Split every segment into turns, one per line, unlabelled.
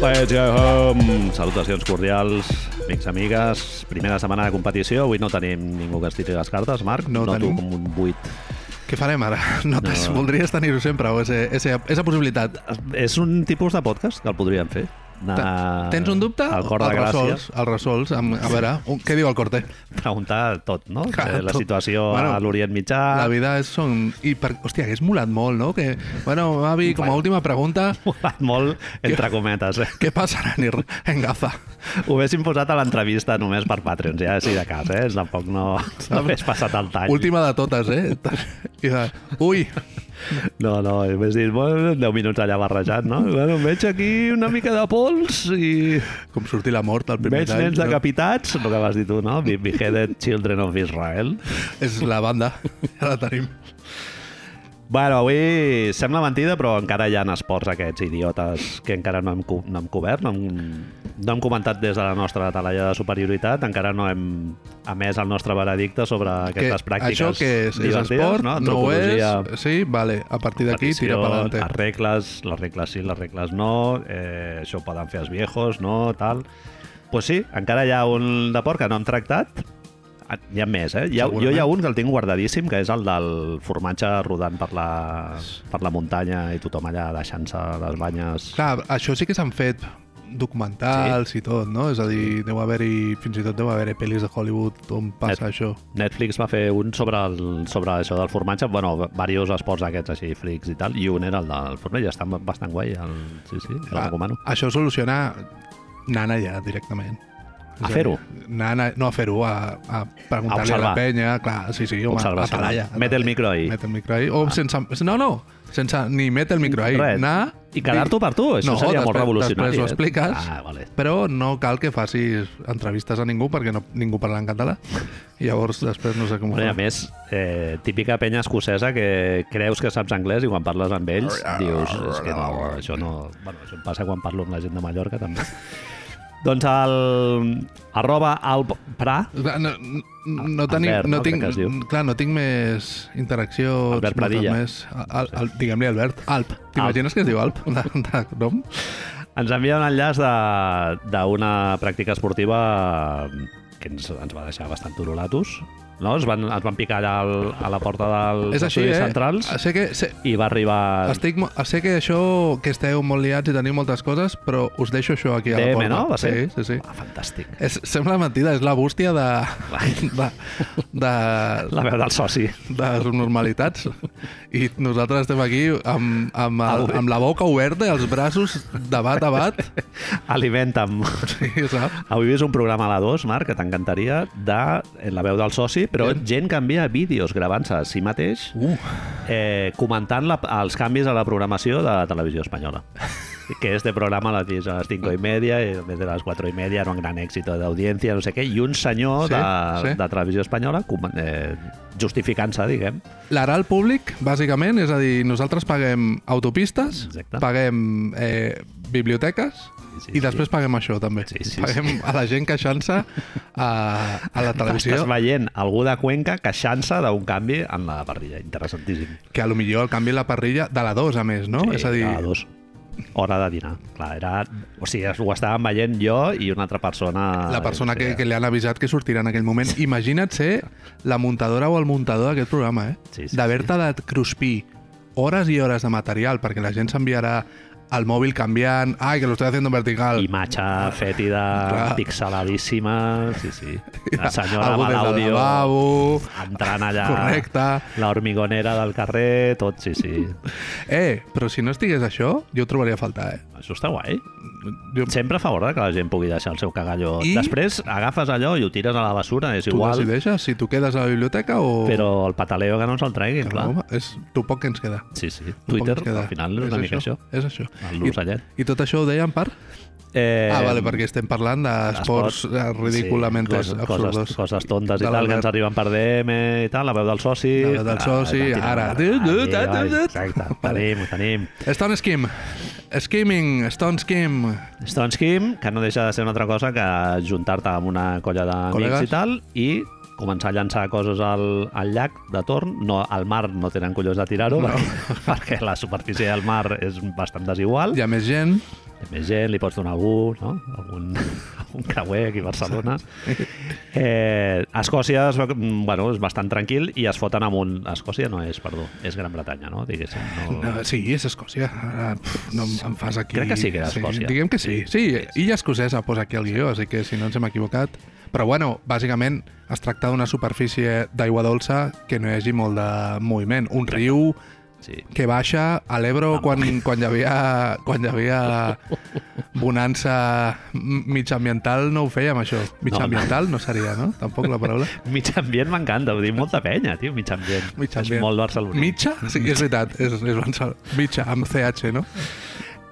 Let's go home. Salutacions cordials, amics, amigues. Primera setmana de competició. Avui no tenim ningú que es tiri les cartes, Marc.
No
Noto
tenim.
com un buit.
Què farem ara? No, no.
No.
Voldries tenir-ho sempre, o és, és, és possibilitat.
És un tipus de podcast que el podríem fer. Anar
Tens un dubte?
Al cor de
el
Ah, gràcies.
resols, el resols. Amb, a veure, un, què diu el Corte?
Preguntar tot, no?
Clar,
Eh, La
tot.
situació
Bueno,
a l'Orient Mitjà.
La vida és... Són, i per, hòstia, hagués molat molt, no? Que, bueno, avi, com a última pregunta,
Molat molt, entre cometes. Eh?
què passarà en, Ir- en Gaza?
Ho haguéssim posat a l'entrevista només per Patreons, ja, si de cas, eh? Tampoc no, no hagués passat el tall.
Última de totes, eh? I de, ui,
No, no, i m'has dit, bueno, 10 minuts allà barrejat, no? Bueno, veig aquí una mica de pols i
com sortir la mort al primer
veig
tall.
nens decapitats, el que vas dir tu, no? Be- Beheaded Children of Israel.
És la banda, ja la tenim.
Bueno, avui sembla mentida, però encara hi ha esports aquests idiotes que encara no hem, co- no hem cobert, no hem, no hem comentat des de la nostra talalla de superioritat, encara no hem emès el nostre veredicte sobre aquestes pràctiques
això que és, és
divertides,
esport,
no?
no ho és,
Antropologia
sí, vale, a partir d'aquí tira
competició,
per adelante.
Les regles, les regles sí, les regles no, eh, això ho poden fer els viejos, no, tal... Pues sí, encara hi ha un de porc que no hem tractat, Ah, hi ha més, eh? Hi ha, jo hi ha un que el tinc guardadíssim, que és el del formatge rodant per la, per la muntanya i tothom allà deixant-se les banyes.
Clar, això sí que s'han fet documentals sí. i tot, no? És a dir, deu haver-hi, fins i tot deu haver-hi pel·lis de Hollywood on passa
Et-
això.
Netflix va fer un sobre, el, sobre això del formatge, bueno, diversos esports aquests així, flics i tal, i un era el del formatge, està bastant guai, el, sí, sí, el recomano.
Ah, això ho soluciona anant allà directament.
A
És dir,
fer-ho?
anant a- No a fer-ho, a, a preguntar-li a,
observar.
la penya, clar, sí, sí, home, a
Observació.
tallar.
Met el micro ahí. Ah.
Met el micro ahí, o sense... No, no, sense ni met el micro ahí,
Res.
anar...
I quedar-t'ho per tu, això
no,
seria molt
després-
revolucionari.
Després ho
eh?
expliques,
Ah, vale.
però no cal que facis entrevistes a ningú perquè no, ningú parla en català. I llavors després no sé com ho
Bueno, i a
fa.
més, eh, típica penya escocesa que creus que saps anglès i quan parles amb ells dius, és que no, això no... Bueno, això em passa quan parlo amb la gent de Mallorca, també. doncs el... arroba alpra,
Clar, No, no, no,
Albert,
tenim, no,
no?
tinc,
Crec que es diu.
clar, no tinc més interaccions.
Albert
no tinc
Pradilla.
Més. Al, al, Diguem-li Albert. Alp. T'imagines que es diu Alp? De, de nom?
ens envia un enllaç de- d'una pràctica esportiva que ens, ens va deixar bastant torolatos. No? Es, van, es van picar allà al, a la porta dels
És així,
estudis
eh?
centrals
Sé que, sé,
i va arribar...
estic, mo- sé que això, que esteu molt liats i teniu moltes coses, però us deixo això aquí a la
DM,
porta.
no? Va ser?
Sí, sí, sí.
Ah, fantàstic.
És, sembla mentida, és la bústia de, de, de,
La veu del soci.
de normalitats. I nosaltres estem aquí amb, amb, el,
Avui.
amb la boca oberta i els braços de bat a bat.
Alimenta'm.
Sí, saps?
Avui és un programa a la 2, Marc, que t'encantaria, de eh, la veu del soci, però gent que envia vídeos gravant-se a si mateix
Uh.
eh, comentant la, els canvis a la programació de Televisió Espanyola. Que este programa lo tienes a las 5 y media, eh, y desde las 4 y media, era un gran éxito de audiencia, no sé què, i un senyor
Sí,
de,
sí.
de Televisió Espanyola com- eh, justificant-se, diguem.
L'aral públic, bàsicament, és a dir, nosaltres paguem autopistes,
Exacte.
paguem eh, biblioteques
Sí, sí,
sí, i després paguem això, també.
Sí, sí,
paguem a la gent queixant-se a, a la
Estàs
televisió,
veient algú de Cuenca queixant-se d'un canvi en la parrilla. Interessantíssim.
que a lo millor el canvi en la parrilla de la 2, a més, no?
Sí,
és a dir,
cada Eh, dos. Hora de dinar. Clar, era... O sigui, ho estàvem veient jo i una altra persona... eh,
la persona que,
Sí,
que li han avisat que sortirà en aquell moment. Imagina't ser la muntadora o el muntador d'aquest programa, eh?
Sí, sí,
D'haver-te de cruspir hores i hores de material perquè la gent s'enviarà al mòbil canviant, ai, que lo estoy haciendo en vertical.
Imatge fètida,
Clar.
pixeladíssima... Sí, sí. La senyora
Algú
va
des
a
del
l'àudio
lavabo...
entrant allà...
Correcte.
La hormigonera del carrer, tot, sí, sí.
Eh, però si no estigués això, jo ho trobaria a faltar, eh?
Això està guai.
Jo,
Sempre a favor de que la gent pugui deixar el seu cagalló.
I-
Després agafes allò i ho tires a la bessura, és
tu
igual,
decideixes si tu quedes a la biblioteca o...
però el pataleo que no se'l treguin, clar.
Home, és tu poc que ens queda.
Sí, sí.
Tu poc
Twitter,
ens queda.
al final, és una mica això.
És això.
El l'ocellet.
I, I tot això ho dèiem per...
Eh,
Eh, ah, vale, perquè estem parlant d'esports eh, ridículament
sí, coses, coses,
absurdos.
coses tontes i
De
tal, que
l'Albert.
ens arriben per DM i tal, la veu del soci...
La veu del
Ah,
soci,
la tirada,
ara.
ah,
Tut, tut,
tira,
tut, tut, tut.
Exacte, ho tenim, ho tenim.
Stone Skim. Skimming, Stone Skim.
Doncs, Stones Kim, que no deixa de ser una altra cosa que juntar-te amb una colla d'amics
Col·legues.
i tal, i començar a llançar coses al, al llac de torn. No, al mar no tenen collons de tirar-ho,
No.
perquè, perquè la superfície del mar és bastant desigual.
Hi ha més gent,
Hi ha més gent, li pots donar algú, no? Algun, algun creuer aquí a Barcelona. Eh, a Escòcia es, va- mm, bueno, és bastant tranquil i es foten amb un... Escòcia no és, perdó, és Gran Bretanya, no? Diguéssim. No...
No, sí, és Escòcia. Ara, pf, no em- em fas aquí...
Crec que sí que era Escòcia.
Diguem que sí. Sí, illa escocesa posa aquí el guió, així que si no ens hem equivocat... Però bueno, bàsicament es tracta d'una superfície d'aigua dolça que no hi hagi molt de moviment. Un riu
Sí.
que baixa a l'Ebro quan, quan hi havia, quan hi havia bonança mitjambiental no ho fèiem això. Mitjambiental no, no seria, no? Tampoc la paraula.
Mig ambient m'encanta, ho diu molta penya, tio, mig ambient.
Mig ambient.
És molt barceloní.
Mitja? Sí, és veritat. És, és Barcelona. Mitja, amb CH, no?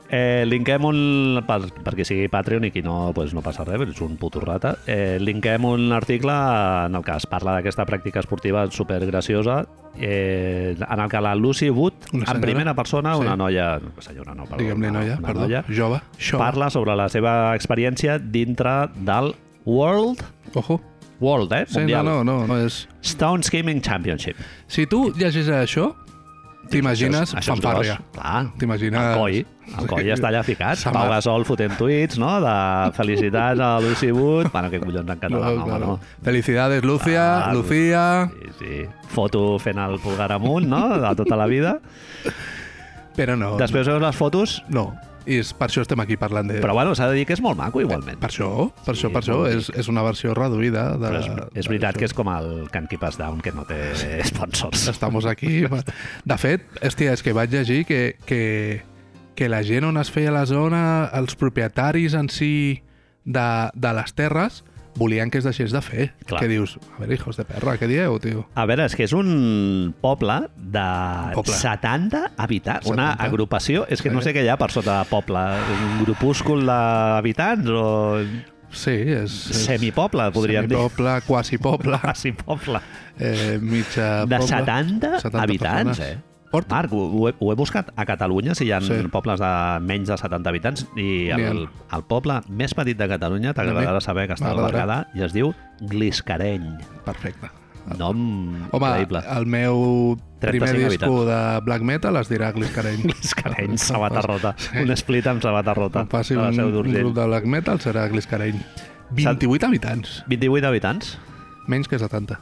Eh, linkem un... Per, perquè sigui Patreon i qui no, pues no passa res, és un puto rata. Eh, linkem un article en el que es parla d'aquesta pràctica esportiva supergraciosa, eh, en el que la Lucy Wood,
Una
en
senyora?
primera persona,
Sí.
una noia... Senyora, no, perdó,
Diguem-li
una,
noia,
una
perdó.
noia
Jove. Jove.
parla sobre la seva experiència dintre del World...
Ojo.
World, eh?
Sí, no,
Mundial.
no, no, no és...
Stone Skimming Championship.
Si tu llegis això, t'imagines
Això és- això és
fanfàrria.
gros, Clar,
T'imagines...
El Coi. El Coi està allà ficat.
Sa
Pau
mare.
Gasol fotent tuits, no? De felicitats a Lucy Wood. Bueno, que collons en català, no, home, no. Ah,
Felicidades, Lucia,
Clar.
Lucía...
Sí, sí. Foto fent el pulgar amunt, no? De tota la vida.
Però no,
Després veus les fotos,
no. I és, per això estem aquí parlant de...
però bueno, s'ha de dir que és molt maco, igualment.
Per això, per
Sí,
això, per això.
molt
És, és una versió reduïda de...
Però és, és veritat que és com el Can Keep Us Down, que no té sponsors.
Estamos aquí. De fet, hòstia, és que vaig llegir que, que, que la gent on es feia la zona, els propietaris en si de, de les terres, volien que es deixés de fer.
Clar.
Que dius, a veure, hijos de perra, què dieu, tio?
A veure, és que és un poble de
Poble.
70 habitants, una
70?
agrupació. És que no sé què hi ha per sota de poble, un grupúscul d'habitants o
Sí, és... és
semipoble, podríem dir.
Semipoble, quasi poble,
Quasi poble.
eh, mitja
De
poble.
70,
70
habitants,
persones.
eh?
Porta.
Marc, ho, ho he, ho he buscat a Catalunya, si hi ha sí.
Sí.
pobles de menys de 70 habitants, i
N'hi ha.
el, el poble més petit de Catalunya, t'agradarà
També.
saber que està al Berguedà,
M'agradarà.
i es diu Gliscareny.
Perfecte.
Nom
Ah. Home,
increïble.
el meu
35
primer disco de black metal es dirà Gliscareny.
Gliscareny, sabata rota. Un split amb sabata rota.
Quan faci
a la
un,
Seu
un
d'Urgell.
grup de black metal serà Gliscareny. 28 habitants,
28 habitants.
menys que 70.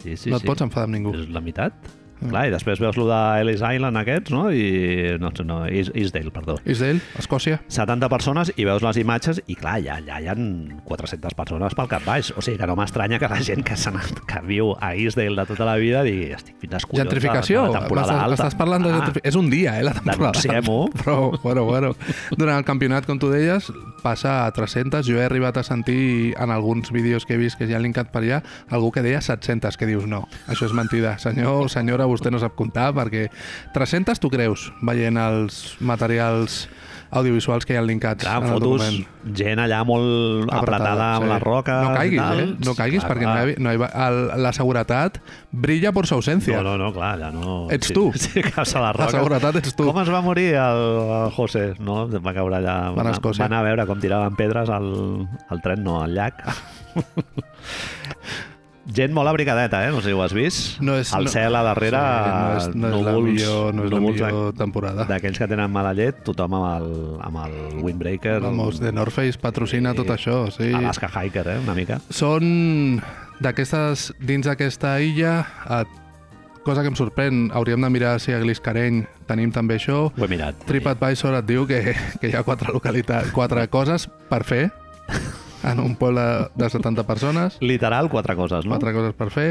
Sí, sí,
Sí, no
sí.
et pots enfadar amb ningú. Mm.
És la meitat. Clar, i després veus lo d'Ellis Island aquests, no? I... No, no, Is- Isdale, perdó.
Israel, Escòcia,
70 persones i veus les imatges i clar, allà, allà hi ha 400 persones pel cap baix. O sigui que no m'estranya que la gent que, s'ha anat, que viu a Isdale de tota la vida digui, estic fins als collons de-
gentrificació.
de la temporada
M'estàs-
alta.
Estàs parlant de
Ah,
gentrificació. És un dia, eh, la temporada.
Denunciem-ho.
Però, bueno, bueno. Durant el campionat, com tu deies, passa a 300. Jo he arribat a sentir en alguns vídeos que he vist que ja han linkat per allà algú que deia 700, que dius no, això és mentida. Senyor o senyora, vostè no sap comptar perquè 300 tu creus veient els materials audiovisuals que hi han linkats
Clar,
en
amb
el
fotos,
document.
gent allà molt apretada, amb
sí.
les roques
No caiguis,
i tal.
eh? No caiguis,
Clar,
perquè
clar.
no hi, ha- no hi va, el, la seguretat brilla por su ausencia.
No, no, no, clar, ja no...
Ets
Sí,
tu.
Sí, caps a la
La
roca.
seguretat ets tu.
Com es va morir el, el José? No? Va caure allà...
Va anar a Escòcia.
va anar a veure com tiraven pedres al, al tren, no, al llac. Gent molt abrigadeta, eh? No sé si ho has vist.
No és-
el
no-
cel a darrere,
Sí, no és, no és la
núvols-
millor, no és la
núvols de-
millor temporada.
d'aquells que tenen mala llet, tothom amb el, amb el Windbreaker,
Vamos, de North Face patrocina
Sí.
tot això, sí.
Alaska Hiker, eh? Una mica.
Són d'aquestes, dins d'aquesta illa, eh, cosa que em sorprèn, hauríem de mirar si a Gliscareny tenim també això.
Ho he mirat.
TripAdvisor et diu que, que hi ha quatre localitats, quatre coses per fer en un poble de 70 persones.
Literal, quatre coses, no?
quatre coses per fer.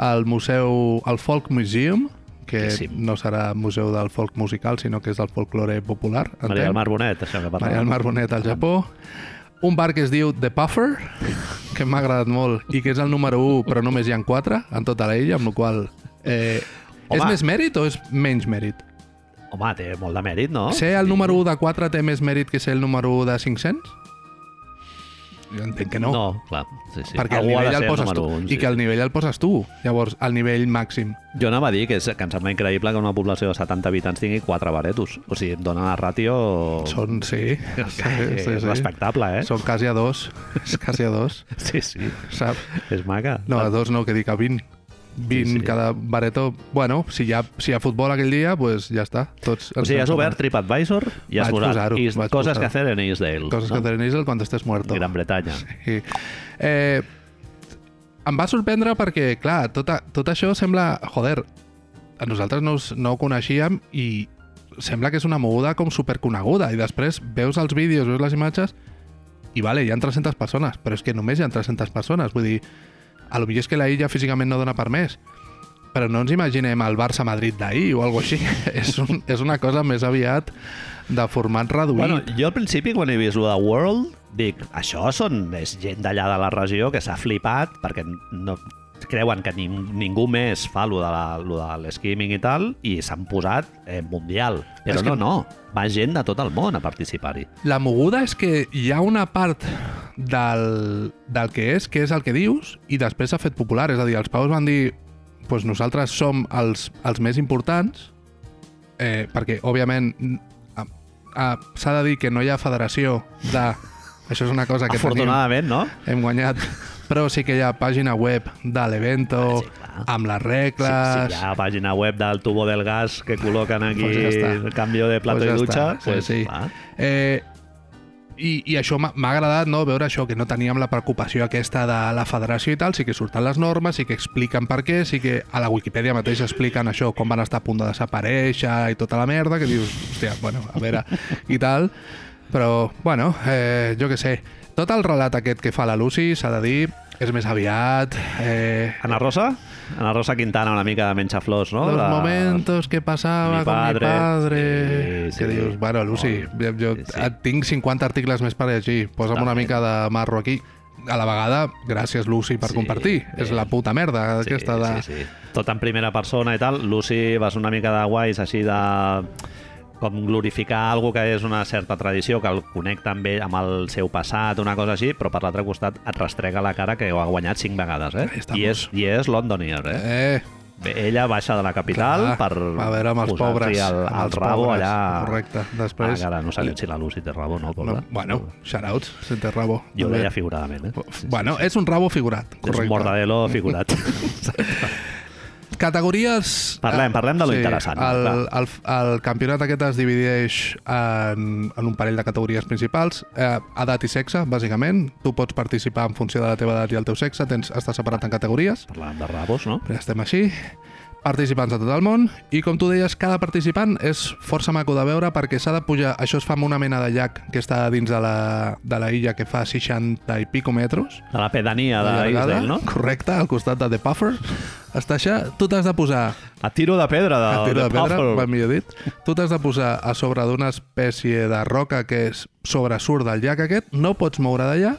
El museu, el Folk Museum, que
Boníssim.
no serà museu del folk musical, sinó que és del folklore popular.
Maria del Mar Bonet, això que
Maria del
parlàvem.
Mar Bonet al Japó. Un bar que es diu The Puffer, que m'ha agradat molt, i que és el número 1, però només hi ha 4 en tota l'illa, amb la qual cosa, eh, és
Home.
més mèrit o és menys mèrit?
Home, té molt de mèrit, no?
Ser el número 1 de 4 té més mèrit que ser el número 1 de 500? Jo entenc que no.
No, clar. Sí, sí.
Perquè el
Algú ha de
nivell el
ser
poses
número
tu.
un,
I
sí,
que el
sí.
nivell el poses tu. Llavors, el nivell màxim.
Jo anava a dir que, és, que em sembla increïble que una població de 70 habitants tingui 4 baretos. O sigui, em dona la ràtio...
Són, sí. sí,
Eh, respectable, eh?
Són quasi a dos. És quasi a dos,
Sí, sí.
saps?
És maca.
No, a dos no, que dic a 20. 20
Ah. Sí, sí.
cada bareto. Bueno, si hi ha, si hi ha futbol aquell dia, doncs pues ja està. Tots
O sigui, has obert TripAdvisor i has
Vaig
posat
posar-ho,
is-
vaig
coses
posar-ho.
que hacer en Isdale.
Coses que tenéis el quan estés muerto.
Ah. Gran Bretanya.
Sí. Eh, em va sorprendre perquè, clar, tot, a, tot això sembla... Joder, a nosaltres no, us- no ho coneixíem i sembla que és una moguda com superconeguda i després veus els vídeos, veus les imatges i vale, hi ha 300 persones, però és que només hi ha 300 persones, vull dir, a lo millor és que la illa físicament no dona per més, però no ens imaginem el Barça-Madrid d'ahir o alguna així. és, un, és una cosa més aviat de format reduït.
Bueno, jo al principi, quan he vist lo de World, dic, això són, és gent d'allà de la regió que s'ha flipat perquè no creuen que ning ningú més fa lo de la- lo de l'esquiming i tal i s'han posat eh, mundial. Però
És que-
no, no, va gent de tot el món a participar-hi.
La moguda és que hi ha una part del, del que és, que és el que dius, i després s'ha fet popular. És a dir, els paus van dir pues nosaltres som els, els més importants, eh, perquè, òbviament, n- a- a- s'ha de dir que no hi ha federació de... Això és una cosa que tenim,
Afortunadament, no?
hem guanyat. Però sí que hi ha pàgina web de l'evento,
Ah, sí, clar.
amb les
Si, si
regles...
hi ha pàgina web del tubo del gas que col·loquen aquí
Pues ja està.
el canvi de plato
Pues ja
i dutxa,
està, sí,
pues,
sí.
clar.
Eh, i, I això m'ha m'ha agradat, no?, veure això, que no teníem la preocupació aquesta de la federació i tal, sí que surten les normes, sí que expliquen per què, sí que a la Wikipedia mateix expliquen això, com van estar a punt de desaparèixer i tota la merda, que dius, hòstia, bueno, a veure, i tal. Però, bueno, eh, jo que sé, tot el relat aquest que fa la Lucy, s'ha de dir, és més aviat... Eh,
Ana Rosa? Ana Rosa Quintana, una mica de menxaflors, no?
los
La-
momentos que pasaba
Mi
con mi
padre.
padre.
Sí,
que
sí.
dius, bueno, Lucy,
Oh,
jo, jo
sí, sí.
et tinc 50 articles més per llegir, posa'm una
Totalment.
mica de marro aquí. A la vegada, gràcies, Lucy, per
Sí,
compartir.
bé.
És la puta merda
Sí,
aquesta de...
sí, sí. Tot en primera persona i tal. Lucy va ser una mica de guais així de com glorificar algo que és una certa tradició, que el connecta amb ell, amb el seu passat, una cosa així, però per l'altre costat et rastrega la cara que ho ha guanyat cinc vegades, eh?
Ahí estamos.
I és, I és Londoner, eh?
Eh,
Bé, Ella baixa de la capital
clar,
per
a veure, amb els
posar-s'hi
pobres.
el,
amb
el
els
rabo
pobres,
allà.
Correcte.
Ah,
Després...
Ara no sabem si la Lucy té rabo o no,
no,
pobra.
bueno, shoutouts, si té rabo.
Jo ho
També.
deia figuradament, eh?
Bueno, és un rabo figurat,
És un
correcte.
mordadelo figurat.
Categories...
Parlem,
eh,
parlem de lo interessant,
El,
va.
el, el campionat aquest es divideix en, en un parell de categories principals. Eh, edat i sexe, bàsicament. Tu pots participar en funció de la teva edat i el teu sexe. Tens, estàs separat en categories.
Parlàvem de rabos, no?
Ja estem així. Participants de tot el món. I com tu deies, cada participant és força maco de veure perquè s'ha de pujar... Això es fa amb una mena de llac que està dins de la, de la illa que fa 60 i pico metros
De la pedania de
allargada,
Isdale, no?
Correcte, al costat de The Puffer. Està això, tu t'has de posar
A tiro de pedra Ah, de,
a tiro de pedra,
Puffer.
va millor dit. Tu t'has de posar a sobre d'una espècie de roca que és sobresurt del llac aquest, no pots moure d'allà,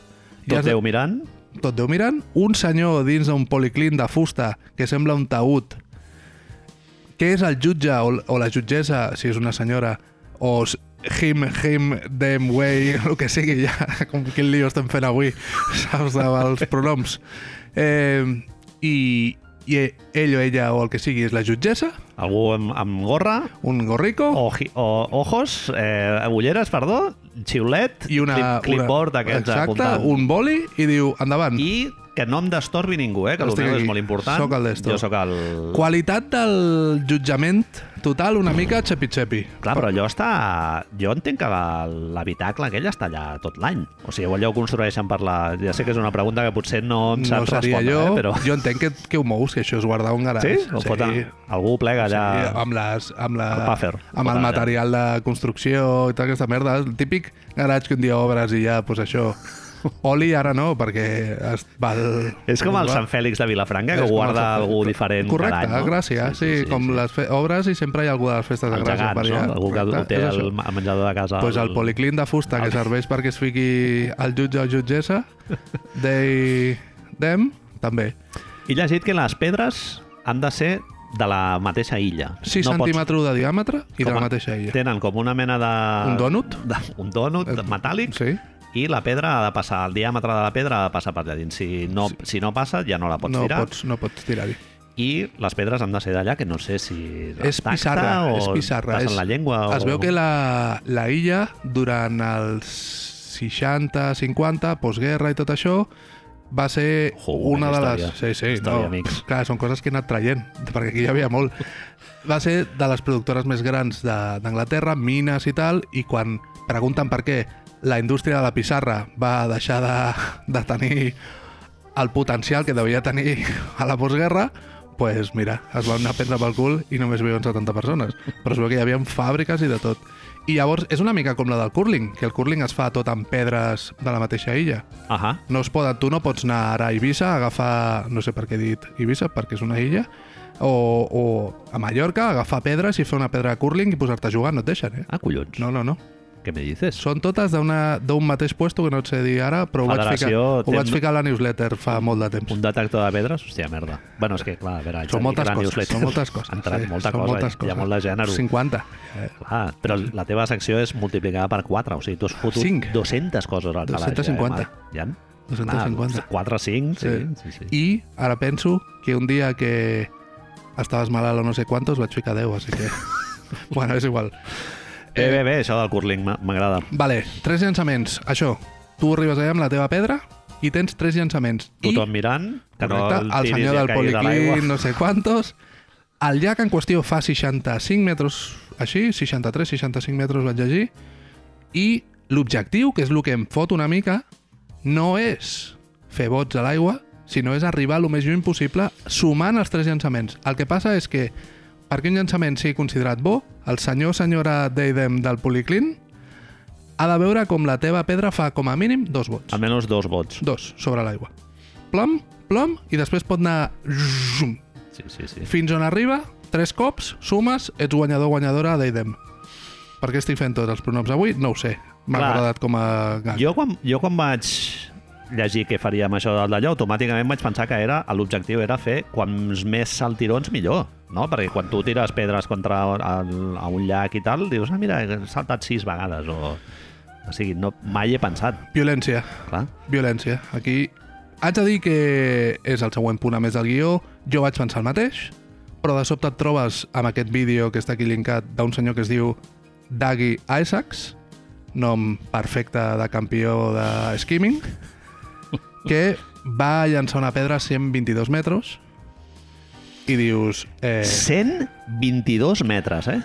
i
Tot
has de-
Déu mirant.
tot Déu mirant, un senyor dins d'un policlin de fusta que sembla un taüt, que és el jutge o, l- o la jutgessa, si és una senyora, o s- him, him, them, way, el que sigui ja, com quin lío estem fent avui, saps, dels pronoms. Eh, I i ell o ella o el que sigui és la jutgessa,
Algú amb, amb gorra,
un gorrico,
o, gi- o ojos, eh, ulleres, perdó, xiulet,
i una,
clip, clipboard
una
d'aquests
exacte,
apuntant.
un boli i diu endavant. I...
I que no em destorbi ningú, eh, que el
Estic
meu és
aquí.
molt important.
Soc el Desto.
Jo sóc el...
Qualitat del jutjament total una mica xepi-xepi.
Clar, però allò està... Jo entenc que la- l'habitacle aquell està allà tot l'any. O sigui, allò ho construeixen per la... Ja sé que és una pregunta que potser no em
No
saps
seria
respondre,
jo,
eh, però...
jo entenc que, que ho mous, que això és guardar un
Sí?
garatge.
Ho Pot, algú plega allà...
Sí, amb, les, amb, la,
El puffer.
amb el
Allà.
material de construcció i tota aquesta merda. El típic garatge que un dia obres i ja, doncs això... Oli ara no, perquè es val...
És com el
va-
Sant Fèlix de Vilafranca,
És
que
com el
guarda
Sant Fèlix.
algú diferent
Correcte,
cada any. no?
Gràcia, sí, sí, com les fe... obres i sempre hi ha algú de les festes de
Els
Gràcia.
gegants, no? Algú que ho té al ma- menjador de casa.
Doncs el policlin de fusta
Ah.
que serveix perquè es fiqui el jutge o jutgessa, they, them, també.
He llegit que les pedres han de ser de la mateixa illa.
6 no centímetres de diàmetre i de
Com
la
a-
mateixa illa.
Tenen com una mena de...
Un dònut?
De, un dònut metàl·lic
Sí.
i la pedra ha de passar, el diàmetre de la pedra ha de passar per allà dins. Si no, si no passa, ja no la pots
no
tirar.
pots, no pots tirar-hi.
I les pedres han de ser d'allà, que no sé si...
És
tacte
pissarra,
o
és pissarra.
Passen
És,
la llengua o...
Es veu que la, la illa, durant els 60, 50, postguerra i tot això, va ser
Jo,
una de les...
història.
Sí, sí,
Història, amics.
Clar, són coses que he anat traient, perquè aquí hi havia molt. Va ser de les productores més grans de- d'Anglaterra, mines i tal, i quan pregunten per què la indústria de la pissarra va deixar de, de tenir el potencial que devia tenir a la postguerra, pues mira, es van anar a prendre pel cul i només viuen 70 persones. Però es veu que hi havia fàbriques i de tot. I llavors és una mica com la del curling, que el curling es fa tot amb pedres de la mateixa illa.
Ahà.
No es poden, tu no pots anar ara a Eivissa a agafar, no sé per què he dit Eivissa, perquè és una illa, o, o a Mallorca a agafar pedres i fer una pedra de curling i posar-te a jugar, no et deixen, eh?
Ah, collons.
No, no, no.
Què me dices?
Són totes d'una- d'un mateix puesto que no et sé dir ara, però ho vaig, ficar,
Federació,
ho vaig
tem-
ficar a la newsletter fa molt de temps.
Un detector de pedres? Hòstia, merda. Bueno, és que, clar, a veure... haig de dir
Són
que
moltes
la
coses,
newsletter
són moltes coses.
Ha entrat
sí,
molta
són
cosa,
moltes
hi ha
coses.
molt de gènere.
50. Eh,
Clar, però la teva secció és multiplicada per 4, o sigui, tu has fotut
Cinc.
200 coses al calaix.
250.
Ja, eh, Marc? ja?
250.
4, 5, sí. sí, sí.
I ara penso que un dia que estaves malalt o no sé quantos, vaig ficar 10, així que... bueno, és igual.
Bé,
eh,
bé, bé, això del curling m'a- m'agrada.
Vale, tres llançaments. Això, tu arribes allà amb la teva pedra i tens tres llançaments.
Tothom
I,
mirant, que
correcte,
no
el
tiris
senyor
i
del
caiguis a l'aigua.
policlín, no sé quantos... El llac en qüestió fa 65 metres així, 63-65 metres vaig llegir, i l'objectiu, que és el que em fot una mica, no és fer bots a l'aigua, sinó és arribar el més lluny possible sumant els tres llançaments. El que passa és que perquè un llançament sigui considerat bo, el senyor o senyora Deidem del Policlin ha de veure com la teva pedra fa com a mínim dos bots.
Almenys dos vots.
Dos, sobre l'aigua. Plom, plom, i després pot anar zoom,
Sí, sí, sí.
fins on arriba, tres cops, sumes, ets guanyador guanyadora d'Eidem. Per què estic fent tots els pronoms avui? No ho sé. M'ha
Clar.
agradat com a gag.
Jo quan, jo quan vaig llegir què faríem això del d'allò, automàticament vaig pensar que era l'objectiu era fer quants més saltirons millor, no? Perquè quan tu tires pedres contra el, a un llac i tal, dius, ah, mira, he saltat sis vegades, o... O sigui, no, mai he pensat,
Violència,
clar.
violència. Aquí haig de dir que és el següent punt a més del guió. Jo vaig pensar el mateix, però de sobte et trobes amb aquest vídeo que està aquí linkat d'un senyor que es diu Daggy Isaacs, nom perfecte de campió de skimming, que va llançar una pedra a 122 metres i dius... Eh,
122 metres, eh?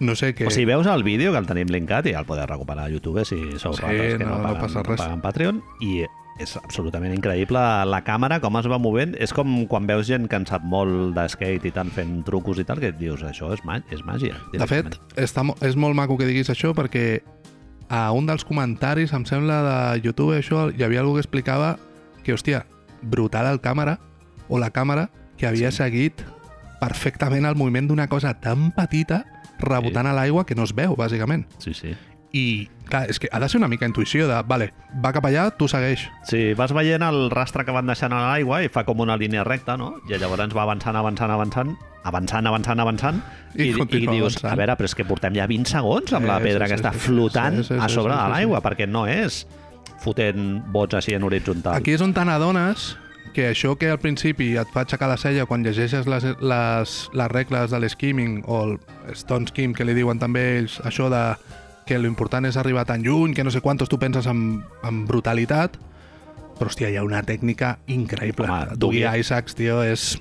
no sé què...
O sigui, veus el vídeo que el tenim linkat i el podeu recuperar a YouTube eh, si sou
Sí,
altres que
no-
no,
no
paguen,
passa res.
paguen Patreon i és absolutament increïble la càmera, com es va movent. És com quan veus gent que en sap molt de skate i tant fent trucos i tal, que et dius, això és, mà és màgia.
De fet,
directament."
està, mo- és molt maco que diguis això perquè a un dels comentaris, em sembla, de YouTube, això, hi havia algú que explicava que, hòstia, brutal el càmera, o la càmera, que havia sí. seguit perfectament el moviment d'una cosa tan petita rebotant sí. a l'aigua que no es veu, bàsicament.
Sí, sí.
I, clar, és que ha de ser una mica intuïció de, vale, va cap allà, tu segueix.
Sí, vas veient el rastre que van deixant a l'aigua i fa com una línia recta, no? I llavors va avançant, avançant, avançant, avançant, avançant, avançant, i,
I
i,
continua
dius,
avançant.
a veure, però és que portem ja 20 segons amb la
Eh,
pedra
sí,
que
sí,
està
sí, sí,
flotant
sí, sí,
a
sí,
sobre
sí,
de
sí,
l'aigua,
sí.
perquè no és fotent bots així en horitzontal.
Aquí és on te n'adones que això que al principi et fa aixecar la cella quan llegeixes les, les, les regles de l'esquimming o el stone skim que li diuen també ells, això de que l'important és arribar tan lluny, que no sé quantos tu penses amb, amb brutalitat, però hòstia, hi ha una tècnica increïble.
Home,
Dougie
Dougie-
Isaacs, tio, és...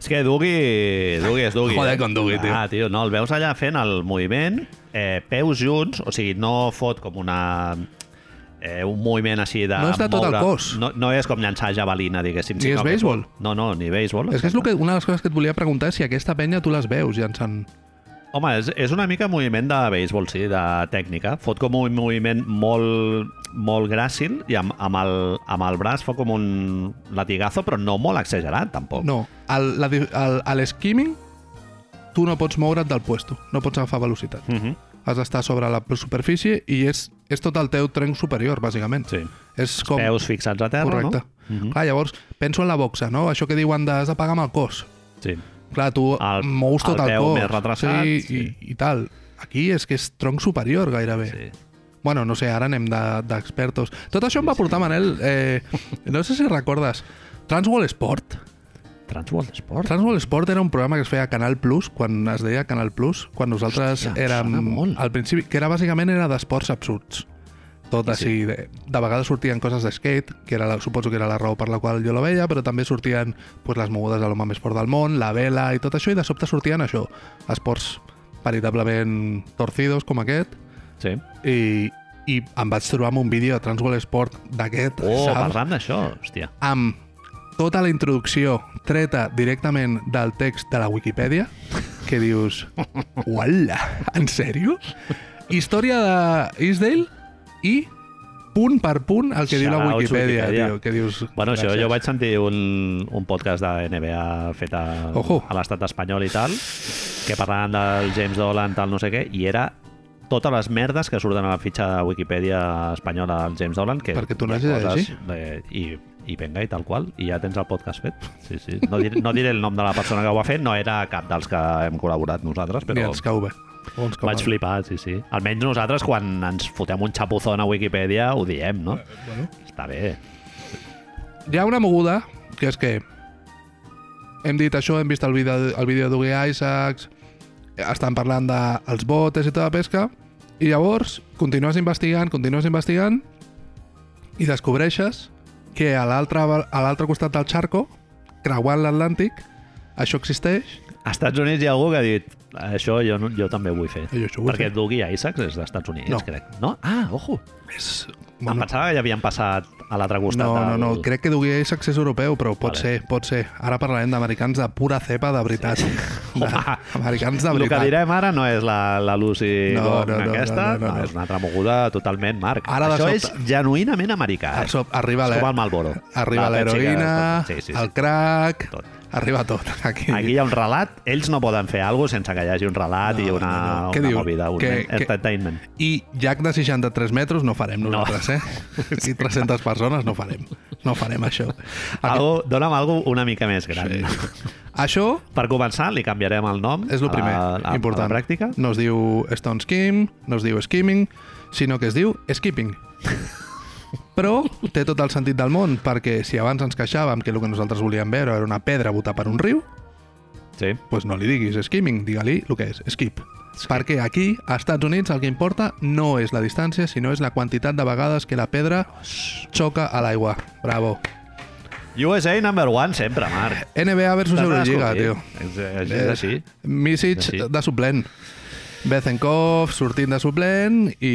És que Dugui, Dugui és Dugui.
Joder,
eh?
con Dugui, tio.
Ah, tio, no, el veus allà fent el moviment, eh, peus junts, o sigui, no fot com una... Eh, un moviment així de...
No és de tot el cos.
No, no és com llançar javelina, diguéssim.
Ni
sinó
és
que-
béisbol.
No, no, ni béisbol.
És que és lo que, una de les coses que et volia preguntar és si aquesta penya tu les veus llançant...
Home, és, és una mica moviment de béisbol, sí, de tècnica. Fot com un moviment molt, molt gràcil i amb, amb, el, amb el braç fa com un latigazo, però no molt exagerat, tampoc.
No, el- la di- el- a l'esquimming tu no pots moure't del puesto, no pots agafar velocitat.
Uh -huh.
has d'estar sobre la superfície i és, és tot el teu trenc superior, bàsicament.
Sí.
És com...
Peus fixats a terra,
Correcte.
no? Mhm.
Uh -huh. Clar, llavors, penso en la boxa, no? Això que diuen de, has de pagar amb el cos.
Sí.
Clar, tu
El-
el, mous tot
el
el,
peu
cos.
més retrasat,
sí,
sí.
I, i tal. Aquí és que és tronc superior, gairebé.
sí.
Bueno, no sé, ara anem de- d'expertos. De, Tot això em va portar, Manel, eh, no sé si recordes, Transworld Sport.
Transworld Sport?
Transworld Sport era un programa que es feia a Canal Plus, quan es deia Canal Plus, quan nosaltres
Hòstia, em
érem...
sona molt.
Al principi, que era bàsicament era d'esports absurds. Tot
Sí,
així, de, de vegades sortien coses d'skate, que era la, suposo que era la raó per la qual jo la veia, però també sortien pues, les mogudes de l'home més fort del món, la vela i tot això, i de sobte sortien això, esports veritablement torcidos com aquest,
Sí. Oh,
i, i em vaig trobar amb un vídeo de Transworld Sport d'aquest,
Oh,
saps?
parlant d'això, hòstia.
amb tota la introducció treta directament del text de la Wikipedia, que dius, uala, en sèrio? Història de Isdale i punt per punt el que diu la
Shoutouts,
Wikipedia,
Wikipedia.
tio, que dius...
Bueno, això
gràcies.
jo vaig sentir un, un podcast de NBA fet a,
Ojo.
a l'estat espanyol i tal, que parlaven del James Dolan, tal, no sé què, i era totes les merdes que surten a la fitxa de Wikipedia espanyola del James Dolan. Que
Perquè tu
hi ha
n'hagis de
coses de- I, i venga, i tal qual, i ja tens el podcast fet. Sí, sí. No, diré, no diré el nom de la persona que ho ha fet, no era cap dels que hem col·laborat nosaltres,
Ni
però
ens cau bé. O ens cau
vaig
mal.
flipar, sí, sí. Almenys nosaltres, quan ens fotem un xapuzón a Wikipedia, ho diem, no?
Eh, Bueno.
Està bé.
Hi ha una moguda, que és que hem dit això, hem vist el vídeo, el vídeo d'Ugi Isaacs, estan parlant dels de els botes i tota la pesca, i llavors continues investigant, continues investigant, i descobreixes que a l'altre a l'altre costat del xarco, creuant l'Atlàntic, això existeix,
A Estats Units hi ha algú que ha dit això jo, no- jo també ho vull fer.
Jo això ho vull
Perquè
fer.
Dougie Isaacs és d'Estats Units,
No.
crec. No? Ah, ojo.
és...
Bueno. Em pensava que ja havien passat a l'altre costat.
No, no,
del-
no, crec que Dougie Isaacs és europeu, però pot
Vale.
ser, pot ser. Ara parlarem d'americans de pura cepa, de veritat. Sí.
Home.
Americans de
El que
veritat.
direm ara no és la, la Lucy
No,
Gordon
no, no,
aquesta,
no, no, no, no.
és una altra moguda totalment, Marc.
Ara de
Això
sobte-
és genuïnament americà.
A
Eh?
sop, arriba
és
la-
com el Malboro.
Arriba l'heroïna,
Sí, sí, sí.
el crack,
Tot.
arriba tot. Aquí,
Aquí hi ha un relat, ells no poden fer alguna sense que hi hagi un relat
No,
i una,
no, no. Què
una
diu?
movida, un
Que- que-
entertainment.
I Jack de 63 metres no farem nosaltres, eh? I 300 persones no farem. No farem això.
Algo, dona'm alguna una mica més gran.
Sí. Això
Per començar, li canviarem el nom.
és el primer,
a la, a,
important.
A la pràctica.
No es diu Stone Skim, no es diu Skimming, sinó que es diu Skipping. Però té tot el sentit del món, perquè si abans ens queixàvem que el que nosaltres volíem veure era una pedra botar per un riu,
Sí.
pues no li diguis skimming, digue-li el que és, skip. Perquè aquí, a Estats Units, el que importa no és la distància, sinó és la quantitat de vegades que la pedra xoca a l'aigua. Bravo.
USA number one sempre,
Eh,
Marc.
NBA versus
T'has de
Euroliga,
descobrir.
tio. Eh,
És, és, és així.
Misic
Sí.
de suplent. Bezenkov sortint de suplent i,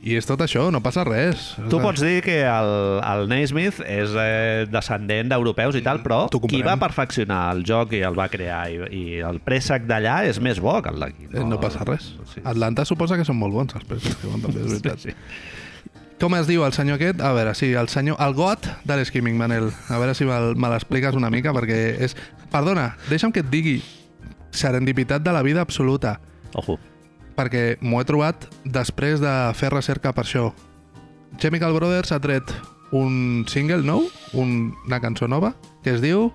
i és tot això, no passa res.
Tu pots dir que el, el Naismith és eh, descendent d'europeus i tal, però
Mm, T'ho comprem.
qui va perfeccionar el joc i el va crear i, i el préssec d'allà és més bo que el d'aquí.
Eh, No passa res.
Sí.
Atlanta suposa que són molt bons els pesos, que van també, és veritat.
Sí, sí.
Com es diu el senyor aquest? A veure, sí, el senyor... El got de l'esquiming, Manel. A veure si me'l- me l'expliques una mica, perquè és... Perdona, deixa'm que et digui serendipitat de la vida absoluta,
Ojo.
perquè m'ho he trobat després de fer recerca per això. Chemical Brothers ha tret un single nou, un, una cançó nova, que es diu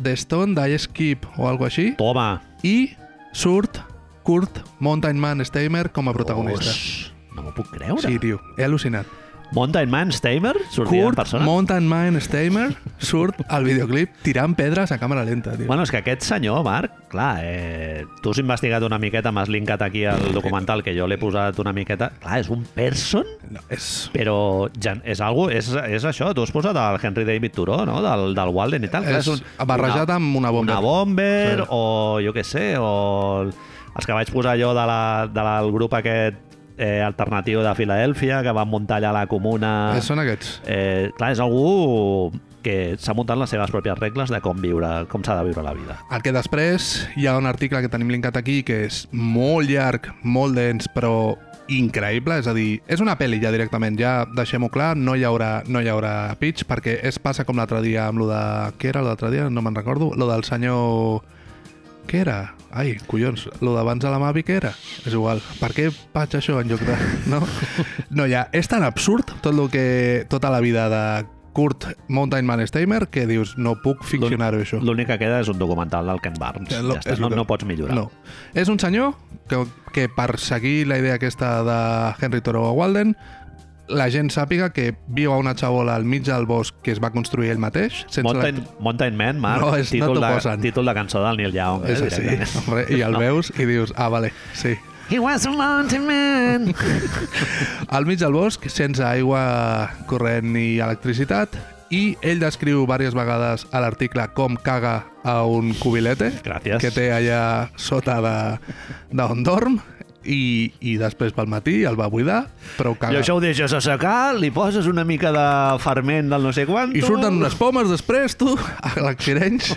The Stone Die Skip o alguna així,
Toma.
i surt Kurt Mountain Man Steimer com a protagonista.
Oix, No m'ho puc creure.
Sí, tio, he al·lucinat.
Mountain Man Steimer sortia en
Kurt
persona?
Mountain Man Steimer surt al videoclip tirant pedres a càmera lenta, tio.
Bueno, és que aquest senyor, Marc, clar, eh, tu has investigat una miqueta, m'has linkat aquí el documental que jo l'he posat una miqueta. Clar, és un person,
No, és...
però ja és, algo, és, és això, tu has posat el Henry David Thoreau, no? del, del Walden i tal. Clar,
És
és un,
barrejat amb una bomber.
Una bomber,
Sí.
sí. o jo què sé, o el- els que vaig posar jo de la, de la, del grup aquest eh, alternatiu de Filadèlfia, que van muntar allà a la comuna...
Eh, Són aquests.
Eh, clar, és algú que s'ha muntat les seves pròpies regles de com viure, com s'ha de viure la vida.
El que després hi ha un article que tenim linkat aquí que és molt llarg, molt dens, però increïble, és a dir, és una pel·li ja directament, ja deixem-ho clar, no hi haurà, no hi haurà pitch, perquè es passa com l'altre dia amb lo de... Què era l'altre dia? No me'n recordo. Lo del senyor... Què era? Ai, collons, lo d'abans de la Mavi què era? És igual. Per què faig això en lloc de... No, no ja, és tan absurd tot lo que, tota la vida de Kurt Mountain Man Steimer, que dius, no puc ficcionar-ho, això.
L'únic que queda és un documental del Ken Barnes.
Eh,
Ja,
lo-
està,
és
no,
lo que-
no pots millorar.
No. És un senyor que, que per seguir la idea aquesta de Henry Thoreau a Walden, la gent sàpiga que viu a una xabola al mig del bosc que es va construir ell mateix, sense
Mountain, Mountain Man, Marc,
No, és- no
títol,
t'ho
de,
posen.
títol de cançó del Neil Young. eh,
la... És així,
directament.
hombre, i el
No.
veus i dius, ah, vale, sí.
He was a mountain man.
Al mig del bosc, sense aigua corrent ni electricitat, i ell descriu diverses vegades a l'article com caga a un cubilete
Gràcies.
que té allà sota de- d'on dorm i, i després pel matí el va buidar, però
I
caga.
això ho deixes assecar, li poses una mica de ferment del no sé quant.
I surten unes pomes després, tu, a l'accidents.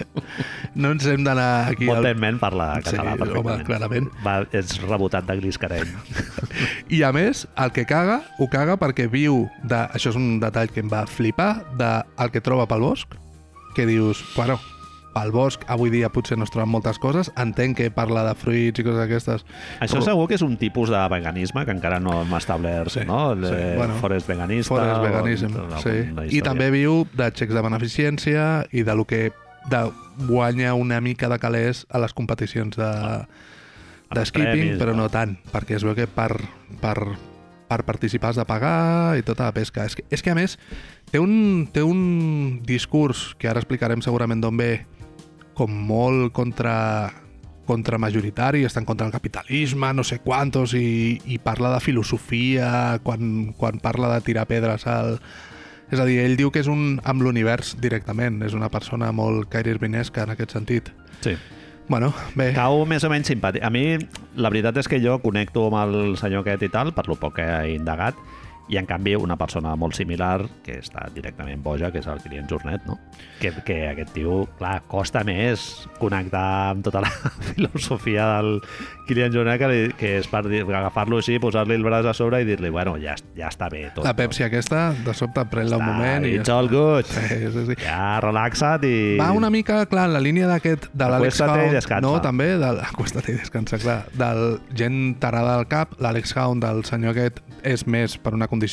No ens hem d'anar aquí... al-
Mountain Man parla
Sí,
català
home,
perfectament.
clarament.
Va, ets rebotat de gris careny.
I a més, el que caga, ho caga perquè viu de... Això és un detall que em va flipar, de el que troba pel bosc, que dius, bueno, pel bosc avui dia potser no es troben moltes coses, entenc que parla de fruits i coses aquestes.
Això
però
segur que és un tipus de veganisme que encara no hem establert,
Sí,
no? El,
sí,
eh,
bueno,
forest veganista.
Forest
o-
veganism,
o alguna
sí. I
història.
també viu de xecs de beneficència i de lo que de guanya una mica de calés a les competicions de, de skipping,
premis,
però
no?
no tant, perquè es veu que per, per, per participar has de pagar i tota la pesca. És que, és que a més, té un, té un discurs, que ara explicarem segurament d'on ve, com molt contra contra majoritari, estan contra el capitalisme, no sé quantos, i, i parla de filosofia, quan, quan parla de tirar pedres al... És a dir, ell diu que és un amb l'univers directament, és una persona molt Kyrie Irvinesca en aquest sentit.
Sí.
Bueno, bé,
Cau més o menys simpàtic. A mi, la veritat és que jo connecto amb el senyor aquest i tal, per lo poc que he indagat, i en canvi una persona molt similar que està directament boja, que és el Kilian Jornet, no? Que, que aquest tio, clar, costa més connectar amb tota la filosofia del Kilian Jornet que, li, que és per dir- agafar-lo així, posar-li el braç a sobre i dir-li, bueno, ja, ja està bé tot. Ah,
la Pepsi aquesta, de sobte, pren-la un moment i ja
It's all good.
està. Sí, sí, sí.
Ja, relaxa't i...
Va una mica, clar, en la línia d'aquest de l'Àlex
Acuesta't i
Hound,
descansa.
no, també, de l'acuesta't i descansa, clar, del gent tarada al cap, l'Àlex Hound, del senyor aquest, és més per una condició lo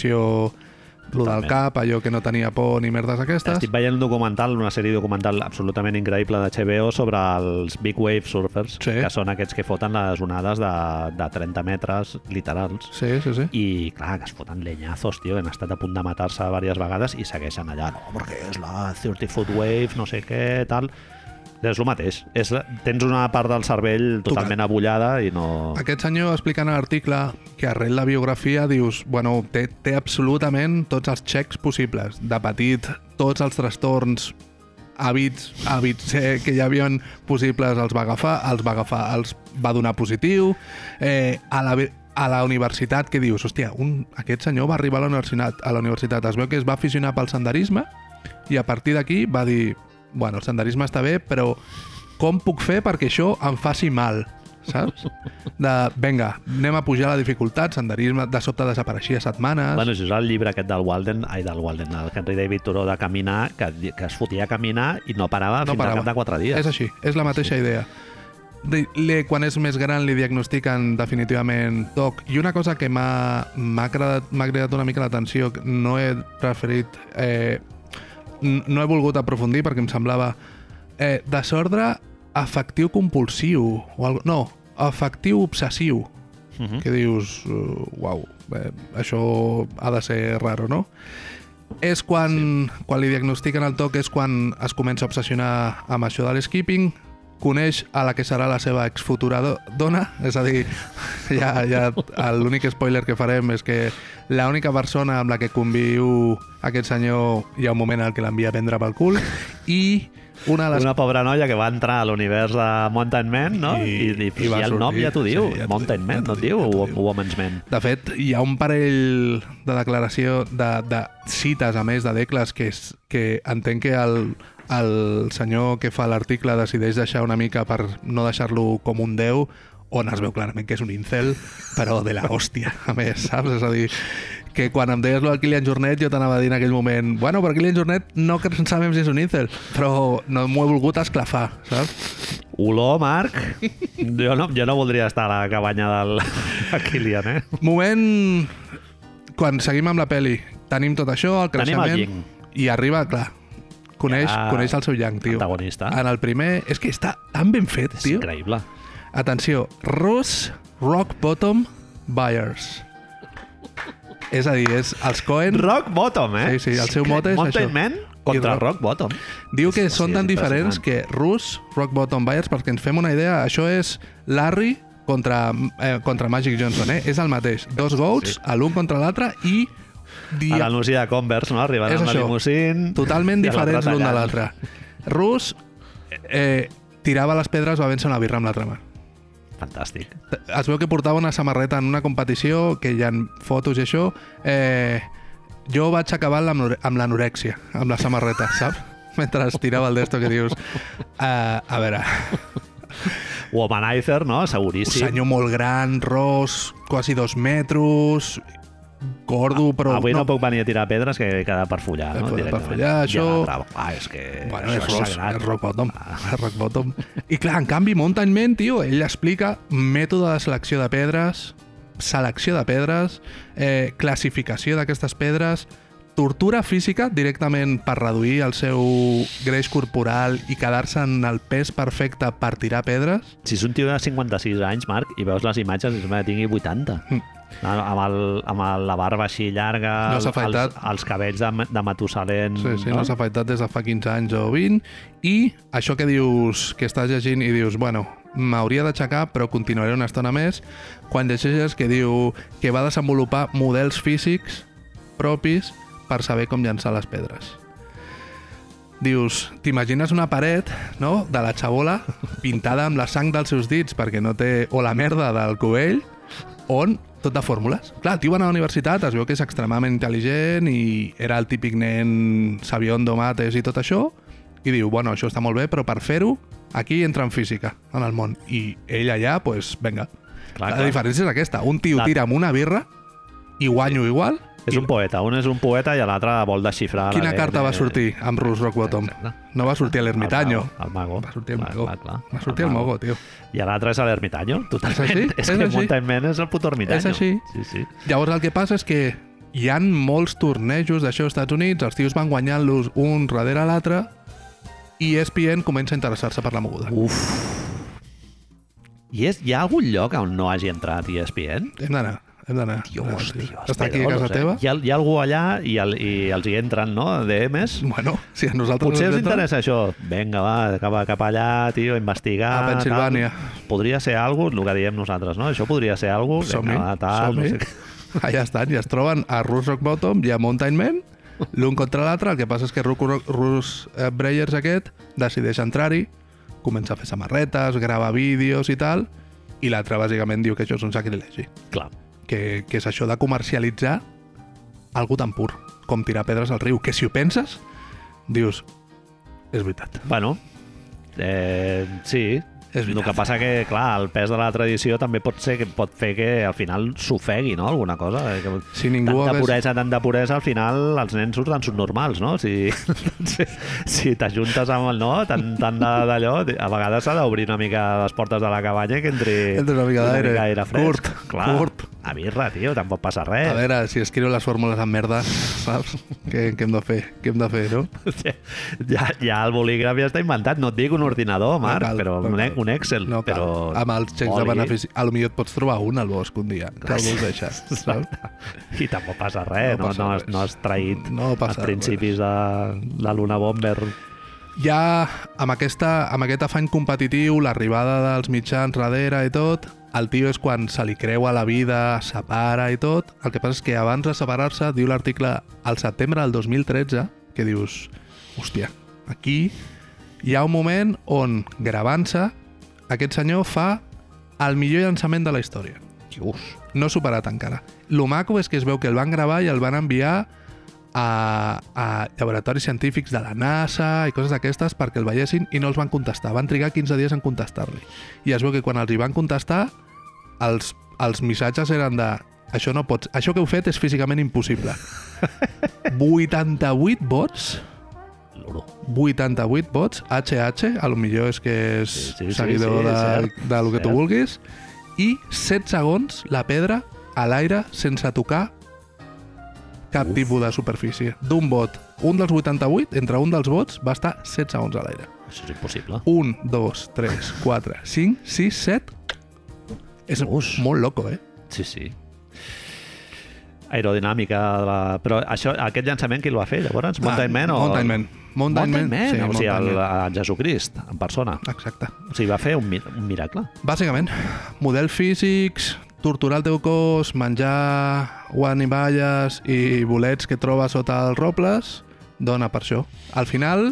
del
Totalment.
cap, allò que no tenia por ni merdes aquestes.
Estic veient un documental, una sèrie documental absolutament increïble de HBO sobre els Big Wave Surfers,
Sí.
que són aquests que foten les onades de, de 30 metres literals.
Sí, sí, sí.
I, clar, que es foten lenyazos, tio, que han estat a punt de matar-se diverses vegades i segueixen allà, no, perquè és la 30 foot wave, no sé què, tal... És el mateix. És, tens una part del cervell totalment abullada i no...
eh, Eh,
Bueno, això és el llibre aquest del Walden, ai, del Walden, el Henry David Thoreau de caminar, que, que es fotia a caminar i no parava no fins parava. al cap de quatre dies.
És així, és la mateixa sí. idea. De, le, quan és més gran li diagnostiquen definitivament TOC i una cosa que m'ha m'ha cridat, m'ha cridat una mica l'atenció que no he preferit eh, n- no he volgut aprofundir perquè em semblava eh, desordre afectiu compulsiu o algo, no, afectiu obsessiu
Uh -huh.
que dius uh, uau, eh, això ha de ser raro, no? És quan, sí. quan li diagnostiquen el toc, és quan es comença a obsessionar amb això de l'skipping, coneix a la que serà la seva exfutura do dona, és a dir, ja, ja l'únic spoiler que farem és que l'única persona amb la que conviu aquest senyor hi ha un moment en què l'envia a prendre pel cul i una de les
Una pobra noia que va entrar a l'univers de Mountain Man, no? I,
I-
i, i,
i va
el nom
sortir.
ja t'ho diu,
Sí, ja
sí,
t'ho
Mountain
diu,
Man,
ja t'ho
no et
diu,
diu?
ja t'ho
Wo-
diu.
Woman's Man.
De fet, hi ha un parell de declaració de, de cites, a més, de decles, que, és, que entenc que el, el senyor que fa l'article decideix deixar una mica per no deixar-lo com un déu, on es veu clarament que és un incel, però de la hòstia, a més, saps? És a dir, que quan em deies lo del Kilian Jornet jo t'anava a dir en aquell moment bueno, però Kilian Jornet no que sabem si és un incel, però no m'ho he volgut esclafar, saps?
Olor, Marc? Jo no, jo no voldria estar a la cabanya del de Kilian, eh?
Moment... Quan seguim amb la peli, tenim tot això, el
Tenim el
creixement...
Ying.
I arriba, clar, coneix,
Ja,
coneix el seu Yang, tio.
antagonista.
En el primer... És que està tan ben fet,
És
tio.
increïble.
Atenció, Ross Rock Bottom Buyers. És a dir, és els Cohen...
Rock Bottom, eh?
Sí, sí, el seu mote és
Mountain
això.
Man contra
I
rock...
rock-
Bottom.
Diu que
Sí,
són
sí,
tan
és impressionant.
diferents que Rus, Rock Bottom Buyers, perquè ens fem una idea, això és Larry contra, eh, contra Magic Johnson, eh? És el mateix. Dos goats,
Sí.
sí. l'un contra l'altre i... Dia...
A la Lucia de Converse, no? Arribant
És
amb la
això.
limusín...
Totalment
i l'altre
diferents l'un de
tallant.
l'altre. Rus eh, tirava les pedres, va vèncer una birra amb l'altra mà.
Fantàstic.
T- Es veu que portava una samarreta en una competició, que hi ha fotos i això. Eh, jo vaig acabar amb l'anore- amb l'anorèxia, amb la samarreta, saps? Mentre es tirava el d'esto que dius... Eh, a veure,
Womanizer, no?
un
Seguríssim.
senyor molt gran, ros, quasi dos metres, gordo, però...
Avui no. puc venir a tirar pedres que he quedat per follar, no?
He quedat per
Directament.
follar, això-
Ja, bravo. ah, és que...
Bueno,
això
és, rock,
sagrat.
és rock bottom. És rock bottom. I clar, en canvi, Mountain Man, tio, ell explica mètode de selecció de pedres, selecció de pedres, eh, classificació d'aquestes pedres, tortura física directament per reduir el seu greix corporal i quedar-se en el pes perfecte per tirar pedres.
Si és un tio de 56 anys, Marc, i veus les imatges, és que tingui 80.
Mm.
Amb, el, amb el, la barba així llarga,
No s'ha
el- els,
afaitat.
els cabells de, de Matusalent...
Sí, sí, no, s'ha afaitat des de fa 15 anys o 20 i això que dius, que estàs llegint i dius, bueno, m'hauria d'aixecar però continuaré una estona més, quan llegeixes que diu que va desenvolupar models físics propis per saber com llançar les pedres. Dius, t'imagines una paret, no?, de la xabola pintada amb la sang dels seus dits perquè no té... o la merda del cubell, on tot de fórmules. Clar, el tio va anar a la universitat, es veu que és extremadament intel·ligent i era el típic nen sabiondo mates i tot això, i diu, bueno, això està molt bé, però per fer-ho, aquí entra en física, en el món. I ell allà, doncs, pues, vinga.
Clar,
la
clar.
diferència és aquesta. Un tio
Clar.
tira amb una birra i guanyo igual.
És un poeta, un és un poeta i l'altre vol desxifrar...
Quina
l'ADN.
carta va sortir amb Rus Rock Bottom?
Exacte.
No va sortir a l'Ermitanyo.
El, el mago.
Va sortir el
Clar,
Mago.
clar, clar.
Va sortir el Mago, tio.
I l'altre és l'ermitanyo, totalment.
així?
És,
És
que
així?
Mountain Man és el puto ermitanyo.
És així?
Sí, sí.
Llavors el que passa és que hi han molts tornejos d'això als Estats Units, els tios van guanyant-los un darrere l'altre i E ESPN comença a interessar-se per la moguda.
Uf. I és, hi ha algun lloc on no hagi entrat E ESPN?
Hem d'anar, hem d'anar.
Dios,
Hem d'anar,
Dios.
tio. Està aquí a casa
Pedrolos,
teva?
Eh? Hi, ha, hi ha algú allà i, el, i els hi entren, no? DMs?
Bueno, si a nosaltres...
Potser
ens
us
entra-
interessa això. Vinga, va, cap, a- cap allà, tio, a investigar.
A Pensilvània.
Tal. Podria ser algo, el que diem nosaltres, no? Això podria ser algo.
Som-hi,
Vinga, va, tal,
som-hi.
no sé què.
Allà estan, i es troben a Rus Rock Bottom i a Mountain Man, l'un contra l'altre. El que passa és que Rus, Rus eh, Breyers aquest decideix entrar-hi, comença a fer samarretes, grava vídeos i tal, i l'altre bàsicament diu que això és un sacrilegi.
Clar.
que, que és això de comercialitzar algú tan pur com tirar pedres al riu, que si ho penses, dius, és veritat.
Bueno, eh, sí.
És veritat.
el que passa que, clar, el pes de la tradició també pot ser que pot fer que al final s'ofegui, no?, alguna cosa. eh, Que
Si ningú
tanta
hagués-
puresa, tanta puresa, al final els nens surten subnormals, no? Si, si, si t'ajuntes amb el no, tant, tant de- d'allò, a vegades s'ha d'obrir una mica les portes de la cabanya que entri,
Entra una mica d'aire.
fresc.
Curt,
clar,
curt.
A birra, tio, tampoc passa res.
A veure, si escriu les fórmules amb merda, saps? Què, què hem de fer? Què hem de fer, no?
Ja, ja el bolígraf ja està inventat, no et dic un ordinador, Marc,
cal,
però
no
un, E-,
cal.
un Excel.
No cal.
però
Amb els xecs de
oli. eh?
benefici... A lo millor et pots trobar un al bosc un dia, que algú els deixa, saps?
I tampoc passa res, no,
No passa
no, has,
res.
no has traït
No passa
els principis de, de l'Una Bomber.
ja amb, aquesta, amb aquest afany competitiu, l'arribada dels mitjans darrere i tot, el tio és quan se li creua la vida, separa i tot. El que passa és que abans de separar-se, diu l'article al setembre del 2013, que dius, hòstia, aquí hi ha un moment on, gravant-se, aquest senyor fa el millor llançament de la història.
Dius.
No superat encara. Lo maco és que es veu que el van gravar i el van enviar a, a laboratoris científics de la NASA i coses d'aquestes perquè el veiessin i no els van contestar. Van trigar 15 dies en contestar-li. I es veu que quan els hi van contestar, els, els missatges eren de això no pots, això que heu fet és físicament impossible. 88 vots,
L'oro.
88 vots, HH, a lo millor és que és
Sí,
sí,
sí, sí,
sí, seguidor
sí,
sí,
cert,
sí, de, de lo que tu
cert.
vulguis, i 7 segons la pedra a l'aire sense tocar cap tipus de superfície. D'un bot un dels 88, entre un dels vots, va estar 16 segons a l'aire.
Això és impossible.
1, 2, 3, 4, 5, 6, 7... És
Us.
molt loco, eh?
Sí, sí. Aerodinàmica... de La... Però això, aquest llançament qui el va fer, llavors? Mountain Man o...
Ah, Mountain Man.
Mountain,
Mountain,
Man,
Sí,
o sigui,
Mountain
el,
Man.
el Jesucrist, en persona.
Exacte.
O sigui, va fer un, mi- un miracle.
Bàsicament, model físics, torturar el teu cos, menjar guaniballes i bolets que trobes sota els robles, dona per això. Al final,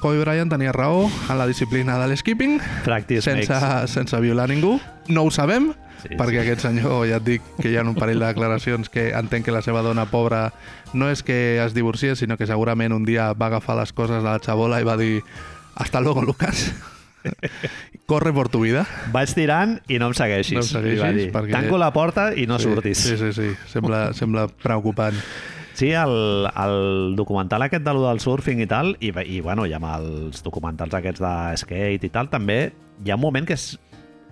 Kobe Bryant tenia raó en la disciplina de l'skipping,
Practice
sense,
makes...
sense violar ningú. No ho sabem,
Sí,
perquè aquest senyor, ja et dic, que hi ha un parell de declaracions que entenc que la seva dona pobra no és que es divorciés, sinó que segurament un dia va agafar les coses de la xabola i va dir hasta luego, Lucas. Corre por tu vida.
Vaig tirant i no em segueixis.
No em segueixis,
li va dir.
perquè-
Tanco la porta i no surtis.
Sí, sí, sí. Sembla, sembla preocupant.
Sí, el, el documental aquest de lo del surfing i tal, i, i bueno, i amb els documentals aquests de skate i tal, també hi ha un moment que es-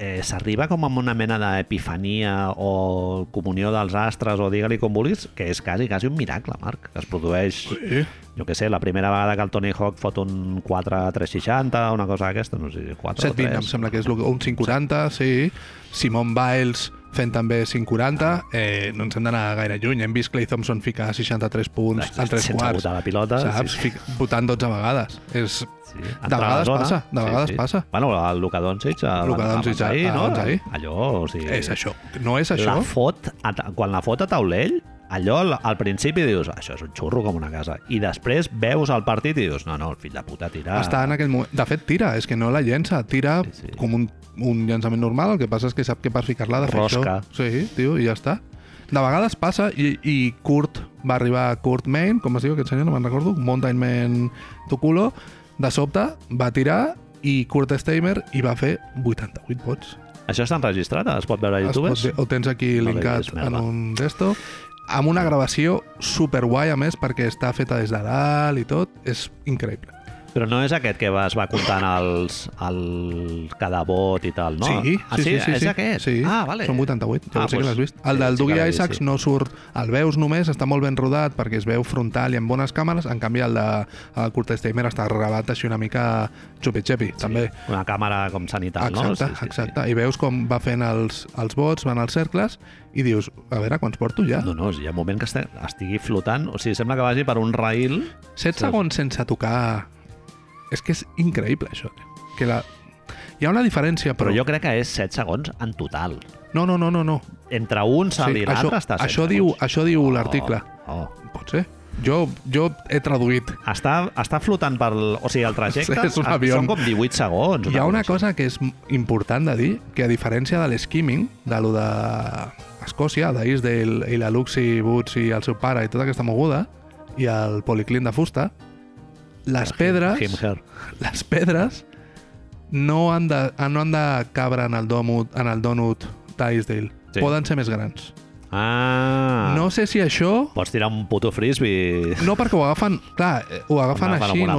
eh, s'arriba com amb una mena d'epifania o comunió dels astres o digue-li com vulguis, que és quasi, quasi un miracle, Marc, que es produeix,
Sí.
jo que sé, la primera vegada que el Tony Hawk fot un 4-360, una cosa d'aquesta, no sé, 4 o
720 em
3.
sembla que és lo que- un 540, sí. Simon Biles fent també 540. Eh, no ens hem d'anar gaire lluny. Hem vist Clay Thompson ficar 63 punts al 3
Sense
quarts.
botar la pilota,
Saps?
sí.
Fic, votant 12 vegades. És,
Sí,
de
entrar a la
vegades
zona.
passa, de vegades passa.
Bueno, el Luka Doncic, el
Luka Doncic,
abans ahir, no?
abans ahir.
Allò, o sigui...
És això. No és això?
La fot, a, ta- quan la fot a taulell, allò al, al principi dius, això és un xurro com una casa, i després veus el partit i dius, no, no, el fill de puta tira...
Està en aquell moment. De fet, tira, és que no la llença, tira
Ah. Sí, sí.
com un, un llançament normal, el que passa és que sap que per ficar-la ha de fer
Rosca.
això. Sí, tio, i ja està. De vegades passa, i, i Kurt va arribar a Kurt Main, com es diu aquest senyor, no me'n recordo, Mountain Man Tuculo, de sobte va tirar i Kurt Steimer i va fer 88 vots.
Això està enregistrat, es pot veure a
Es
YouTube?
pot dir- Ho tens aquí
No l'he
linkat
vist,
en
merda.
un desto. Amb una gravació superguai, a més, perquè està feta des de dalt i tot. És increïble.
Però no és aquest que va- es va comptant els, el, cada vot i tal, no?
Sí,
ah,
sí, sí, sí,
és
sí.
aquest?
Sí.
Ah, vale.
Són 88,
Ah,
ah, sí que
pues,
l'has vist. El
sí,
del
sí que
Dougie
l'he vist,
Isaacs
sí.
no surt, el veus només, està molt ben rodat perquè es veu frontal i amb bones càmeres, en canvi el de el Kurt Steimer està gravat així una mica xupi-xupi, sí. també.
Una càmera com sanitat, no?
Exacte, exacte. I veus com va fent els, els vots, van als cercles i dius, a veure, quants porto ja?
No, no, hi ha un moment que este- estigui flotant, o sigui, sembla que vagi per un rail
7
Sí.
segons sense tocar... És que és increïble, això. Que la... Hi ha una diferència,
Però
però...
jo crec que és 7 segons en total.
No, no, no, no, no.
Entre un salt i
això,
l'altre està 7 segons.
això diu, això diu l'article.
Oh.
Pot ser. eh? Jo, jo he traduït.
Està, està flotant pel... O sigui, el trajecte
Sí, és un avió.
són com 18 segons.
Hi ha una
així.
cosa que és important de dir, que a diferència de l'skimming, de lo de Escòcia, d'Isdale i la Luxi Boots i el seu pare i tota aquesta moguda, i el policlin de fusta, les pedres,
Him, her.
les pedres no han de, no han de cabre en el donut, en el donut d'Isdale.
Sí.
Poden ser més grans.
Ah.
No
No.
sé si això
Pots tirar un puto frisbee.
No, perquè ho agafen... Clar, eh, ho agafen
Agafen
així
amb una mà,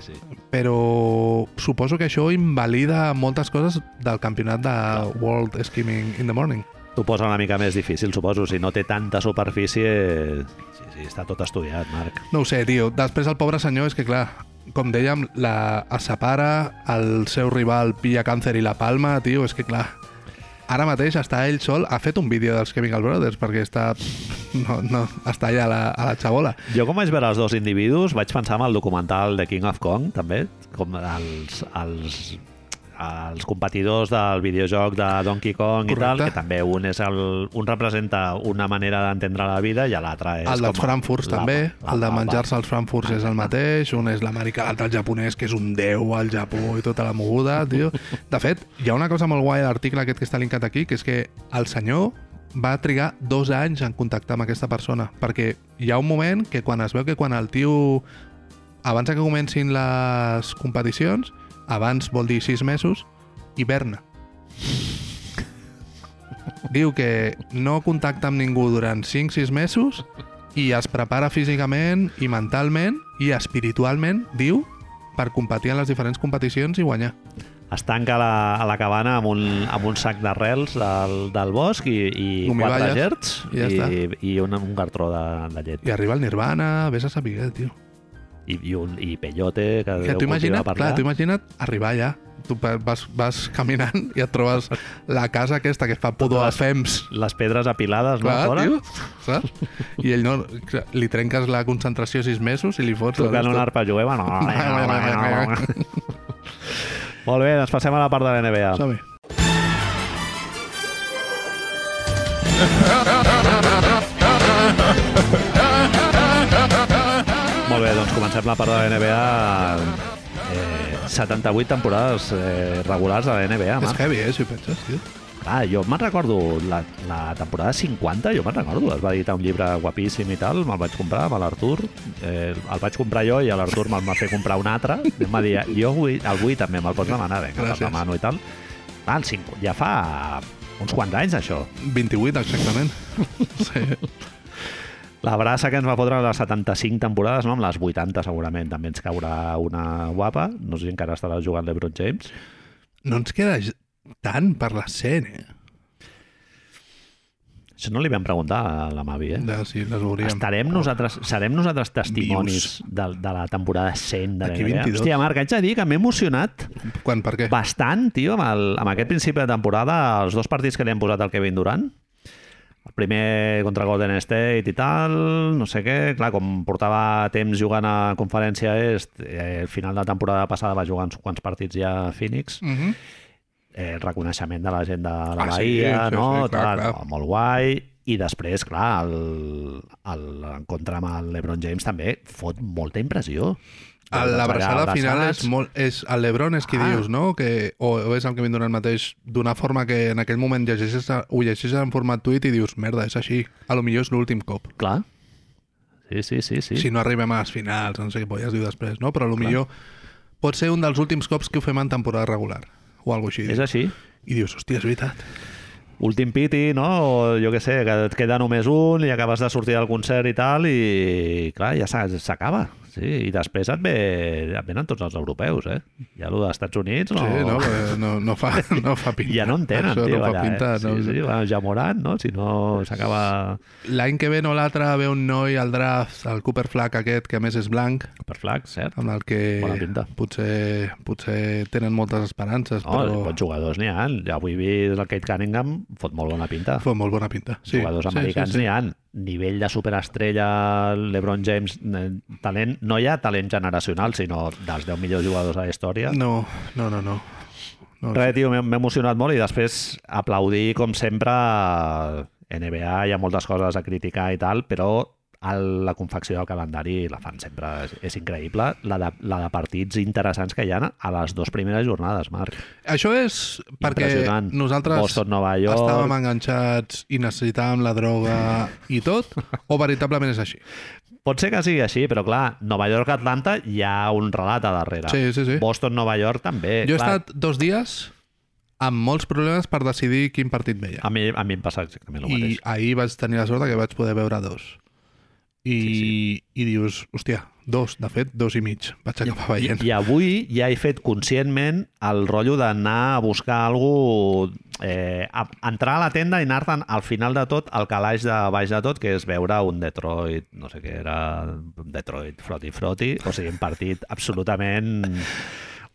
sí, sí, sí.
però suposo que això invalida moltes coses del campionat de World Skimming in the Morning.
T'ho posa una mica més difícil, suposo. Si no té tanta superfície... Sí, sí, està tot estudiat, Marc.
No ho sé, tio. Després el pobre senyor és que, clar, com dèiem, la, es separa, el seu rival pilla càncer i la palma, tio, és que, clar, ara mateix està ell sol, ha fet un vídeo dels Chemical Brothers perquè està, no, no, està allà a la, a la xabola.
Jo com vaig veure els dos individus vaig pensar en el documental de King of Kong també, com els, els, els competidors del videojoc de Donkey Kong i tal,
Correcte.
que també un, és el, un representa una manera d'entendre la vida i l'altre és
El dels
com
Frankfurts
la-
també,
la-
el de
la-
menjar-se els Frankfurts és el mateix, un és l'Amèrica, l'altre el japonès, que és un déu al Japó i tota la moguda, tio. De fet, hi ha una cosa molt guai a l'article aquest que està linkat aquí, que és que el senyor va trigar dos anys en contactar amb aquesta persona, perquè hi ha un moment que quan es veu que quan el tio, abans de que comencin les competicions, abans vol dir sis mesos, hiverna. Diu que no contacta amb ningú durant 5-6 mesos i es prepara físicament i mentalment i espiritualment, diu, per competir en les diferents competicions i guanyar.
es tanca a la, a la cabana amb un, amb un sac d'arrels del, del bosc i, i quatre
Gumiballes,
gerds
i ja
i, i un, un cartró de, de llet.
I arriba el Nirvana, vés a saber, eh, tio.
I, i, un, i peyote que,
Que
Déu
tu imagina't,
cultiva per
clar,
allà.
tu imagina't arribar allà, tu pa- vas, vas caminant i et trobes la casa aquesta que fa pudor a
les-
fems.
Les pedres apilades,
Clar,
no? a fora,
tio, saps? I ell no... Li trenques la concentració sis mesos i li fots...
Tocant
saps?
una arpa jueva. No, no, no, no, no. Molt bé, doncs passem a la part de la NBA.
Som-hi.
Molt bé, doncs comencem la part de la NBA. Eh, 78 temporades eh, regulars de la NBA,
És
Marc.
heavy, eh, si ho penses, tio.
Ah, jo me'n recordo la, la temporada 50, jo me'n recordo, es va editar un llibre guapíssim i tal, me'l vaig comprar amb l'Artur, eh, el vaig comprar jo i l'Artur me'l va fer comprar un altre, i em va dir, jo vull, el vull també, me'l pots demanar, vinga, te'l
Gràcies.
demano i tal. Ah, el 50, ja fa uns quants anys, això.
28, exactament. Sí.
La brassa que ens va fotre les 75 temporades, no? amb les 80 segurament, també ens caurà una guapa. No sé si encara estarà jugant l'Ebron James.
No ens queda ge- tant per la 100, eh?
Això no li vam preguntar a la Mavi, eh?
Ja, sí, les veuríem.
Estarem nosaltres, serem nosaltres testimonis de, de la temporada 100 de la
Aquí
NBA.
22.
Hòstia, Marc, haig de dir que m'he emocionat
Quan, per què?
bastant, tio, amb, el, amb aquest principi de temporada, els dos partits que li hem posat al Kevin Durant. El primer contra Golden State i tal, no sé què. Clar, com portava temps jugant a conferència est, eh, al final de la temporada passada va jugar uns quants partits ja a Phoenix.
Mm -hmm.
Eh, el reconeixement de la gent de la
Ah, sí,
Bahia,
sí,
no?
sí, clar,
tal,
clar.
no, Molt guai. I després, clar, el- el- l'encontre amb el LeBron James també fot molta impressió.
L'abraçada final
Abraçats.
és molt... És, el Lebron és qui
Ah.
dius, no? Que, o, o és el que Durant mateix d'una forma que en aquell moment llegeixes, a- ho llegeixes en format tuit i dius, merda, és així. A lo millor és l'últim cop.
Clar. Sí, sí, sí. sí.
Sí. Si no arribem a les finals, no sé què polles diu després, no? Però a lo millor pot ser un dels últims cops que ho fem en temporada regular o alguna cosa així.
És així.
I dius, hòstia, és veritat.
Últim piti, no? O jo què sé, que et queda només un i acabes de sortir del concert i tal i, clar, ja s'ha- s'acaba. Sí, i després et, ve, et venen tots els europeus, eh? Ja lo dels Estats Units no...
No. Sí, no, perquè no, no, fa, no fa pinta.
Ja no en tenen,
Això
tio,
no
allà,
fa pinta.
eh?
No.
Sí, sí, bueno, ja Morant, no? Si no s'acaba
L'any que ve no l'altre ve un noi al draft, el Cooper Flack aquest, que a més és blanc,
per flac, cert?
amb el que
Bona pinta.
potser, potser tenen moltes esperances,
No,
però
bons jugadors n'hi ha. Ja avui vist el Kate Cunningham, fot molt bona pinta.
fa molt bona pinta. Sí,
jugadors americans n'hi han. Nivell de superestrella, LeBron James, eh, talent, no hi ha talent generacional, sinó dels 10 millors jugadors de la història. No.
No, no, no, no. no
Res, tio, m'he m'he emocionat molt i després aplaudir, com sempre, NBA, hi ha moltes coses a criticar i tal, però el, la confecció del calendari la fan sempre, és, és increïble, la de, la de partits interessants que hi ha a les dues primeres jornades, Marc.
Això és perquè
Impressionant.
nosaltres
Boston, Nova York.
estàvem enganxats i necessitàvem la droga i tot, o veritablement és així?
Pot ser que sigui així, però clar, Nova York-Atlanta hi ha un relat a darrere.
Sí, sí, sí.
Boston-Nova York també.
Jo he
Eh, clar,
estat dos dies amb molts problemes per decidir quin partit veia.
A mi, a mi em passa exactament Ah, el
I
mateix.
ahir vaig tenir la sort que vaig poder veure dos. I, i dius, hòstia, dos, de fet, dos i mig. Vaig acabar
I,
veient.
I avui ja he fet conscientment el rotllo d'anar a buscar algú, eh, a, entrar a la tenda i anar-te'n al final de tot, al calaix de baix de tot, que és veure un Detroit, no sé què era, un Detroit froti-froti, o sigui, un partit absolutament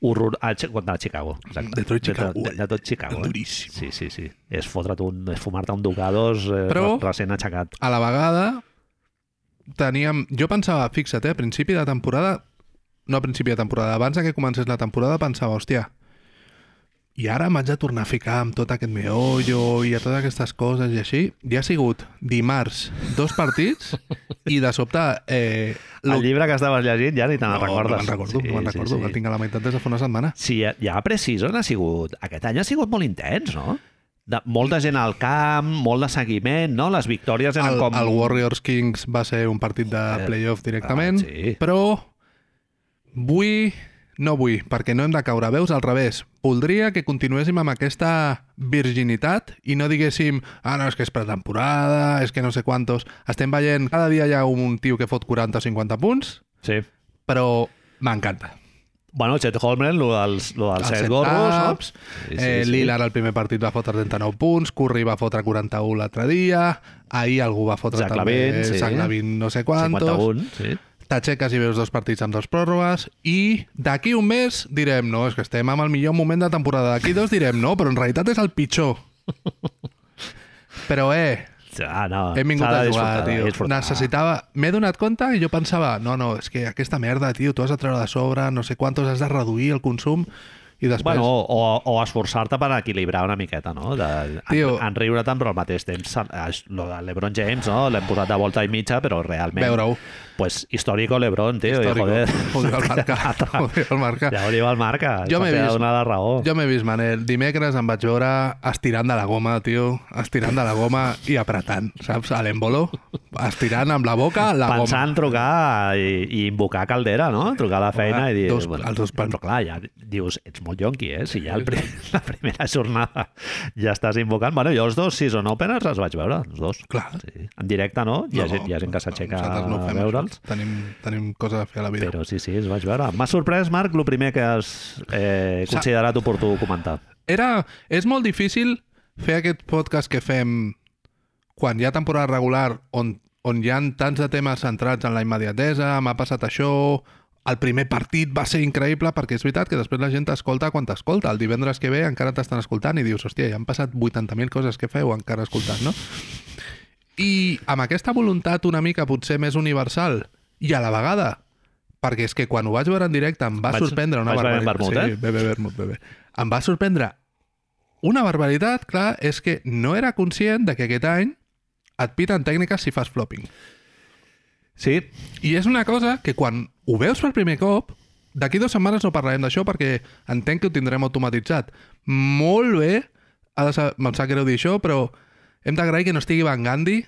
horror... A, Chi- contra Chicago, exacte.
Detroit, Chicago.
Detroit, Detroit, Chicago. eh?
Duríssim.
Sí, sí, sí. És fotre't un, és fumar-te un ducados eh,
Però-
Però... recent aixecat.
a la vegada teníem... Jo pensava, fixa't, eh, a principi de temporada... No a principi de temporada, abans de que comencés la temporada pensava, hòstia, i ara m'haig de tornar a ficar amb tot aquest meollo i a totes aquestes coses i així. I ha sigut dimarts dos partits i de sobte... Eh,
El
lo-
llibre que estaves llegint ja ni te'n
No,
recordes.
no me'n recordo, sí, no me'n recordo, sí, sí. el tinc a la meitat des de fa una setmana.
Sí, ja, ja Precision ha sigut... Aquest any ha sigut molt intens, no? De, molta gent al camp, molt de seguiment, no? Les victòries eren
El,
com... Eh,
el Warriors Kings va ser un partit de playoff directament,
Ah, sí.
però vull... No vull, perquè no hem de caure. Veus, al revés. Voldria que continuéssim amb aquesta virginitat i no diguéssim ah, no, és que és pretemporada, és que no sé quantos... Estem veient... Cada dia hi ha un tio que fot 40 o 50 punts,
Sí.
però m'encanta.
Bueno, Chet Holmgren, lo dels, lo dels
Els
set
set
gorros, no?
taps, eh, Lillard al primer partit va fotre 39 punts, Curry va fotre 41 l'altre dia, ahir algú va fotre
Zach
també
Lavin, sí.
Zach Lavin no sé quantos,
51, sí.
t'aixeques i veus dos partits amb dos pròrrogues i d'aquí un mes direm no, és que estem amb el millor moment de temporada. D'aquí dos direm no, però en realitat és el pitjor. Però eh,
Ah, no.
hem vingut
s'ha
a
de
jugar,
disfrutar, eh,
tio.
disfrutar.
Necessitava... M'he donat compte i jo pensava, no, no, és que aquesta merda, tio, tu has de treure de sobre, no sé quantos, has de reduir el consum i després...
Bueno, o, o esforçar-te per equilibrar una miqueta, no? De,
Tio.
en, en riure't però al mateix temps es- lo de l'Ebron James, no? L'hem posat de volta i mitja, però realment...
Veure-ho.
Pues histórico l'Ebron, tio. i
Histórico.
Joder.
Odio el marca. Odio el marca.
Ja ho diu el marca.
Jo
Jo
m'he
m'he
vist-
vist... donar la raó.
Jo m'he vist, Manel, dimecres em vaig veure estirant de la goma, tio, estirant de la goma i apretant, saps? A l'embolo, estirant amb la boca la
Pensar en trucar i, i invocar Caldera, no? Trucar a la feina i dir...
dos- els dos pan-
Però clar, ja dius, ets molt yonqui, eh? Si ja el prim, la primera jornada ja estàs invocant... Bueno, jo els dos season openers els vaig veure, els dos.
Clar.
Sí. En directe no, hi ha, gent, hi ha gent que s'aixeca
nosaltres
no
ho
a
fem,
veure'ls.
això. Tenim, tenim coses a fer a la vida.
Però sí, sí, els vaig veure. M'ha sorprès, Marc, el primer que has eh,
Sa-
considerat oportú comentar.
era, és molt difícil fer aquest podcast que fem quan hi ha temporada regular on, on hi han tants de temes centrats en la immediatesa, m'ha passat això, el primer partit va ser increïble, perquè és veritat que després la gent t'escolta quan t'escolta. El divendres que ve encara t'estan escoltant i dius, hòstia, ja han passat 80.000 coses que feu encara escoltant, no? I amb aquesta voluntat una mica potser més universal i a la vegada, perquè és que quan ho vaig veure en directe em va
Vaig-
sorprendre una
vaig beure
barbaritat.
en vermut, eh?
sí, bebe vermut, bebe. Em va sorprendre una barbaritat, clar, és que no era conscient de que aquest any et piten tècniques si fas flopping.
Sí,
I és una cosa que quan ho veus per primer cop, d'aquí dues setmanes no parlarem d'això perquè entenc que ho tindrem automatitzat. Molt bé, ha de saber, em sap greu dir això, però hem d'agrair que no estigui Van Gandhi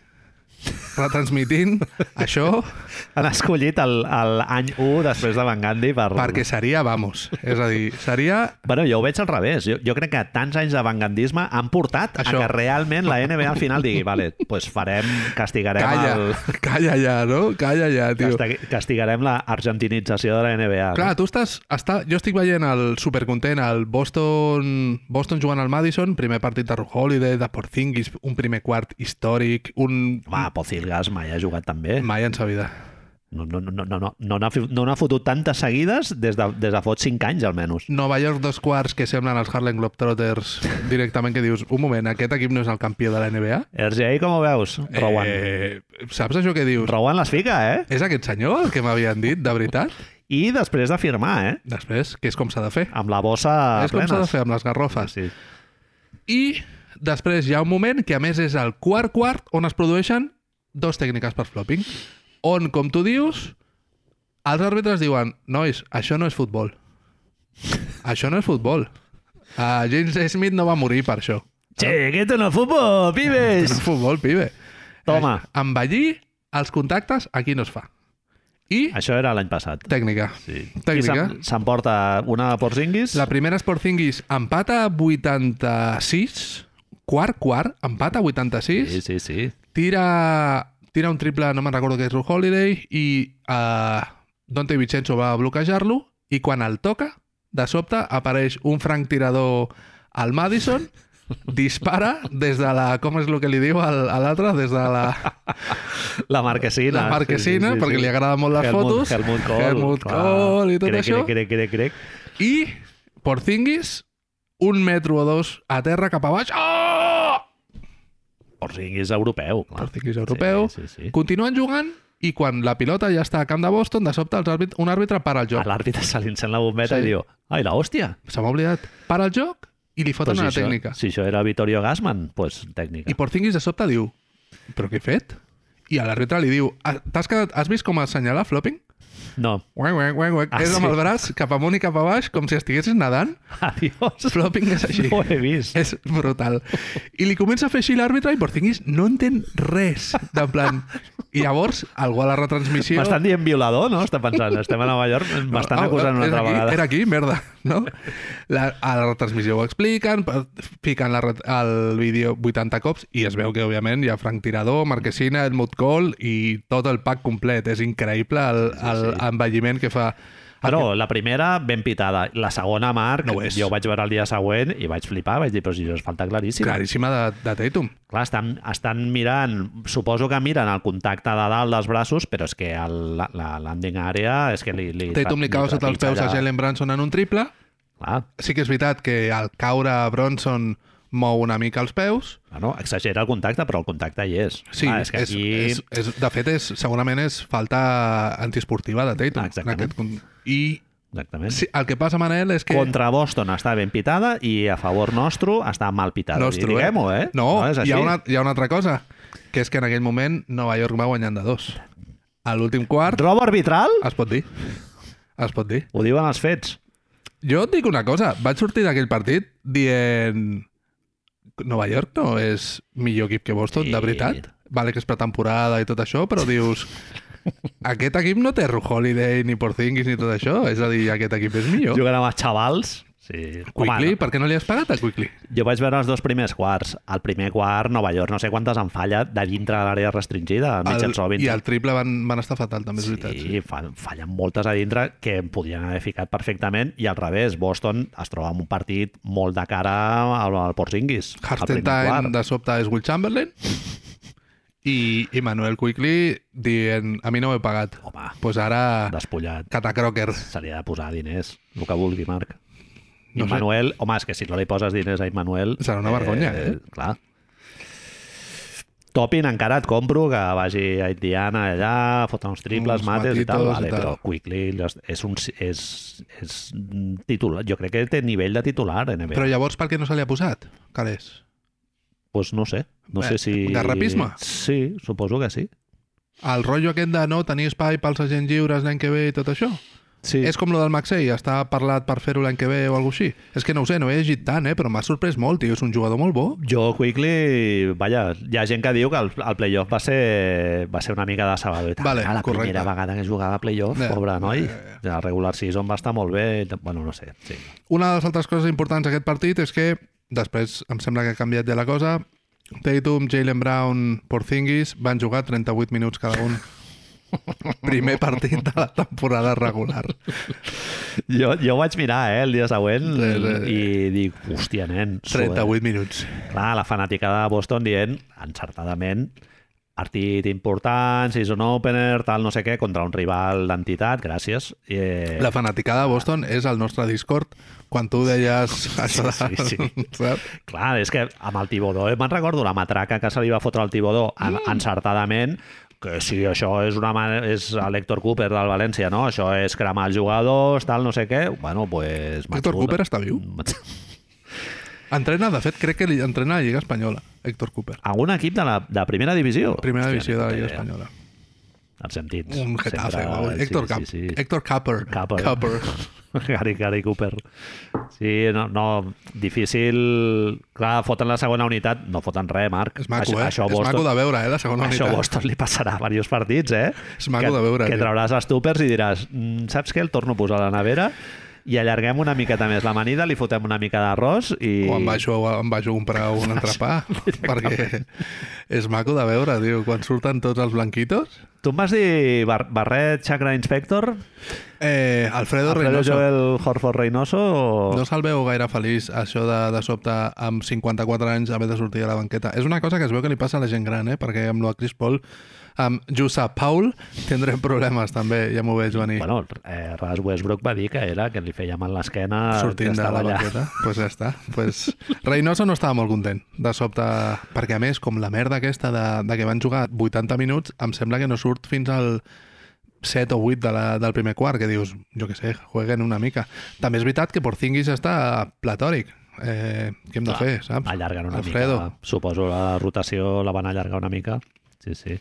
retransmitint això
han escollit el- el any 1 després de Van Gandhi per...
perquè seria, vamos, és a dir, seria...
Bueno, jo ho veig al revés. Jo, jo crec que tants anys de vangandisme han portat
Això.
Això. a que realment la NBA al final digui vale, pues farem, castigarem el,
Calla, calla ja, no? Calla ja, tio.
casti- castigarem la argentinització de la NBA.
Clar, tu estàs... Està, jo estic veient el supercontent, el Boston, Boston jugant al Madison, primer partit de Ru Holiday, de Porzingis, un primer quart històric, un...
No? Va, Pocilgas mai ha jugat tan bé.
Mai en sa vida.
No n'ha no, no, no, no, n'ha fi- no n'ha fotut tantes seguides des de, des de fot 5 anys, almenys.
Nova York, dos quarts que semblen els Harlem Globetrotters directament, que dius, un moment, aquest equip no és el campió de la NBA?
RJ, com ho veus? Rowan. Eh...
Eh, saps això que dius?
Rowan les fica, eh?
És aquest senyor el que m'havien dit, de veritat?
I després de firmar, eh?
Després, que és com s'ha de fer.
Amb la bossa
és com s'ha
plena.
de fer amb les garrofes.
Sí.
I després hi ha un moment que a més és el quart quart on es produeixen dos tècniques per flopping, on, com tu dius, els àrbitres diuen nois, això no és futbol. Això no és futbol. Uh, James Smith no va morir per això.
Che, que esto no es fútbol,
És
pibes.
futbol, pibe.
Toma.
Envellir els contactes aquí no es fa. I
Això era l'any passat.
tècnica.
Sí.
Tècnica.
I s'em- S'emporta una de Porzingis.
La primera Sportingis empata 86, quart, quart, empata 86,
Sí, sí, sí.
tira, tira un triple, no me'n recordo que és Ru Holiday, i uh, Dante Vincenzo va bloquejar-lo, i quan el toca, de sobte apareix un franc tirador al Madison, dispara des de la... Com és el que li diu al- a l'altre? Des de la,
La marquesina.
la marquesina, perquè li agraden molt les
Helmut,
fotos.
Helmut Kohl.
Helmut
clar.
Kohl i tot
crec,
això.
Crec, crec, crec, crec.
I Porzingis, un metro o dos a terra cap a baix. Oh!
Porzingis europeu. Clar.
Porzingis europeu.
Sí, sí, sí.
Continuen jugant i quan la pilota ja està a camp de Boston, de sobte els àrbit, un àrbitre para el
A
joc.
l'àrbitre se li encén la bombeta
Sí.
sí. i diu ai, la hòstia.
Se m'ha oblidat. Para el joc i li foten
Pues
una
si això-
tècnica.
Si això era Vittorio Gassman, pues tècnica.
I Porzingis de sobte diu, però què he fet? I a l'àrbitre li diu, "Ah, t'has quedat, has vist com assenyalar flopping?
No.
Uec, uec, uec, uec.
Ah,
és amb
sí?
el braç cap amunt i cap a baix, com si estiguessis nedant.
Adiós.
Flopping és així.
No ho he vist.
És brutal. I li comença a fer així l'àrbitre i Porzingis no entén res. En plan... I llavors, algú a la retransmissió...
M'estan dient violador, no? Està pensant, estem a Nova York, m'estan
Ah,
acusant una
és
altra
aquí,
vegada.
Era aquí, merda, no? La, a la retransmissió ho expliquen, pa- fiquen la, ret- el vídeo 80 cops i es veu que, òbviament, hi ha Frank Tirador,
Mm.
Marquesina, Helmut Kohl i tot el pack complet. És increïble el, el envelliment que fa
Bueno, la primera ben pitada. La segona, Marc,
No ho és.
jo ho vaig veure el dia següent i vaig flipar, vaig dir, però si això es falta claríssim.
Claríssima de, de Tatum.
Clar, estan, estan mirant, suposo que miren el contacte de dalt dels braços, però és que el, la, la landing area és que li... li
Tatum li cau sota els peus a Jalen Branson en un triple.
Clar,
Sí que és veritat que al caure Bronson mou una mica els peus.
bueno, exagera el contacte, però el contacte hi és.
Sí,
Clar, és que aquí...
és, és, de fet, és, segurament és falta antiesportiva de Tatum.
Ah, exactament.
con- I
Exactament.
sí, el que passa, Manel, és que...
Contra Boston està ben pitada i a favor nostre està mal pitada.
Nostre,
Diguem-ho, eh?
No,
és
hi,
així.
ha una, hi ha una altra cosa, que és que en aquell moment Nova York va guanyant de dos. A l'últim quart,
Robo arbitral?
es pot dir. Es pot dir.
Ho diuen els fets.
Jo et dic una cosa, vaig sortir d'aquell partit dient... Nova York no és millor equip que Boston, de
Sí.
veritat. Vale que és pretemporada i tot això, però dius... Aquest equip no té Ru Holiday, ni Porzingis, ni tot això. És a dir, aquest equip és millor.
Jugant amb els xavals. Sí.
Quickly,
Home,
per què no li has pagat a Quickly?
jo vaig veure els dos primers quarts. El primer quart, Nova York, no sé quantes en falla de dintre de l'àrea restringida. El Mitchell Robinson.
I el triple van, van estar fatal, també, és veritat.
Sí, fan, fallen moltes a dintre que em podrien haver ficat perfectament i al revés, Boston es troba amb un partit molt de cara al, al Porzingis. al primer
Hartenstein
quart.
de sobte és Will Chamberlain i, i Manuel Quickly dient a mi no m'he pagat. Doncs
Home,
pues ara
despullat.
Cata Crocker.
se li ha de posar diners, el que vulgui, Marc. I
No
no
sé.
Manuel, home, és que si no li poses diners a Immanuel...
Serà una vergonya, eh?
Clar. Topin encara et compro que vagi a Indiana allà, foten uns triples,
Uns
mates i tal,
matitos i
vale,
tal.
però Quickly les- és un és, és titular, jo crec que té nivell de titular NBA.
Però llavors per què no se li ha posat? Calés.
Pues no sé, no
Eh,
sé si...
garrapisme?
Sí, suposo que sí.
El rotllo aquest de no tenir espai pels agents lliures l'any que ve i tot això.
Sí,
És com lo del Maxey, està parlat per fer-ho l'any que ve o alguna així. És que no ho sé, no he llegit tant, eh? però m'ha sorprès molt, tio. És un jugador molt bo.
Jo, Quickly, vaja, hi ha gent que diu que el, el playoff va ser, va ser una mica de sabador.
Vale,
la
correcte. Eh,
primera vegada que jugava a playoff,
Ja.
pobre noi. El regular season va estar molt bé. Bueno, no sé, sí.
Una de les altres coses importants d'aquest partit és que, després em sembla que ha canviat ja la cosa, Tatum, Jalen Brown, Porzingis van jugar 38 minuts cada un. Primer partit de la temporada regular.
Jo, jo ho vaig mirar, eh, el dia següent
Sí, sí, sí.
i dic, hòstia, nen. suer.
38 minuts.
Clar, la fanàtica de Boston dient, encertadament, partit important, season opener, tal, no sé què, contra un rival d'entitat, gràcies. Eh,
La fanaticada de Boston és el nostre Discord quan tu deies... això de-
sí, sí.
Saps?
Clar, és que amb el Tibodó, eh, me'n recordo la matraca que se li va fotre al Tibodó en,
Mm.
encertadament, que sí, això és, una, ma- és l'Hector Cooper del València, no? Això és cremar els jugadors, tal, no sé què. Bueno, pues...
Héctor
machuda.
Cooper està viu? Entrena, de fet, crec que li entrena a la Lliga Espanyola, Héctor Cooper.
Algun equip de la de primera divisió?
Primera
Hòstia, eh, ni
divisió de la
puta
Lliga
idea.
Espanyola.
Els sentits.
Un getafe.
Sempre-
o- Héctor Cap- Héctor Capper.
Capper.
Capper.
Gary, Gary Cooper. Sí, no, no, difícil... Clar, foten la segona unitat, no foten res, Marc.
És maco,
això,
eh?
Això
és
Boston,
maco de veure, eh, la segona
Això
unitat.
a Boston li passarà a diversos partits, eh?
És maco
que,
de veure,
Que
tio.
trauràs els túpers i diràs, "Mm, saps què? El torno a posar a la nevera i allarguem una miqueta més l'amanida, li fotem una mica d'arròs i...
O em vaig, o em vaig a comprar un entrepà, perquè és maco de veure, tio, quan surten tots els blanquitos.
Tu em vas dir bar barret, chakra inspector?
Eh, Alfredo,
Alfredo
Reynoso.
Joel Horford Reynoso? O...
No se'l veu gaire feliç, això de, de sobte, amb 54 anys, haver de sortir a la banqueta. És una cosa que es veu que li passa a la gent gran, eh? perquè amb lo de Chris Paul, amb Jussa Paul, tindrem problemes també, ja m'ho veig venir.
Bueno, eh, Ras Westbrook va dir que era que li feia mal l'esquena Ah, que
sortint de
estava
la
allà.
banqueta. pues ja està. Pues... Reynoso no estava molt content, de sobte, perquè a més, com la merda aquesta de, de que van jugar 80 minuts, em sembla que no surt fins al 7 o 8 de la, del primer quart, que dius, jo que sé, jueguen una mica. També és veritat que Porzingis està platòric. Eh, què hem de
Clar,
fer, saps?
Allarguen una
Alfredo.
mica. Suposo la rotació la van allargar una mica. Sí, sí.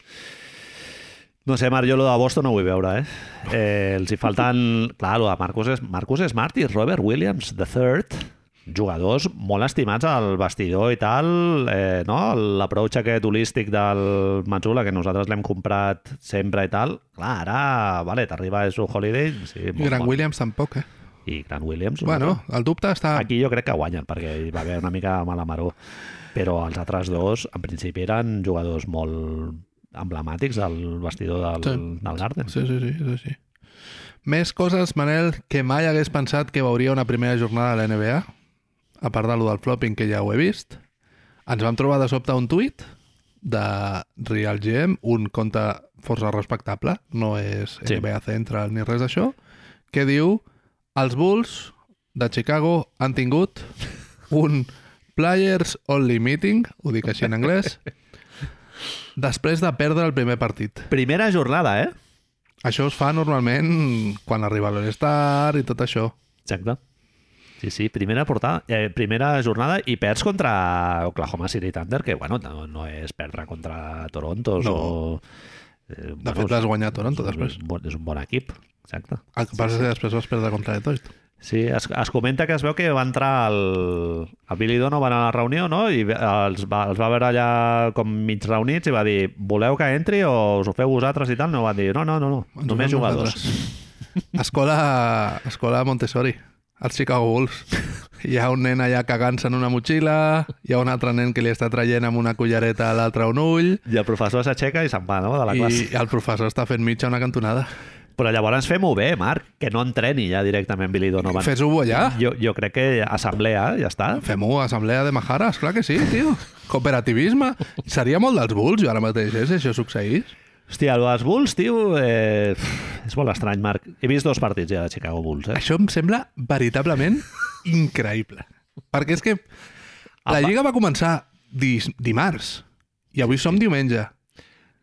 No sé, Marc, jo lo de Boston no ho vull veure, eh? eh els hi falten... Clar, lo de Marcus, es... Marcus Smart i Robert Williams III, jugadors molt estimats al vestidor i tal, eh, no? l'approach aquest holístic del Matsula, que nosaltres l'hem comprat sempre i tal, clar, ara, vale, t'arriba és un holiday... Sí,
I
molt
Gran
bon.
Williams tampoc, eh?
I Grant Williams... un
Bueno,
altre.
el dubte està...
Aquí jo crec que guanyen, perquè hi va haver una mica de mala maró. Però els altres dos, en principi, eren jugadors molt emblemàtics del vestidor del,
Sí.
del Garden.
Sí, sí, sí, és així. Més coses, Manel, que mai hagués pensat que veuria una primera jornada de la NBA, a part de lo del flopping, que ja ho he vist. Ens vam trobar de sobte un tuit de Real GM, un compte força respectable, no és
Sí.
NBA Central ni res d'això, que diu els Bulls de Chicago han tingut un Players Only Meeting, ho dic així en anglès, després de perdre el primer partit.
Primera jornada, eh?
Això es fa normalment quan arriba l'All-Star i tot això.
Exacte. Sí, sí, primera portada, eh, primera jornada i perds contra Oklahoma City Thunder, que bueno, no, no és perdre contra Toronto.
No.
O, eh,
De fet, l'has guanyat Toronto després.
És un, bon, és un bon equip, exacte.
El que passa és que després vas perdre contra Detroit.
Sí, es, es comenta que es veu que va entrar el, el Billy Donovan a la reunió, no? I els va, els va veure allà com mig reunits i va dir, voleu que entri o us ho feu vosaltres i tal? No, va dir, no, no, no, no
Ens
només
ho fem
jugadors.
nosaltres. Escola, escola Montessori, als Chicago Bulls. Hi ha un nen allà cagant-se en una motxilla, hi ha un altre nen que li està traient amb una cullereta a l'altre un ull,
I el professor s'aixeca i se'n va, no?, de la
i
classe.
el professor està fent mitja una cantonada.
Però llavors fem-ho bé, Marc, que no entreni ja directament Billy Donovan.
Fes-ho allà.
Jo, jo crec que assemblea, ja està.
Fem-ho a Assemblea de Mahara, esclar que sí, tio. Cooperativisme. Seria molt dels Bulls, jo ara mateix, eh, si això succeís.
Hòstia, el dels Bulls, tio, eh, és molt estrany, Marc. He vist dos partits ja de Chicago Bulls, eh?
Això em sembla veritablement increïble. Perquè és que la
Apa.
Lliga va començar dis, dimarts i avui som diumenge.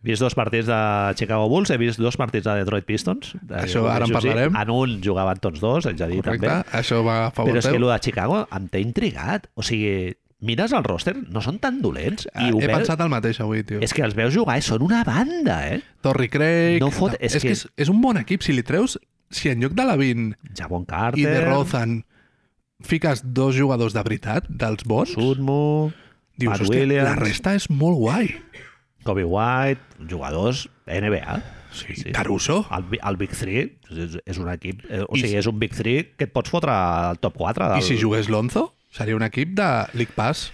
He vist dos partits de Chicago Bulls, he vist dos partits de Detroit Pistons. De,
Això ara en
sí.
parlarem.
En un jugaven tots dos, haig de dir,
Correcte?
també.
Això va a favor
Però és que
teu.
el de Chicago em té intrigat. O sigui, mires el roster, no són tan dolents. I ho
Eh, Ah, He
veus-
pensat el mateix avui, tio.
És que els veus jugar i són una banda, eh?
Torri Craig...
No fot-
És,
és
que...
que-
és, és un bon equip. Si li treus... Si en lloc de Lavin
Javon Carter...
i de Rozan fiques dos jugadors de veritat, dels bons,
Sudmo...
dius,
Pat
hòstia,
Williams.
la resta és molt guai.
Kobe White, jugadors NBA.
Sí,
Sí.
Caruso.
El, Bi- el Big 3 és, és un equip... Eh, o
I
sigui,
si-
és un Big 3 que et pots fotre al top 4. Del...
I si jugués Lonzo, seria un equip de League Pass.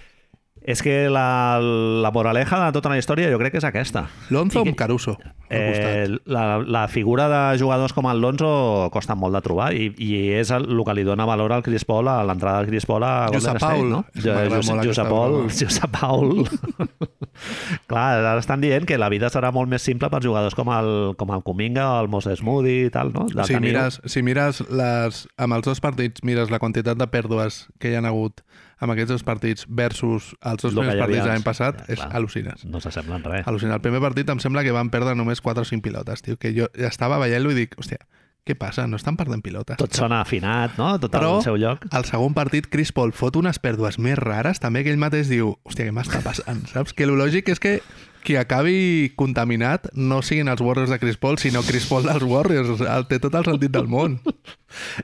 És que la, la moraleja de tota la història jo crec que és aquesta.
Lonzo
I que-
amb Caruso, al costat.
Eh, la, la figura de jugadors com el Lonzo costa molt de trobar i, i és el, el que li dona valor al Chris Paul a l'entrada del Chris Paul a Golden
Josep
State,
Paul.
no?
És que m'agrada molt aquesta
Josep Paul,
broma.
Josep Paul. Clar, ara estan dient que la vida serà molt més simple per jugadors com el, com el Cominga, el Moses Moody i tal, no? De
Si
tenir-
mires, si mires les, amb els dos partits, mires la quantitat de pèrdues que hi ha hagut amb aquests dos partits versus els dos
Lo que
primers
hi havia
partits de l'any
abans.
passat,
Ja,
és
clar.
al·lucines.
No s'assemblen res.
Al·lucinar. El primer partit em sembla que van perdre només 4 o 5 pilotes, tio, que jo estava veient-lo i dic, hòstia, què passa? No estan perdent pilotes.
Tot sona afinat, no? Tot
Però-
al seu lloc.
Al segon partit, Chris Paul fot unes pèrdues més rares, també que ell mateix diu, hòstia, què m'està passant, saps? Que el lògic és que qui acabi contaminat no siguin els Warriors de Chris Paul, sinó Chris Paul dels Warriors. El té tot el sentit del món.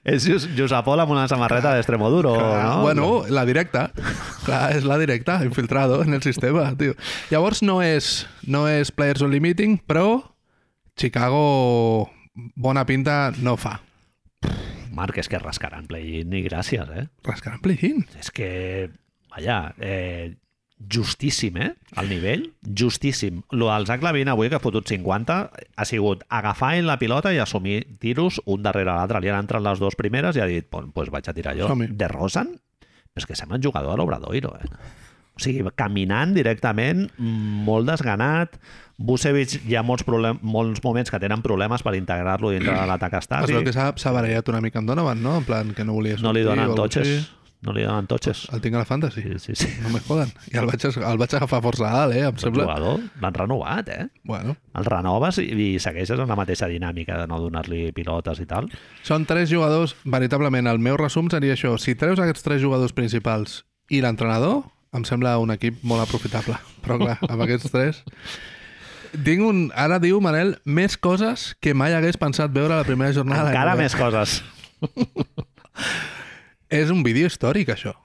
És Jus- Josep Pol amb una samarreta d'Extremoduro,
Clar,
no?
Bueno, la directa. Clar, és la directa, infiltrado en el sistema, tio. Llavors no és, no és Players Only Meeting, però Chicago bona pinta no fa.
Marc, és que rascaran play ni gràcies, eh?
Rascaran play-in.
És que, vaja, eh, justíssim, eh? El nivell, justíssim. Lo del Zach Lavin avui, que ha fotut 50, ha sigut agafar en la pilota i assumir tiros un darrere l'altre. Li han entrat les dues primeres i ha dit, doncs pues vaig a tirar jo.
Som-hi.
De Rosen? És que sembla un jugador a l'Obradoiro, eh? O sigui, caminant directament, molt desganat. Bucevic hi ha molts, problem, molts moments que tenen problemes per integrar-lo dintre de l'atac
Es
estàtic.
veu que s'ha s'ha barallat una mica amb Donovan, no? En plan, que no volia
Ah,
sortir.
No li
o
donen
alguna cosa
totxes.
així.
No li donen totxes.
El tinc a la fantasy.
Sí, sí, sí.
No me joden. I el vaig, el vaig agafar força alt, eh? Em
El
sembla...
jugador l'han renovat, eh?
Bueno,
El renoves i, i segueixes amb la mateixa dinàmica de no donar-li pilotes i tal.
són tres jugadors, veritablement, el meu resum seria això. Si treus aquests tres jugadors principals i l'entrenador, em sembla un equip molt aprofitable. Però clar, amb aquests tres... Tinc un... Ara diu, Manel, més coses que mai hagués pensat veure a la primera jornada. de la
Encara
NBA.
més coses.
És un vídeo històric, això.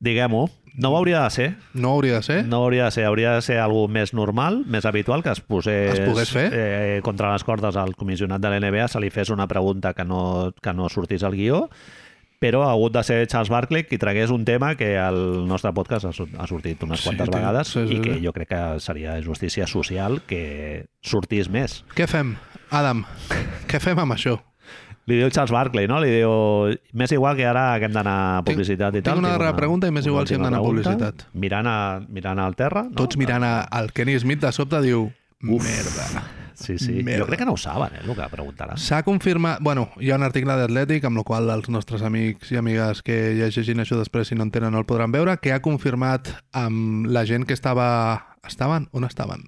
Diguem-ho. No ho hauria de ser.
No hauria de ser.
No ho hauria de ser. Hauria de ser algú més normal, més habitual, que es posés
Es pogués fer.
Eh, contra les cordes al comissionat de l'NBA, se li fes una pregunta que no, que no sortís al guió, però ha hagut de ser Charles Barkley qui tragués un tema que al nostre podcast ha, sor- ha sortit unes
Sí,
quantes
tio,
vegades
sí, sí,
i que
sí.
jo crec que seria de justícia social que sortís més.
Què fem? Adam, què fem amb això?
Li diu Charles Barkley, no? Li diu... M'és igual que ara que hem d'anar a publicitat i
Tinc
tal.
una darrera pregunta i m'és igual si hem
última
d'anar a
pregunta.
publicitat.
Mirant, a, mirant al terra, no?
Tots mirant a- al Kenny Smith de sobte diu... Uf. Merda.
Sí, sí.
Merda.
Jo crec que no ho saben, eh, el que preguntaran.
S'ha confirmat... Bueno, hi ha un article d'Atlètic amb el qual els nostres amics i amigues que llegeixin això després, si no en tenen, no el podran veure, que ha confirmat amb la gent que estava... Estaven? On estaven?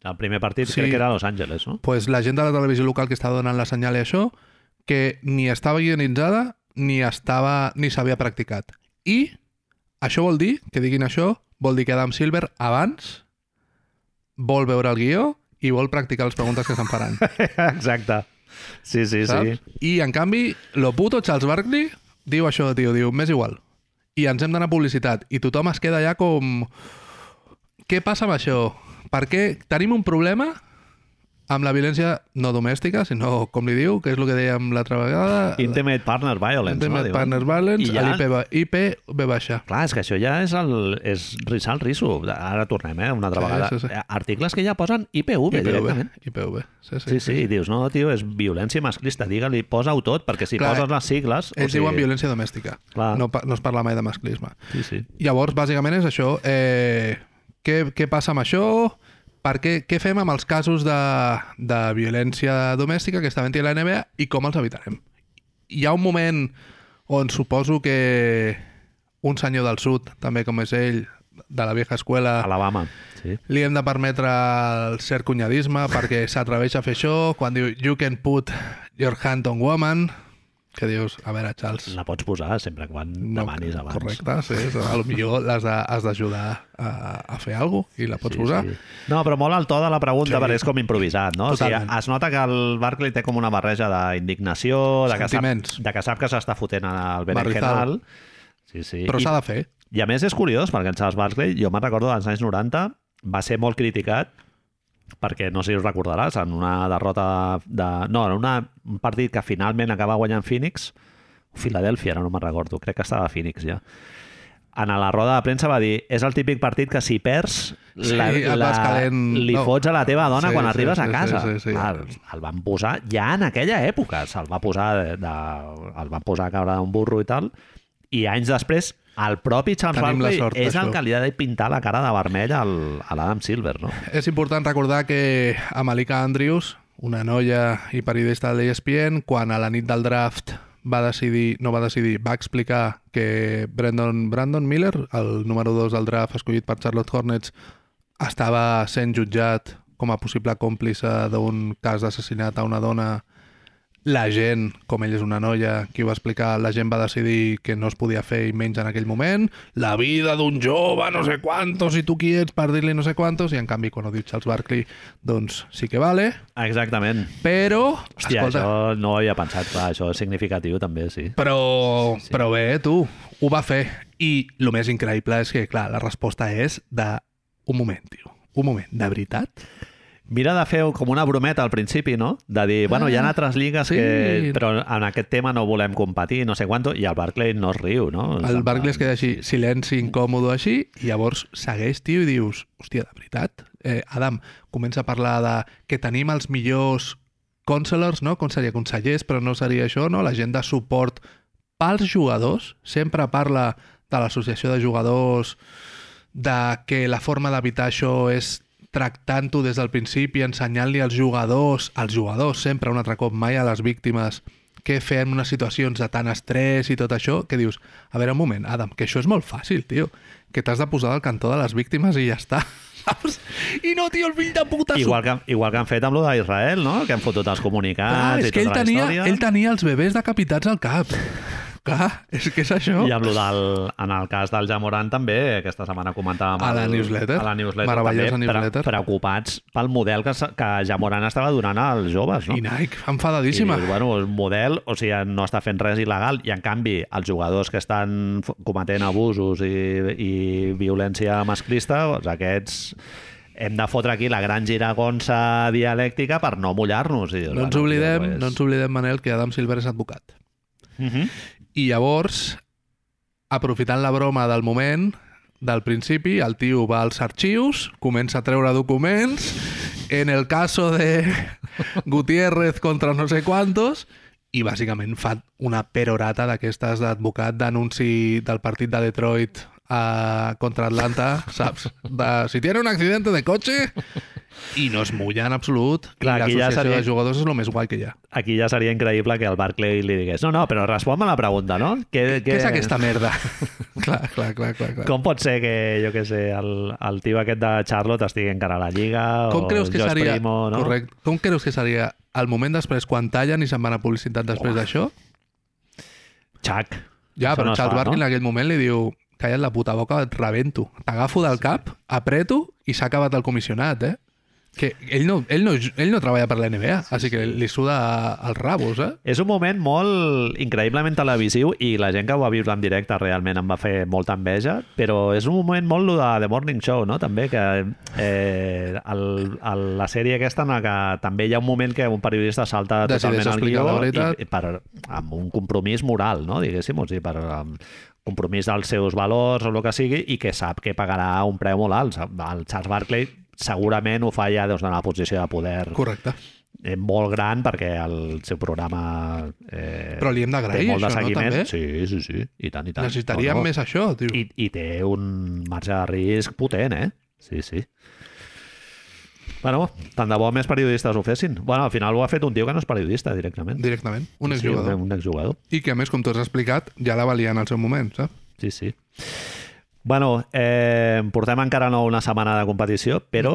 El primer partit
Sí.
sí. crec que era a Los Angeles, no?
pues la gent de la televisió local que estava donant la senyal i això, que ni estava guionitzada ni estava ni s'havia practicat. I això vol dir, que diguin això, vol dir que Adam Silver abans vol veure el guió i vol practicar les preguntes que se'n faran.
Exacte. Sí, sí,
Saps?
sí.
I en canvi, lo puto Charles Barkley diu això, tio, diu, m'és igual. I ens hem d'anar a publicitat. I tothom es queda allà com... Què passa amb això? Per què tenim un problema amb la violència no domèstica, sinó, com li diu, que és el que dèiem l'altra vegada...
Intimate Partner Violence, no?
Intimate
Diuen.
Partners Violence,
eh? I
ja...
ja-
l'IP ve baixa.
Clar, és que això ja és, el, és rissar el risso. Ara tornem, eh, una altra
Sí,
vegada.
sí, sí.
Articles que ja posen IPV,
IPV,
directament.
IPV. Sí, sí.
Sí, sí, i dius, no, tio, és violència masclista, digue-li, posa-ho tot, perquè si
Clar,
poses les sigles... o
Ells
sigui,
diuen violència domèstica.
Clar.
No, pa- no es parla mai de masclisme.
Sí, sí.
Llavors, bàsicament és això. Eh, què, què passa amb això? Per què, què fem amb els casos de, de violència domèstica que està venint la NBA i com els evitarem? Hi ha un moment on suposo que un senyor del sud, també com és ell, de la vieja escuela,
Alabama, sí.
li hem de permetre el cert cunyadisme perquè s'atreveix a fer això quan diu you can put your hand on woman que dius, a veure Charles
La pots posar sempre quan demanis abans.
Correcte, sí. és- A lo millor l'has de- has d'ajudar a, a fer alguna cosa i la pots sí, posar. Sí.
No, però molt al to de la pregunta,
Sí.
sí. perquè és com improvisat, no? O sigui,
Totalment.
es nota que el Barkley té com una barreja d'indignació, de, que sap,
Sentiments.
de que sap que s'està fotent al
Barrizal.
berenjenal. Sí, sí.
Però
I,
s'ha de fer.
I a més és curiós, perquè en Charles Barkley, jo me'n recordo dels anys 90, va ser molt criticat perquè no sé si us recordaràs, en una derrota de... No, en una, un partit que finalment acaba guanyant Phoenix, Filadèlfia, ara no me'n recordo, crec que estava a Phoenix ja. En la roda de premsa va dir és el típic partit que si perds
Sí, et vas calent.
li
No.
fots a la teva dona
Sí,
quan
sí,
arribes
sí,
a casa.
sí, sí, sí.
El, el, van posar ja en aquella època, se'l va posar de, de, el van posar a caure d'un burro i tal, i anys després el propi Charles
Tenim la
Barkley
sort
és el
d'això.
que li ha de pintar la cara de vermell al, a l'Adam Silver, no?
És important recordar que Amalika Andrews, una noia i periodista de E l'ESPN, quan a la nit del draft va decidir, no va decidir, va explicar que Brandon, Brandon Miller, el número 2 del draft escollit per Charlotte Hornets, estava sent jutjat com a possible còmplice d'un cas d'assassinat a una dona la gent, com ell és una noia que ho va explicar, la gent va decidir que no es podia fer i menys en aquell moment la vida d'un jove, no sé quantos i tu qui ets per dir-li no sé quantos i en canvi quan ho diu Charles Barkley, doncs sí que vale,
Exactament.
però
Hòstia, Escolta. això no ho havia pensat, clar, això és significatiu també, sí.
Però, sí. però bé, tu, ho va fer. I el més increïble és que, clar, la resposta és de... Un moment, tio. Un moment. De veritat?
Mira de fer com una brometa al principi, no? De dir, bueno, hi ha altres lligues
Ah. sí.
que... Però en aquest tema no volem competir, no sé quanto, i el Barclay no es riu, no?
El Barkley es queda així, silenci incòmodo així, i llavors segueix, tio, i dius, hòstia, de veritat? Eh, Adam, comença a parlar de que tenim els millors counselors, no? Com seria consellers, però no seria això, no? La gent de suport pels jugadors, sempre parla de l'associació de jugadors, de que la forma d'evitar això és tractant-ho des del principi, ensenyant-li als jugadors, als jugadors sempre, un altre cop, mai a les víctimes, què fer en unes situacions de tant estrès i tot això, que dius, a veure, un moment, Adam, que això és molt fàcil, tio, que t'has de posar del cantó de les víctimes i ja està, saps? I no, tio, el fill de puta... s'ho
Igual que, igual que han fet amb lo d'Israel, no? Que han fotut els comunicats
Clar, Ah,
i
és que
tota
ell
la
tenia,
història.
ell tenia els bebès decapitats al cap. Clar, és que és això.
I amb lo del, en el cas del Jamoran també, aquesta setmana comentàvem...
A
el-
la newsletter.
A la newsletter
Meravellosa
també,
newsletter.
Pre preocupats pel model que, s- que Jamoran estava donant als joves, no?
I Nike,
I
enfadadíssima.
dius, bueno, el model, o sigui, no està fent res il·legal i, en canvi, els jugadors que estan f- cometent abusos i, i violència masclista, doncs aquests hem de fotre aquí la gran giragonsa dialèctica per no mullar-nos. I dius,
No ens
bueno,
oblidem,
tio,
no ens oblidem, Manel, que Adam Silver és advocat.
Mhm.
I llavors, aprofitant la broma del moment, del principi, el tio va als arxius, comença a treure documents, en el caso de Gutiérrez contra no sé quantos i bàsicament fa una perorata d'aquestes d'advocat d'anunci del partit de Detroit eh, contra Atlanta, saps? De, si tiene un accidente de cotxe i no es mulla en absolut.
Clar,
Clar, I
aquí ja
l'associació
seria-
de jugadors és el més guai que hi ha.
Aquí ja seria increïble que el Barclay li digués no, no, però respon-me la pregunta, no? Què,
Què és aquesta merda? clar, clar, clar, clar. clar. Com,
Com pot ser que, jo què sé, el, el tio aquest de Charlotte estigui encara a la Lliga?
com
o
creus que
Josh
seria...
Primo, no?
Correcte. Com creus que seria el moment després, quan tallen i se'n van a publicitat després d'això?
Chuck.
Ja,
Això
però
no
no
es
Charles
fa,
Barkley
no?
en aquell moment li diu calla't la puta boca, et rebento. T'agafo del cap, apreto i s'ha acabat el comissionat, eh? Que ell no, ell no, ell no treballa per la NBA, sí, així que li suda els rabos, eh?
És un moment molt increïblement televisiu i la gent que ho va viure en directe realment em va fer molta enveja, però és un moment molt lo de The Morning Show, no? També, que eh, el, el, la sèrie aquesta en la que també hi ha un moment que un periodista salta totalment
Decideix
el
explicar
guió
la veritat.
i, i per, amb un compromís moral, no? diguéssim, o sigui, per amb compromís dels seus valors o el que sigui i que sap que pagarà un preu molt alt. El Charles Barkley segurament ho fa ja des d'una posició de poder
Correcte.
eh, molt gran perquè el seu programa eh,
Però li hem
té
d'agrair
molt de
això, no,
seguiment.
també?
Sí, sí, sí, i tant, i tant.
Necessitaríem
No, no.
més això, tio.
I, I té un marge de risc potent, eh? Sí, sí. Bueno, tant de bo més periodistes ho fessin. Bueno, al final ho ha fet un tio que no és periodista, directament.
Directament. Un
sí,
exjugador.
Un, un exjugador.
I que, a més, com tu has explicat, ja la valia en el seu moment, saps?
Sí, sí. Bueno, eh, portem encara no una setmana de competició, però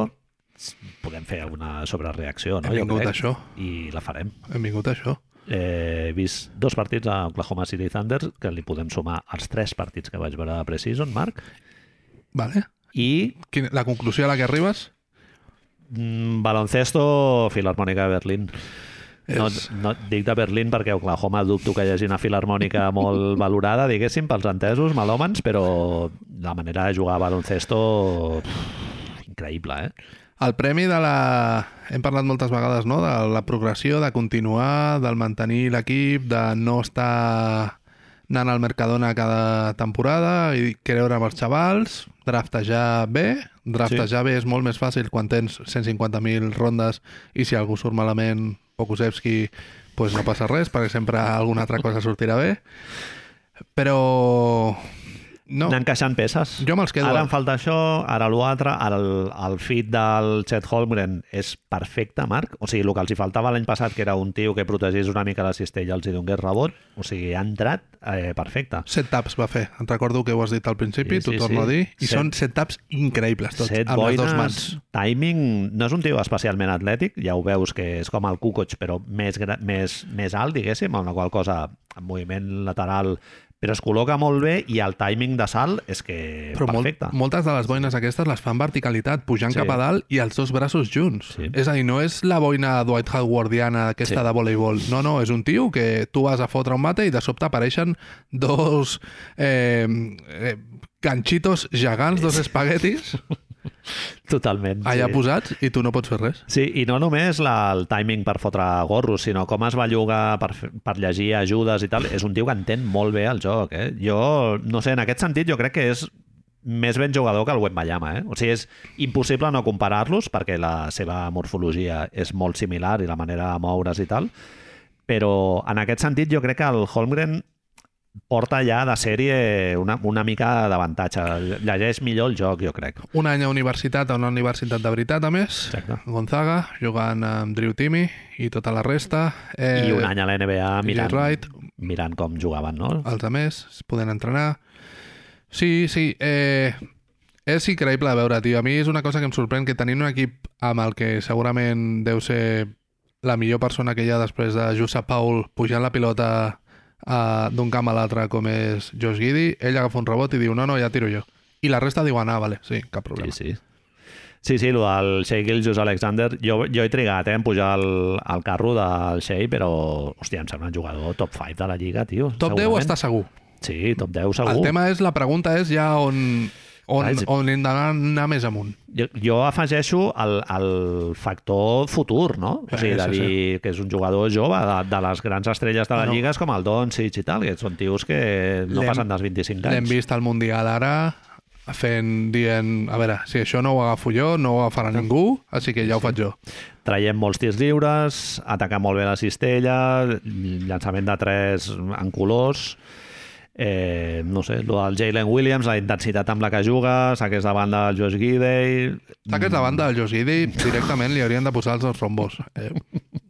podem fer una sobrereacció, no?
Hem
Jo
vingut
crec.
això.
I la farem.
Hem vingut a això.
Eh, he vist dos partits a Oklahoma City Thunder que li podem sumar als tres partits que vaig veure a Precision, Marc,
Vale.
i
Quina, la conclusió a la que arribes?
mm, baloncesto Filarmònica de Berlín. No,
És-
no, dic de Berlín perquè a Oklahoma dubto que hi hagi una filarmònica molt valorada, diguéssim, pels entesos, malòmens, però la manera de jugar a baloncesto pff, increïble, eh?
El premi de la... Hem parlat moltes vegades, no?, de la progressió, de continuar, del mantenir l'equip, de no estar anant al Mercadona cada temporada i creure amb els xavals, draftejar bé. Draftejar sí. bé és molt més fàcil quan tens 150.000 rondes i si algú surt malament, Pokusevski, pues no passa res, perquè sempre alguna altra cosa sortirà bé. Però... No,
No. Anar encaixant peces.
jo me'ls quedo... eh.
Ara em falta això, ara l'altre, ara el, el fit del Chet Holmgren és perfecte, Marc. O sigui, el que els hi faltava l'any passat, que era un tio que protegís una mica la cistella i els hi donés rebot, o sigui, ha entrat eh, perfecte.
Set taps va fer. Et recordo que ho has dit al
Sí,
principi, sí,
sí,
t'ho
sí.
torno a dir. I
Set-
són set taps increïbles tots,
Set
amb les
boines,
dues mans.
timing... No és un tio especialment atlètic, ja ho veus que és com el Kukoc, però més, gra- més, més alt, diguéssim, amb la qual cosa, amb moviment lateral però es col·loca molt bé i el timing de salt és que
Però molt,
perfecte.
moltes de les boines aquestes les fan verticalitat, pujant
Sí.
sí. cap a dalt i els dos braços junts.
Sí.
Sí. És a dir, no és la boina Dwight Howardiana aquesta
Sí.
sí. de voleibol. No, no, és un tio que tu vas a fotre un mate i de sobte apareixen dos eh, eh, ganxitos gegants, dos espaguetis
Totalment.
allà
sí.
posats i tu no pots fer res.
Sí, i no només la, el timing per fotre gorros, sinó com es belluga per, fer- per llegir ajudes i tal. És un tio que entén molt bé el joc. Eh? Jo, no sé, en aquest sentit jo crec que és més ben jugador que el Wembanyama. Eh? O sigui, és impossible no comparar-los perquè la seva morfologia és molt similar i la manera de moure's i tal. Però en aquest sentit jo crec que el Holmgren porta ja de sèrie una, una mica d'avantatge. Llegeix millor el joc, jo crec.
Un any a universitat, a una universitat de veritat, a més.
Exacte.
Gonzaga, jugant amb Drew Timmy i tota la resta. Eh,
I un any a la NBA mirant,
Wright.
mirant com jugaven, no?
Els altres es poden entrenar. Sí, sí. Eh, és increïble de veure, tio. A mi és una cosa que em sorprèn, que tenint un equip amb el que segurament deu ser la millor persona que hi ha després de Josep Paul pujant la pilota eh, d'un camp a l'altre com és Josh Giddy, ell agafa un rebot i diu, no, no, ja tiro jo. I la resta diuen, ah, vale, sí, cap problema.
Sí, sí. Sí, sí, el del Shea Gilgius Alexander, jo, jo he trigat eh, en pujar al, al carro del Shea, però, hòstia, em sembla un jugador top 5 de la Lliga, tio.
Top 10 està segur.
Sí, top 10 segur.
El tema és, la pregunta és ja on, on,
Clar, és-
on hem d'anar anar més amunt.
Jo, jo afegeixo el, el factor futur, no? O
Eh,
sigui, de
sí, sí.
dir que és un jugador jove de, de les grans estrelles de la
No.
Lliga és com el Doncic i tal, que són tios que no
L'hem-
passen dels 25
L'hem
anys.
vist al Mundial ara, fent, dient, a veure, si això no ho agafo jo, no ho agafarà ningú, així que ja ho faig jo.
traiem molts tirs lliures, atacar molt bé la cistella, llançament de tres en colors, eh, no sé, el del Jalen Williams, la intensitat amb la que juga, saques de banda el Josh Gidey...
Saques
Mm.
de banda del Josidi, directament li haurien de posar els dos rombos. Eh,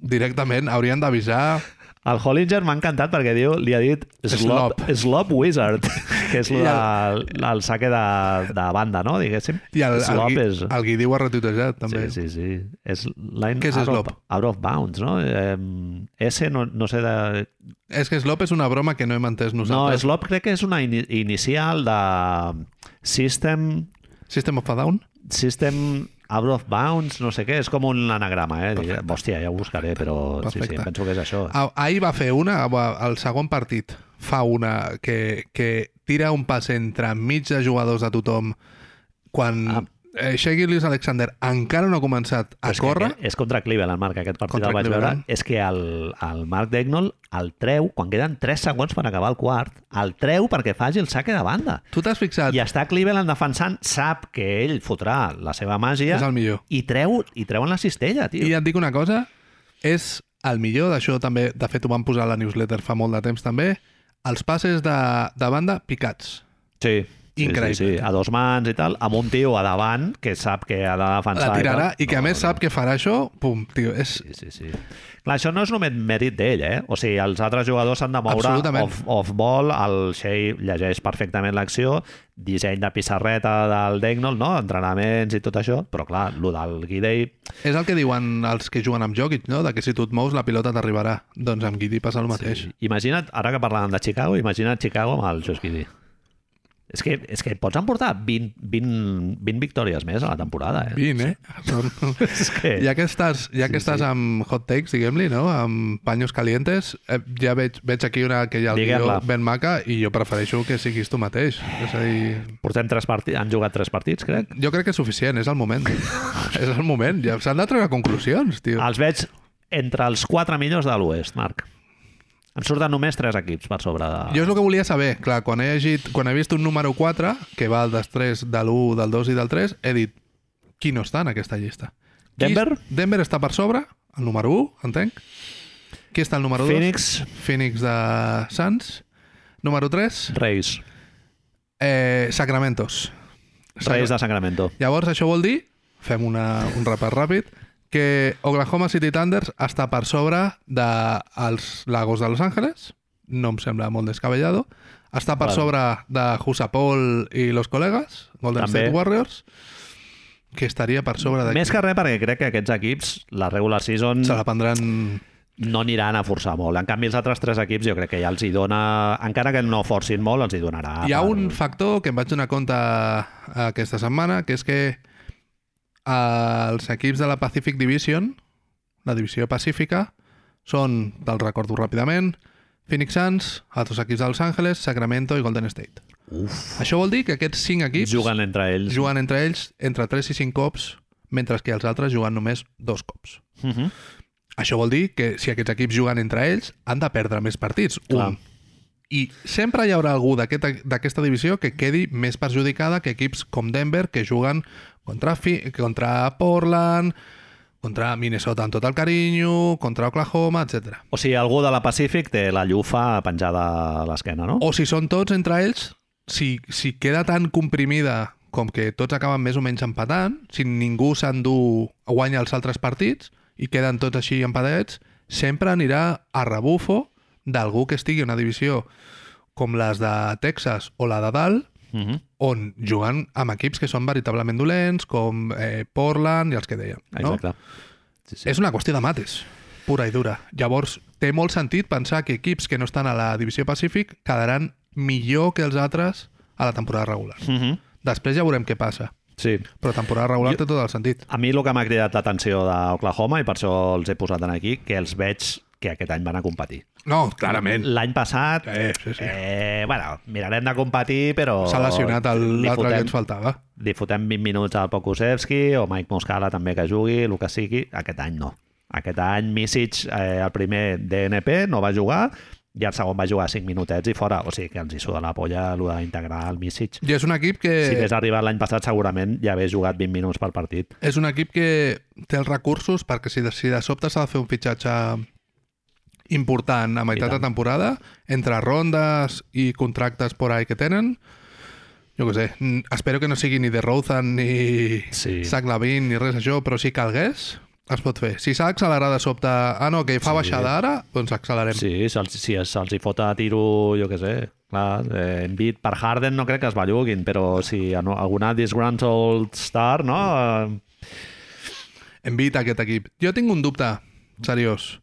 directament haurien d'avisar
El Hollinger m'ha encantat perquè diu, li ha dit Slop,
Slop.
slop Wizard, que és
I
el, el, el saque de, de banda, no? Diguéssim.
i el, el,
slop
Gui-
és...
el Guidi ho ha retuitejat, també.
Sí, sí, sí. És line
Què és
out,
slop?
Of, out of bounds, no? Eh, S no, no sé de
És que Slop és una broma que no hem entès
No,
nosaltres.
Slop crec que és una ini inicial de System,
System of a Down?
System Out of Bounds, no sé què, és com un anagrama, eh? Digue- Hòstia, ja ho buscaré, però sí, sí,
Perfecte.
em penso que és això.
Ah, Ahir va fer una, al segon partit fa una que, que tira un pas entre mig de jugadors de tothom quan
Ah.
ah. eh, Shea Gillis Alexander encara no ha començat a
és,
córrer.
Que, és contra Cleveland, Marc, aquest partit
Contra
el vaig veure.
Cleveland.
És que el, el Marc Degnol el treu, quan queden 3 segons per acabar el quart, el treu perquè faci el saque de banda.
Tu t'has fixat?
I està Cleveland defensant, sap que ell fotrà la seva màgia
És el millor.
i treu i treuen la cistella, tio.
I et dic una cosa, és el millor d'això també, de fet ho vam posar a la newsletter fa molt de temps també, els passes de, de banda picats.
Sí. sí,
Increïble.
Sí, sí, a dos mans i tal, amb un tio a davant que sap que ha de defensar.
La tirarà
tal.
i que a
No,
més
no.
sap que farà això, pum, tio, és,
Sí, sí, sí. Clar, això no és només mèrit d'ell, eh? O sigui, els altres jugadors s'han de moure
Absolutament.
off-ball, el Shea llegeix perfectament l'acció, disseny de pissarreta del Degnol, no? entrenaments i tot això, però clar, el del Guidei...
És el que diuen els que juguen amb Jokic, no? De que si tu et mous la pilota t'arribarà. Doncs amb Guidi passa el mateix. Sí.
Imagina't, ara que parlàvem de Chicago, imagina't Chicago amb el Josh Guidei. És que, és que et pots emportar 20, 20, 20 victòries més a la temporada, eh?
20, eh? Són...
És que...
Ja que estàs, ja que
Sí,
estàs
sí.
amb hot takes, diguem-li, no? amb paños calientes, eh, ja veig, veig aquí una que ja el
Diguem-la.
guió ben maca i jo prefereixo que siguis tu mateix. És a dir,
Portem tres partits, han jugat tres partits, crec.
jo crec que és suficient, és el moment. és el moment, ja s'han de treure conclusions, tio.
Els veig entre els quatre millors de l'Oest, Marc. En surten només tres equips per sobre de...
Ah. Jo és el que volia saber. Clar, quan he llegit, quan he vist un número 4, que va després de l'1, del 2 i del 3, he dit, qui no està en aquesta llista? Qui-
Denver?
Denver està per sobre, el número 1, entenc. Qui està el número 2?
Phoenix,
Phoenix de Suns. Número 3,
Reis.
eh, Sacramentos.
Reis de Sacramento.
Llavors, això vol dir, fem una, un repàs ràpid, que Oklahoma City Thunders està per sobre dels Lagos de Los Angeles, no em sembla molt descabellado, està per
Vale.
sobre de Husapol i los colegas, Golden
També.
State Warriors, que estaria per sobre de...
Més que res perquè crec que aquests equips, la regular season,
Se la prendran...
no aniran a forçar molt. En canvi, els altres tres equips jo crec que ja els hi dona... Encara que no forcin molt, els hi donarà...
Hi ha
per-
un factor que em vaig donar compte eh, aquesta setmana, que és que eh, els equips de la Pacific Division, la divisió pacífica, són, te'ls recordo ràpidament, Phoenix Suns, altres equips de Los Angeles, Sacramento i Golden State.
Uf,
Això vol dir que aquests cinc equips
juguen entre ells.
juguen entre ells entre 3 i 5 cops, mentre que els altres juguen només dos cops.
Uh -huh.
Això vol dir que si aquests equips juguen entre ells, han de perdre més partits.
Clar.
Un. I sempre hi haurà algú d'aquest- d'aquesta divisió que quedi més perjudicada que equips com Denver, que juguen contra, Fi contra Portland, contra Minnesota amb tot el carinyo, contra Oklahoma, etc.
O sigui, algú de la Pacific té la llufa penjada a l'esquena, no?
O si són tots entre ells, si, si queda tan comprimida com que tots acaben més o menys empatant, si ningú s'endú guanya els altres partits i queden tots així empadets, sempre anirà a rebufo d'algú que estigui en una divisió com les de Texas o la de dalt,
Uh -huh.
on juguen amb equips que són veritablement dolents, com eh, Portland i els que dèiem. No?
Exacte. Sí, sí.
És una qüestió de mates, pura i dura. Llavors, té molt sentit pensar que equips que no estan a la divisió Pacífic quedaran millor que els altres a la temporada regular.
Uh -huh.
Després ja veurem què passa,
Sí.
però temporada regular
Jo-
té tot el sentit.
A mi el que m'ha cridat l'atenció d'Oklahoma, i per això els he posat en aquí, que els veig que aquest any van a competir.
No, clarament.
L'any passat,
Eh, sí, sí.
eh, bueno, mirarem de competir, però...
S'ha lesionat el-
li
l'altre que
fotem-
ens faltava.
Li fotem 20 minuts al Pokusevski, o Mike Muscala també que jugui, el que sigui. Aquest any no. Aquest any Misic, eh, el primer DNP, no va jugar, ja el segon va jugar 5 minutets i fora. O sigui que ens hi suda la polla el d'integrar el Misic.
I és un equip que...
Si hagués arribat l'any passat, segurament ja hagués jugat 20 minuts pel partit.
És un equip que té els recursos perquè si de, si de sobte s'ha de fer un fitxatge important a
I
meitat
tant.
de temporada, entre rondes i contractes por ahí que tenen, jo què sé, mm, espero que no sigui ni de Rozan ni
Sí.
Zach Lavin ni res això, però si calgués, es pot fer. Si s'ha d'accelerar de sobte, ah no, que fa
Sí.
baixada ara, doncs accelerem.
Sí, se'ls si se'ls hi fot a tiro, jo què sé. Clar, eh, Embiid per Harden no crec que es belluguin, però si a no, alguna disgruntled star, no? Eh,
Envita aquest equip. Jo tinc un dubte seriós,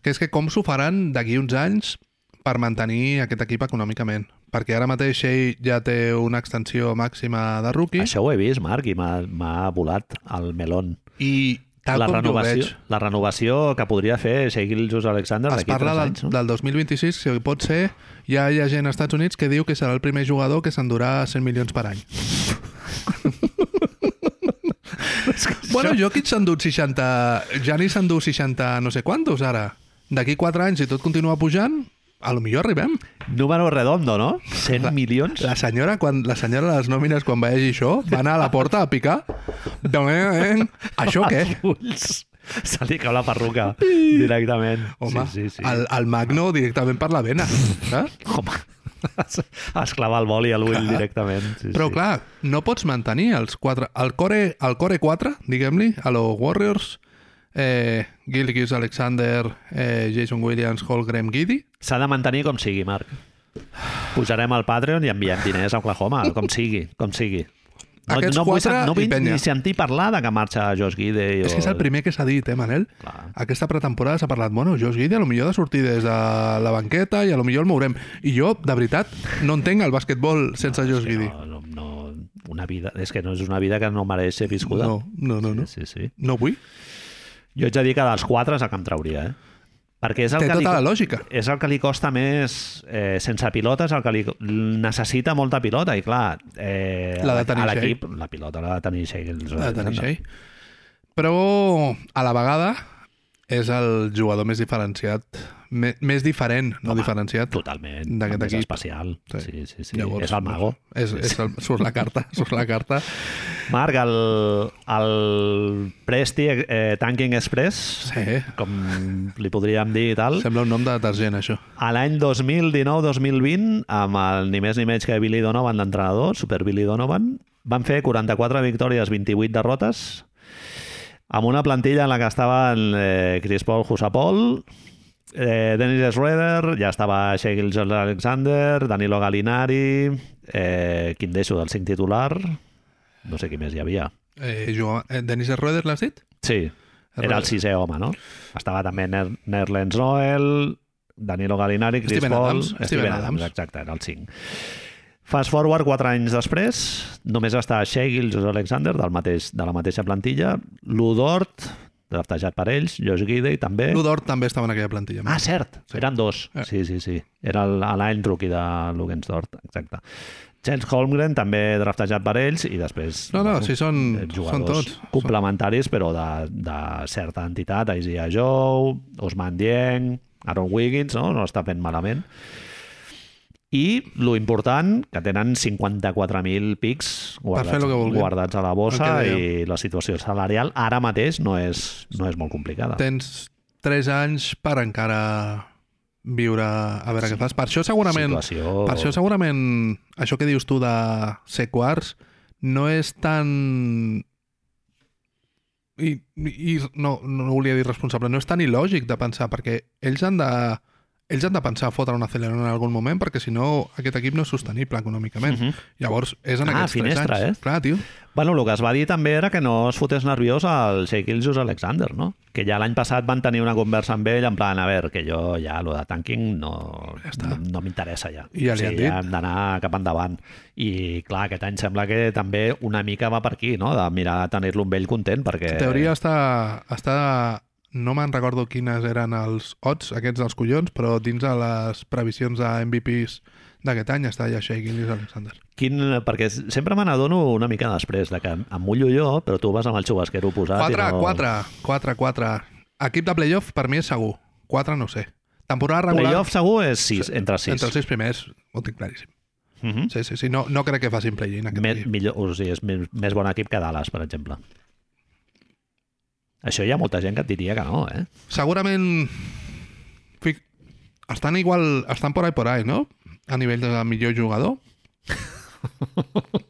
que és que com s'ho faran d'aquí uns anys per mantenir aquest equip econòmicament. Perquè ara mateix Shea ja té una extensió màxima de rookie
Això ho he vist, Marc, i m'ha m'ha volat el melón.
i tal
la
com jo ho
renovació,
veig,
la renovació que podria fer Shea Gilgeous Alexander
es
d'aquí 3
parla del,
anys, no?
del 2026, si pot ser, ja hi ha gent als Estats Units que diu que serà el primer jugador que s'endurà 100 milions per any. bueno, Jokic s'ha endut 60... Jani s'endú 60 no sé quantos, ara. D'aquí 4 anys, si tot continua pujant, a lo millor arribem.
Número redondo, no? 100 milions?
La senyora, quan, la senyora de les nòmines, quan vegi això, va anar a la porta a picar. Doncs, eh, eh, això què?
Els ulls. Se li cau la perruca directament.
Home,
sí, sí, sí.
El, el magno directament per la vena. Eh?
Home, es, es clava el boli a l'ull directament. Sí,
Però
sí.
clar, no pots mantenir els quatre... El core, el core 4, diguem-li, a los Warriors, eh, Gilgis, Alexander, eh, Jason Williams, Holgram, Giddy,
S'ha de mantenir com sigui, Marc. Pujarem al Patreon i enviem diners a Oklahoma, com sigui, com sigui. No,
Aquests
no, vull, sen-
quatre
no vull
i penya.
ni sentir parlar de que marxa Josh Gidey.
És que és el primer que s'ha dit, eh, Manel?
Clar.
Aquesta pretemporada s'ha parlat, bueno, Josh Giddy a lo millor ha de sortir des de la banqueta i a lo millor el mourem. I jo, de veritat, no entenc el basquetbol sense no, Josh Giddy.
No, no, no, una vida, és que no és una vida que no mereix ser viscuda.
No, no, no, no.
Sí, sí.
No vull.
Jo haig de dir que dels quatre és el que em trauria, eh? Perquè és el
Té
que li,
tota la lògica.
és el que li costa més eh, sense pilota, és el que li necessita molta pilota i clar, eh,
L'ha de tenir
a l'equip la pilota l'ha de tenir Shea
Ha de tenir Shea. Ah, Però, a la vegada, és el jugador més diferenciat, me- més diferent, no diferenciat.
Totalment,
D'aquest
és
equip.
especial. Sí, sí, sí. sí.
llavors, doncs,
és el mago.
És, és el, surt la carta, surt la carta.
Marc, el, el Presti eh, Tanking Express,
Sí.
com li podríem dir i tal,
Sembla un nom de detergent, això.
A l'any 2019-2020, amb el ni més ni menys que Billy Donovan d'entrenador, Super Billy Donovan, van fer 44 victòries, 28 derrotes, amb una plantilla en la que estaven eh, Chris Paul, Jusapol, eh, Dennis Schroeder, ja estava Shea Gilgeous Alexander, Danilo Gallinari, eh, Quim Deixo del 5 titular, no sé qui més hi havia.
Eh, jugava, eh, Dennis Roeder, l'has dit?
Sí, era el sisè home, no? Estava també Ner Nerlens Noel, Danilo Gallinari, Chris
Steven
Paul...
Adams, Steven Adams.
Exacte, era el 5. Fast forward, 4 anys després, només està Shea Gilgeous Alexander, del mateix, de la mateixa plantilla, Ludort, draftejat per ells, Josh Gidey també...
Ludor també estava en aquella plantilla.
Ah, cert, sí. eren dos.
Eh.
Sí, sí, sí. Era el- a l'any rookie de Lugensdort, exacte. James Holmgren, també draftejat per ells, i després...
No, no, sí, Mm, són-
eh,
són tots.
Complementaris, però de, de certa entitat, Isaiah Joe, Osman Dieng, Aaron Wiggins, no? No està fent malament. I lo important, que tenen 54.000 pics guardats,
fer lo que vulguin.
guardats a la bossa
El que dèiem.
i la situació salarial ara mateix no és, no és molt complicada.
Tens 3 anys per encara viure a veure què fas. Per això segurament...
Situació...
Per això segurament això que dius tu de ser quarts no és tan... I, i no, no volia dir responsable, no és tan il·lògic de pensar, perquè ells han de, ells han de pensar a fotre un acelerador en algun moment, perquè si no aquest equip no és sostenible econòmicament.
Mhm.
Llavors, és en
Ah,
aquests
finestra,
tres anys.
eh?
Clar, tio.
Bueno, el que es va dir també era que no es fotés nerviós al Shea Gilgeous Alexander, no? Que ja l'any passat van tenir una conversa amb ell en plan, a veure, que jo ja lo de tanking no, ja no, no m'interessa ja.
I ja li
o sigui,
han dit.
ja hem d'anar cap endavant. I clar, aquest any sembla que també una mica va per aquí, no? De mirar de tenir-lo amb ell content, perquè...
En teoria està... està no me'n recordo quines eren els odds, aquests dels collons, però dins de les previsions de MVPs d'aquest any està ja Shea Gillis Alexander.
Quin, perquè sempre me n'adono una mica després, de que em mullo jo, però tu vas amb el xubasquero posat.
4,
i no...
4, 4, 4. Equip de playoff per mi és segur. 4 no ho sé. Temporada regular...
Playoff segur és sis, entre sis.
Entre els sis primers, ho tinc claríssim.
Mhm.
Sí, sí, sí. No, no crec que facin play-in aquest
Més,
equip.
millor, o sigui, és més, més bon equip que Dallas, per exemple. Això hi ha molta gent que et diria que no, eh?
Segurament... Fic... Estan igual... Estan por ahí por ahí, no? A nivell de millor jugador.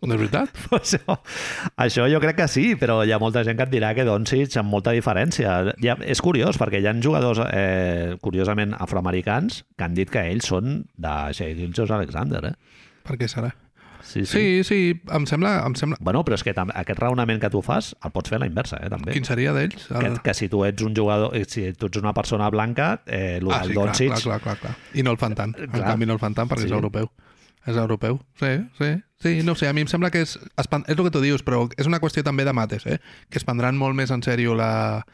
No és veritat?
Això, això jo crec que sí, però hi ha molta gent que et dirà que Doncic amb molta diferència. Hi ha, és curiós, perquè hi ha jugadors, eh, curiosament, afroamericans que han dit que ells són de Shea Gilgeous Alexander, eh?
Per què serà?
Sí, sí.
Sí, sí, em sembla... Em sembla...
Bueno, però és que tam- aquest raonament que tu fas el pots fer a la inversa, eh, també.
Quin seria d'ells?
Que, que si tu ets un jugador, eh, si tu ets una persona blanca, eh, lo
Ah,
del
sí, clar,
Doncic Eh,
clar, clar, clar, clar. I no el fan tant. En
Clar.
canvi no el fan tant perquè
Sí.
és europeu. És europeu. Sí, sí. Sí, no ho sé, a mi em sembla que és... espan- És el que tu dius, però és una qüestió també de mates, eh? Que es prendran molt més en sèrio la,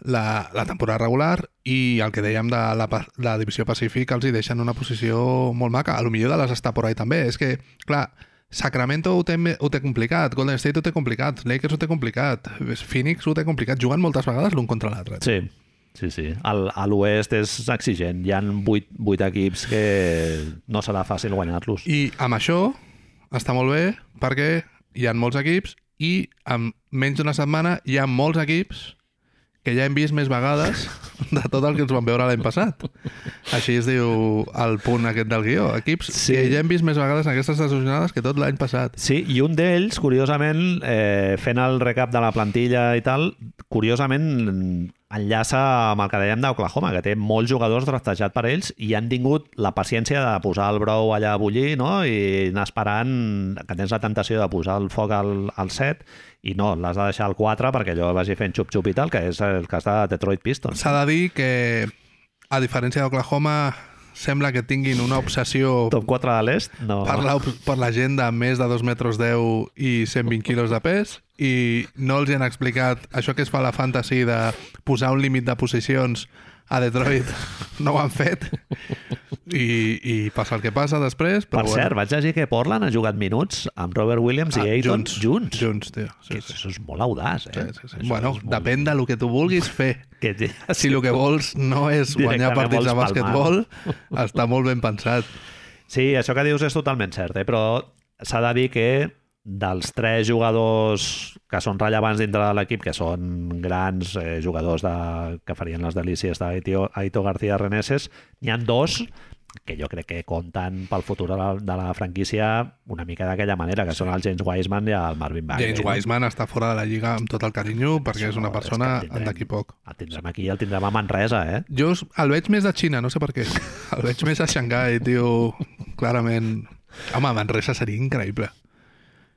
la, la temporada regular i el que dèiem de la, pa- la divisió pacífic els hi deixen una posició molt maca. A lo millor de les està por ahí també. És que, clar, Sacramento ho té, me- ho té complicat, Golden State ho té complicat, Lakers ho té complicat, Phoenix ho té complicat, juguen moltes vegades l'un contra l'altre.
Sí, sí, sí. Al, a l'oest és exigent. Hi han vuit, vuit equips que no serà fàcil guanyar-los.
I amb això està molt bé perquè hi ha molts equips i en menys d'una setmana hi ha molts equips que ja hem vist més vegades de tot el que ens vam veure l'any passat. Així es diu el punt aquest del guió. Equips
Sí.
sí. que ja hem vist més vegades en aquestes desajornades que tot l'any passat.
Sí, i un d'ells, curiosament, eh, fent el recap de la plantilla i tal, curiosament enllaça amb el que dèiem d'Oklahoma, que té molts jugadors draftejats per ells i han tingut la paciència de posar el brou allà a bullir no? i anar esperant que tens la tentació de posar el foc al, al set i no, l'has de deixar al 4 perquè allò vagi fent xup-xup i tal, que és el cas de Detroit Pistons.
S'ha de dir que, a diferència d'Oklahoma, sembla que tinguin una obsessió
Top 4 de l'est? No.
per la, per la gent de més de 2 metres 10 i 120 quilos de pes i no els hi han explicat això que es fa a la fantasy de posar un límit de posicions a Detroit no ho han fet i, i passa el que passa després
Per
però
cert, vaig llegir que Portland ha jugat minuts amb Robert Williams i Ayton
Ah, junts,
junts.
junts tio.
Que
Sí, sí, sí,
Això és molt audaç, eh?
sí, sí.
Això
bueno,
és molt-
depèn del que tu vulguis fer
Que... sí,
si el que vols no és guanyar
Directament
partits de
vols
bàsquetbol està molt ben pensat
Sí, això que dius és totalment cert, eh? però s'ha de dir que dels tres jugadors que són rellevants dintre de l'equip, que són grans eh, jugadors de, que farien les delícies d'Aito Aito García Reneses, n'hi han dos que jo crec que compten pel futur de la, de la franquícia una mica d'aquella manera, que són el James Wiseman i el Marvin Bagley.
James
no?
Wiseman està fora de la lliga amb tot el carinyo perquè és
No,
una
és que
persona
el tindrem.
d'aquí poc
El tindrem aquí, el tindrem a Manresa, eh?
Jo us- el veig més de Xina, no sé per què. El veig més a Xangai, tio, clarament. Home, Manresa seria increïble.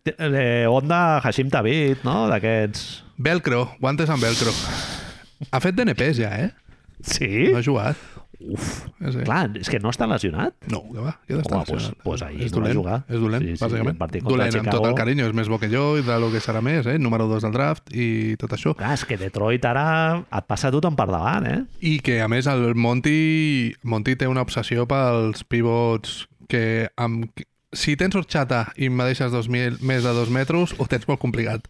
Té- Eh, onda Hashim Tabit, no? D'aquests...
Velcro, guantes amb velcro. Ha fet DNPs ja, eh?
Sí?
No ha jugat.
Uf,
No, sé.
clar, és que no està lesionat.
no que va, ja
Home,
està
pues-
lesionat.
pues ahir
és
no va
dolent,
jugar.
És dolent,
Sí, sí,
bàsicament.
el partit contra
dolent, amb
Chicago.
tot el carinyo, és més bo que jo i de lo que serà més, eh? Número 2 del draft i tot això.
Clar, és que Detroit ara et passa tothom per davant, eh?
I que, a més, el Monty, Monty té una obsessió pels pivots que amb... Si tens orxata i me deixes dos mil, més de dos metres, ho tens molt complicat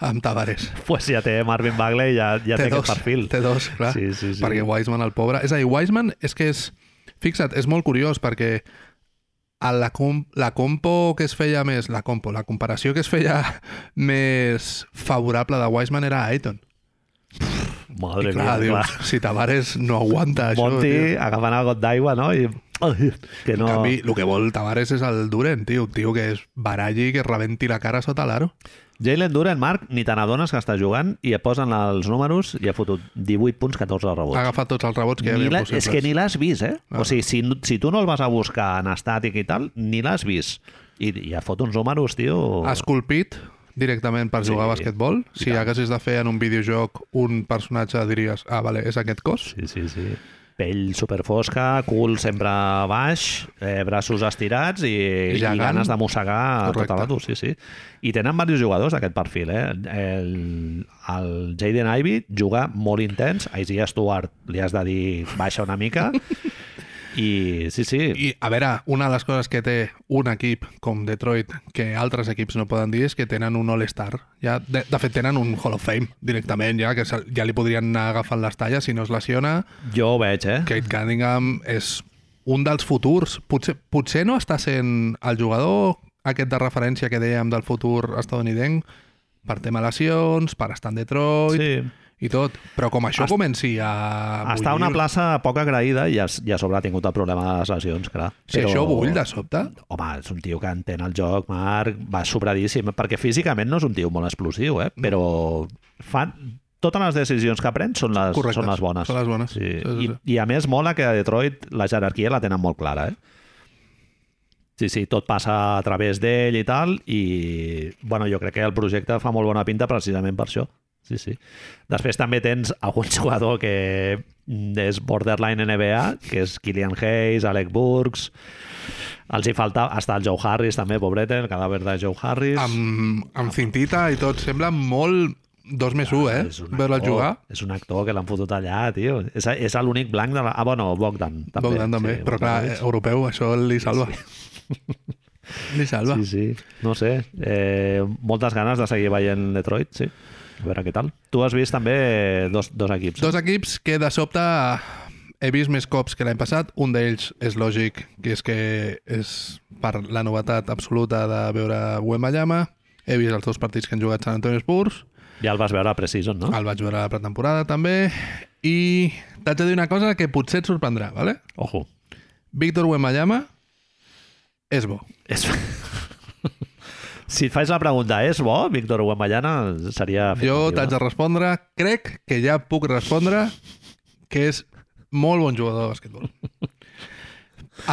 amb Tavares.
Pues ja té Marvin Bagley, ja, ja té, aquest perfil.
Té dos, clar.
Sí, sí, sí.
Perquè Wiseman, el pobre... És a dir, Wiseman és que és... Fixa't, és molt curiós perquè a la, com, la compo que es feia més... La compo, la comparació que es feia més favorable de Wiseman era Aiton.
Madre
I
mía, clar.
clar, dius, si Tavares no aguanta això,
Monti
tio.
agafant el got d'aigua, no? I... Ai, Que
En
no...
canvi, el que vol Tavares és el Duren, tio. Un tio que es baralli, que es rebenti la cara sota l'aro.
Jalen Duren, Marc, ni te n'adones que està jugant i et posen els números i ha fotut 18 punts, 14
Ha
rebots.
agafat tots els rebots Ah, que hi
Ni
havia
la,
possibles.
és que ni l'has vist, eh?
Ah.
O sigui, si, si tu no el vas a buscar en estàtic i tal, ni l'has vist. I, I ha fot uns números, tio...
Esculpit directament per jugar a basquetbol. Si haguessis de fer en un videojoc un personatge, diries, ah, vale, és aquest cos.
Sí, sí, sí. Pell superfosca, cul sempre baix, eh, braços estirats i, i,
Gegant.
ganes de mossegar
Correcte.
tota l'atur, sí, sí. I tenen diversos jugadors d'aquest perfil, eh? El, el Jaden Ivey juga molt intens, a Isaiah Stewart li has de dir baixa una mica, I sí, sí,
I, a veure, una de les coses que té un equip com Detroit que altres equips no poden dir és que tenen un All-Star. Ja, de, de fet, tenen un Hall of Fame directament, ja que se- ja li podrien anar agafant les talles si no es lesiona.
jo ho veig, eh?
Kate Cunningham és un dels futurs. Potser, potser no està sent el jugador aquest de referència que dèiem del futur estatunidenc per tema lesions, per estar en Detroit sí.
Sí.
i tot. Però com això comenci a...
Està a una
bullir-
plaça poc agraïda i a, i a sobre ha tingut el problema de les lesions, clar.
Si Però... això bull de sobte...
Home, és un tio que entén el joc, Marc, va sobradíssim, perquè físicament no és un tio molt explosiu, eh? però fa... totes les decisions que pren són les,
Correctes.
són les bones.
Són les bones.
Sí.
Sí, sí,
I, I a més mola que a Detroit la jerarquia la tenen molt clara, eh? Sí, sí, tot passa a través d'ell i tal, i bueno, jo crec que el projecte fa molt bona pinta precisament per això. Sí, sí. Després també tens algun jugador que és borderline NBA, que és Killian Hayes, Alec Burks, els hi falta... Està el Joe Harris també, pobret, eh, el cadàver de Joe Harris.
amb, amb cintita i tot. Sembla molt dos més un, eh?
És un
Veure'l
actor-
jugar.
És un actor que l'han fotut allà, tio. És, és l'únic blanc de la... Ah, bueno, Bogdan. També,
Bogdan també.
Sí,
Però clar,
Bogdanovic.
eh, europeu, això li salva. li salva.
Sí, sí. No sé. Eh, moltes ganes de seguir veient Detroit, sí. A veure què tal. Tu has vist també dos, dos equips.
Dos equips que de sobte he vist més cops que l'any passat. Un d'ells és lògic, que és que és per la novetat absoluta de veure Wembanyama. He vist els dos partits que han jugat Sant Antonio Spurs.
Ja el vas veure a Precision, no?
El vaig veure a la pretemporada, també. I t'haig de dir una cosa que potser et sorprendrà, ¿vale?
Ojo.
Víctor Wembanyama és bo.
És... si et faig la pregunta, és bo, Víctor Guamallana, seria...
Jo
afirmativa.
t'haig de respondre, crec que ja puc respondre que és molt bon jugador de bàsquetbol.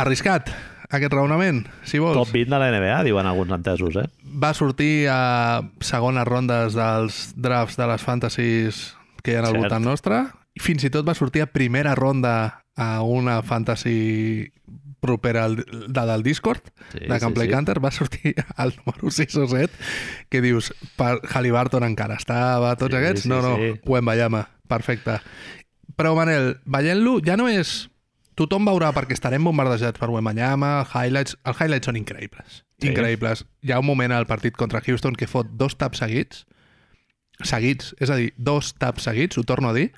Arriscat, aquest raonament, si vols.
Top 20 de la NBA, diuen alguns entesos, eh?
Va sortir a segones rondes dels drafts de les fantasies que hi ha al
Cert.
voltant nostre. I Fins i tot va sortir a primera ronda a una fantasy propera al, de, del Discord,
Sí,
de Can
sí,
Play
sí.
Hunter, va sortir al número 6 o 7, que dius, per Halliburton encara estava, tots
Sí,
aquests?
sí,
no, no,
sí.
Wembanyama, perfecte. Però, Manel, veient-lo, ja no és... Tothom veurà, perquè estarem bombardejats per Wembanyama, highlights... Els highlights són increïbles.
Sí.
Increïbles. Hi ha un moment al partit contra Houston que fot dos taps seguits, seguits, és a dir, dos taps seguits, ho torno a dir,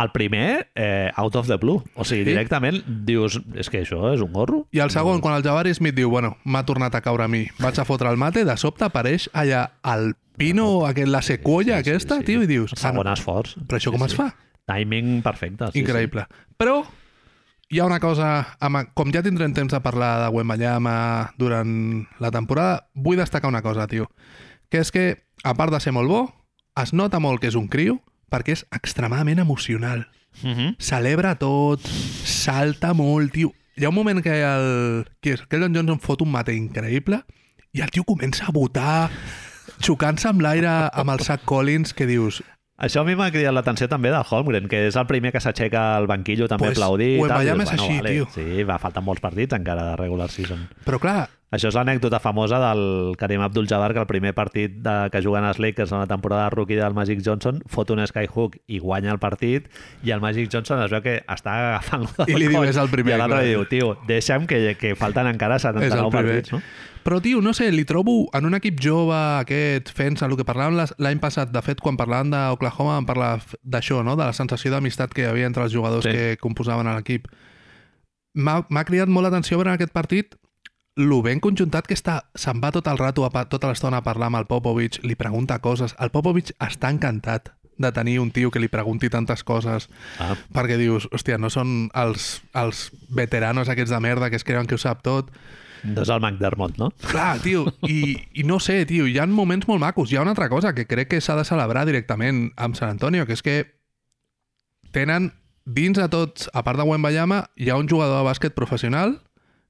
El primer, eh, out of the blue. O sigui,
Sí.
directament dius, és que això és un gorro.
i el segon, quan el Jabari Smith diu, bueno, m'ha tornat a caure a mi, vaig a fotre el mate, de sobte apareix allà el pino, aquest, la sequoia
Sí, sí,
aquesta,
sí.
tio, i dius, ah,
Segon
no,
esforç.
però això com
Sí,
es
sí.
fa?
Timing perfecte. Sí,
Increïble. Però hi ha una cosa, amb, com ja tindrem temps de parlar de Wembanyama durant la temporada, vull destacar una cosa, tio, que és que, a part de ser molt bo, es nota molt que és un criu perquè és extremadament emocional.
Sí. Uh
Mhm.
-huh.
Celebra tot, salta molt, tio. Hi ha un moment que el, que és, Keldon Johnson fot un mate increïble i el tio comença a votar, xocant-se amb l'aire amb el Zach Collins, que dius,
Això a mi m'ha cridat l'atenció també del Holmgren, que és el primer que s'aixeca al banquillo també pues,
Pues,
aplaudir. i
ho
tal,
envellem
dius,
és així, tio.
Sí, va faltar molts partits encara de regular season.
però clar,
Això és l'anècdota famosa del Karim Abdul-Jabbar, que el primer partit de, que juguen els Lakers en la temporada de rookie del Magic Johnson fot un skyhook i guanya el partit i el Magic Johnson es veu que està agafant
I li diu, "És el primer",
I l'altre
clar.
li diu, tio, deixa'm que, que falten encara
És el
79
primer.
partits, no?
Però, tio, no sé, li trobo en un equip jove aquest, fent-se el que parlàvem les- l'any passat. De fet, quan parlàvem d'Oklahoma vam parlar f- d'això, no? De la sensació d'amistat que hi havia entre els jugadors
Sí.
sí. que composaven l'equip. M'ha m'ha cridat molt l'atenció veure en aquest partit lo ben conjuntat que està, se'n va tot el rato, a, pa- tota l'estona a parlar amb el Popovich, li pregunta coses. El Popovich està encantat de tenir un tio que li pregunti tantes coses
Ah,
perquè dius, hòstia, no són els, els veteranos aquests de merda que es creuen que ho sap tot.
no Doncs és el McDermott, no?
Clar, tio, i, i no sé, tio, hi ha moments molt macos. Hi ha una altra cosa que crec que s'ha de celebrar directament amb San Antonio, que és que tenen dins de tots, a part de Wembayama, hi ha un jugador de bàsquet professional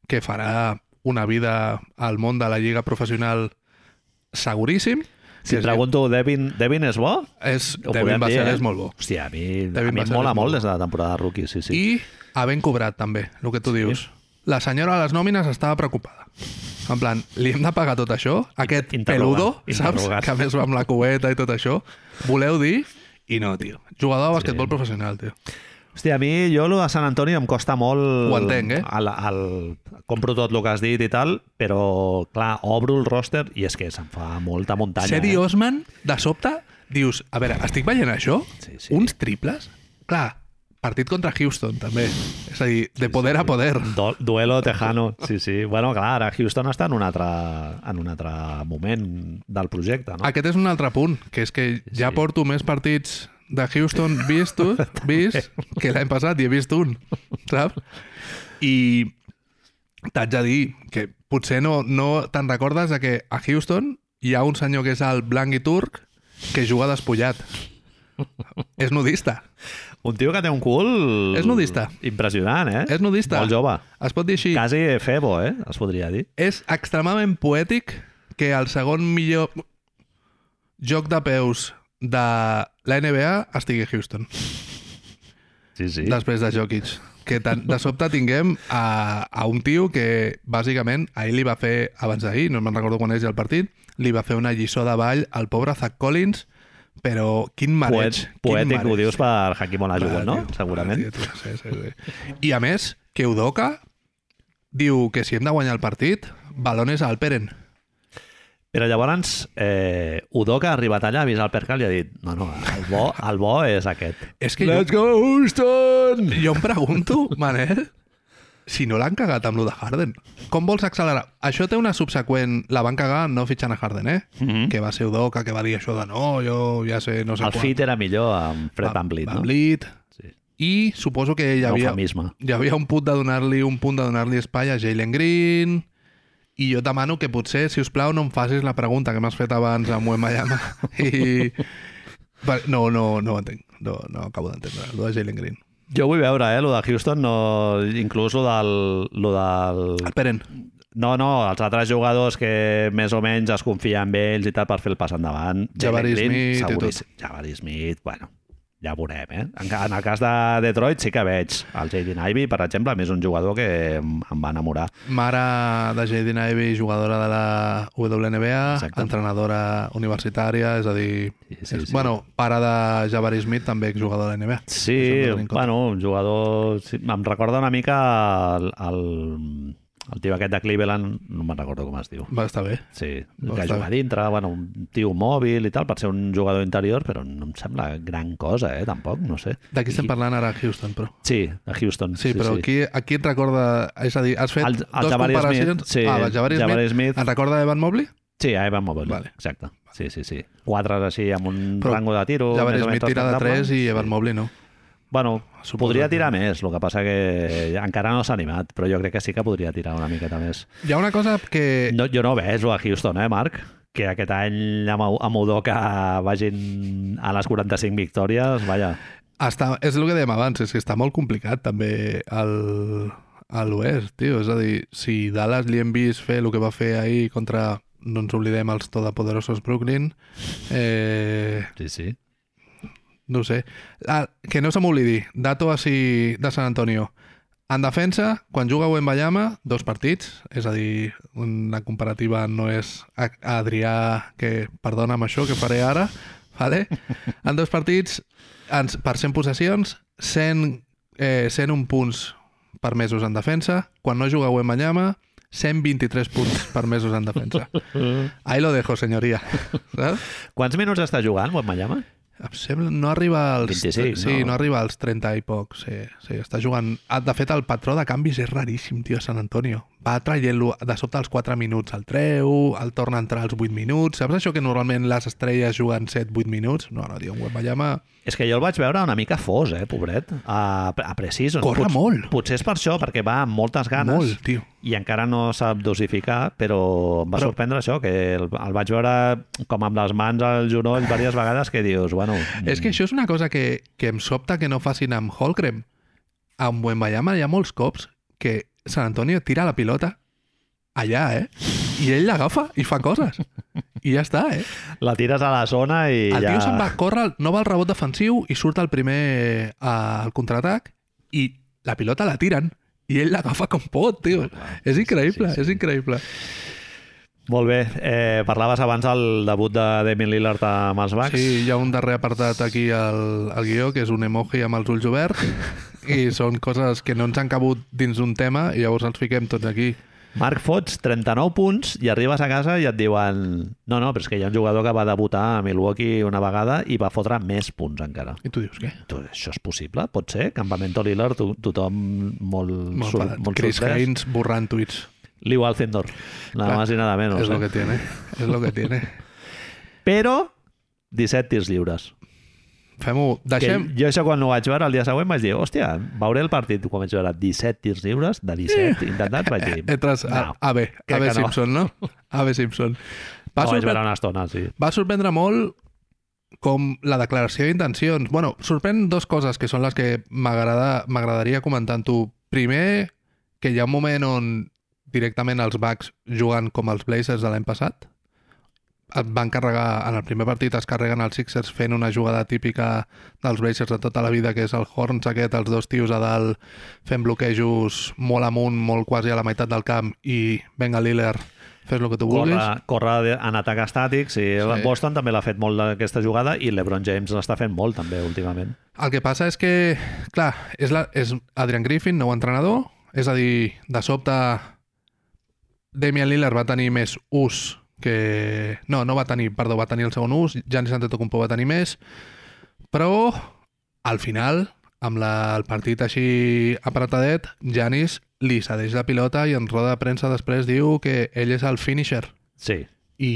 que farà una vida al món de la lliga professional seguríssim.
Si
que
et
és-
pregunto, Devin, Devin és bo?
És,
Ho podem
Devin
dir,
Vassell
eh?
és molt bo.
Hòstia, a mi, a
Devin
mi em
Vassell
mola
és molt
molt
bo.
des de la temporada de rookie, sí, sí.
i havent cobrat també, el que tu dius. La senyora a les nòmines estava preocupada. En plan, li hem de pagar tot això? Aquest
Interrogant,
peludo, saps?
interrogant.
Que a més va amb la cubeta i tot això. Voleu dir? I no, tio. Jugador de basquetbol professional, tio.
Hòstia, a mi, jo, lo de Sant Antoni em costa molt...
Ho entenc, eh?
El, el, compro tot el que has dit i tal, però, clar, obro el roster i és que se'm fa molta muntanya.
Sedi
Eh?
Osman, de sobte, dius, a veure, estic veient això?
Sí, sí.
Uns triples? Clar, partit contra Houston, també. És a dir, de poder a poder.
Du duelo tejano, sí, sí. Bueno, clar, ara Houston està en un altre, en un altre moment del projecte, no?
Aquest és un altre punt, que és que ja
Sí.
porto més partits de Houston vistos, vist que l'any passat i he vist un, saps? I t'haig de dir que potser no, no te'n recordes de que a Houston hi ha un senyor que és el blanc i turc que juga despullat. És nudista.
Un tio que té un cul...
És nudista.
Impressionant, eh?
És nudista.
Molt jove.
Es pot dir així.
Quasi febo, eh? Es podria dir.
És extremadament poètic que el segon millor joc de peus de la NBA estigui a Houston.
Sí, sí.
després de Jokic. Que tan, de sobte tinguem a, a un tio que, bàsicament, ahir li va fer, abans d'ahir, no me'n recordo quan és el partit, li va fer una lliçó de ball al pobre Zach Collins, però quin
Poet,
mareig. quin
poètic,
mareig.
ho dius per Hakim Olajuwon,
Clar,
no?
tio,
Segurament.
clar, tio, tio, sí, sí, sí. I a més, que Udoka diu que si hem de guanyar el partit, balones al Peren.
Però llavors, eh, Udoka ha arribat allà, ha vist el percal i ha dit no, no, el bo, el bo és aquest.
És que jo,
go, Houston!
jo em pregunto, Manel, si no l'han cagat amb lo de Harden. Com vols accelerar? Això té una subseqüent... La van cagar no fitxant a Harden, eh?
Mhm.
Que va ser Udoca, que va dir això de no, jo ja sé, no sé
El fit era millor amb Fred Van Vliet, no?
Blit.
Sí.
I suposo que hi
Hi
havia,
Eufemisme.
hi havia un punt de donar-li un punt de donar-li espai a Jalen Green i jo et demano que potser, si us plau, no em facis la pregunta que m'has fet abans amb Wembayama i... Va- No, no, no ho entenc. No, no acabo d'entendre. El de Jalen Green.
Jo vull veure, eh, lo de Houston, no, inclús lo del, lo del...
El Peren.
No, no, els altres jugadors que més o menys es confien en ells i tal per fer el pas endavant.
Jabari
Jalen
Smith i tot.
seguríssim. Jabari Smith, bueno, ja veurem, eh? En, ca- en el cas de Detroit sí que veig el Jaden Ivey, per exemple, a més un jugador que em em va enamorar.
Mare de Jaden Ivey, jugadora de la WNBA,
Exacte.
Exacte. entrenadora universitària, és a dir...
Sí,
Sí,
sí,
sí,
sí.
és, bueno, pare de Jabari Smith, també exjugador de la NBA.
Sí,
Això hem de tenir en compte.
bueno, un jugador... Sí, em recorda una mica el, el, el tio aquest de Cleveland, no me'n recordo com es diu.
Va estar bé.
Sí,
Doncs
que
està
juga a dintre, bueno, un tio mòbil i tal, per ser un jugador interior, però no em sembla gran cosa, eh, tampoc, no sé.
D'aquí estem parlant ara a Houston, però...
Sí, a Houston.
Sí, però
sí.
Aquí, aquí et recorda... És a dir, has fet
El- el
dos
Jabari Smith,
comparacions...
sí,
ah, el Jabari,
Jabari
Smith,
Smith.
Et recorda Evan Mobley?
Sí, a Evan Mobley,
Vale.
exacte. Sí, sí, sí. Quatre així amb un
Però
rango de tiro...
Jabari
més o menys
Smith tira de
respectable.
3 i Evan Mobley no.
Bueno,
Suposo
podria
que-
tirar més, el que passa que encara no s'ha animat, però jo crec que sí que podria tirar una miqueta més.
Hi ha una cosa que...
No, jo no veig a Houston, eh, Marc? Que aquest any amb, amb Udoca vagin a les 45 victòries, vaja.
Està, és el que dèiem abans, és que està molt complicat també el, a l'oest, tio. És a dir, si Dallas li hem vist fer el que va fer ahir contra, no ens oblidem, els todopoderosos Brooklyn, eh,
Sí, sí.
no ho sé. Ah, que no se m'oblidi, dato així de San Antonio. En defensa, quan juga Wembayama, dos partits, és a dir, una comparativa no és a- a Adrià, que perdona'm això que faré ara, vale? en dos partits, ens, per 100 possessions, 100, eh, 101 punts permesos en defensa, quan no juga Wembayama, 123 punts permesos en defensa. Ahí lo dejo, senyoria. Saps?
Quants minuts està jugant, Wembanyama?
Em sembla, no arriba als...
26,
sí,
no?
no? arriba als 30 i poc, sí, sí, està jugant... Ah, De fet, el patró de canvis és raríssim, tio, a San Antonio. Va traient-lo de sobte als 4 minuts al treu, el torna a entrar als 8 minuts... Saps això que normalment les estrelles juguen 7-8 minuts? No, no, tio, en Wembanyama...
És que jo el vaig veure una mica fos, eh, pobret, a, a Precision.
Corre molt.
Potser és per això, perquè va amb moltes ganes
Molt, tio.
i encara no sap dosificar, però em va
Però-
sorprendre això, que el, el vaig veure com amb les mans al genoll diverses vegades que dius, bueno...
És que això és una cosa que, que em sobta que no facin amb Holcrem. Amb Wembanyama hi ha molts cops que San Antonio tira la pilota allà, eh? I ell l'agafa i fa coses. I ja està, eh?
mm, La tires a la zona i
El
ja...
tio se'n va córrer, no va al rebot defensiu i surt el primer eh, al contraatac i la pilota la tiren i ell l'agafa com pot, tio.
Clar,
És
Oh, sí,
increïble,
sí, sí.
és increïble.
Molt bé. Eh, parlaves abans del debut de Damien Lillard amb els Bucks.
Sí, hi ha un darrer apartat aquí al, al guió, que és un emoji amb els ulls oberts, i són coses que no ens han cabut dins d'un tema, i llavors els fiquem tots aquí.
Marc, fots 39 punts i arribes a casa i et diuen no, no, però és que hi ha un jugador que va debutar a Milwaukee una vegada i va fotre més punts encara.
I tu dius què?
Tu, això és possible? Pot ser? Campamento Lillard, to tothom molt,
Molt
sor-
parat.
molt
Chris
sorprès.
Haynes borrant tuits.
Liu Alcindor, nada
Clar,
más i nada menos.
és
Eh?
lo que tiene, és lo que tiene.
Però 17 tirs lliures.
Fem-ho,
Que
deixem...
jo això quan ho vaig veure el dia següent vaig dir, hòstia, veuré el partit quan vaig veure 17 tirs lliures de 17 intentats, vaig dir,
Entres eh, a,
no,
a B, a
crec que
B
no.
Simpson, no? A B Simpson. Va,
no "Oh, vaig
sorpre
veure una estona, sí.
va sorprendre molt com la declaració d'intencions. bueno, sorprèn dues coses que són les que m'agrada- m'agradaria comentar amb tu. Primer, que hi ha un moment on directament els Bucks juguen com els Blazers de l'any passat. Et van carregar, en el primer partit es carreguen els Sixers fent una jugada típica dels Blazers de tota la vida, que és el Horns aquest, els dos tios a dalt fent bloquejos molt amunt, molt quasi a la meitat del camp i venga Lillard, fes el que tu vulguis.
Corre, corre de- en atac estàtic, sí. sí. Boston també l'ha fet molt d'aquesta jugada i l'Ebron James l'està fent molt també últimament.
El que passa és que, clar, és, la, és Adrian Griffin, nou entrenador, és a dir, de sobte Damian Lillard va tenir més ús que... No, no va tenir, perdó, va tenir el segon ús, Giannis Antetokounmpo va tenir més, però al final, amb la, el partit així aparatadet, Giannis li cedeix la pilota i en roda de premsa després diu que ell és el finisher.
Sí.
I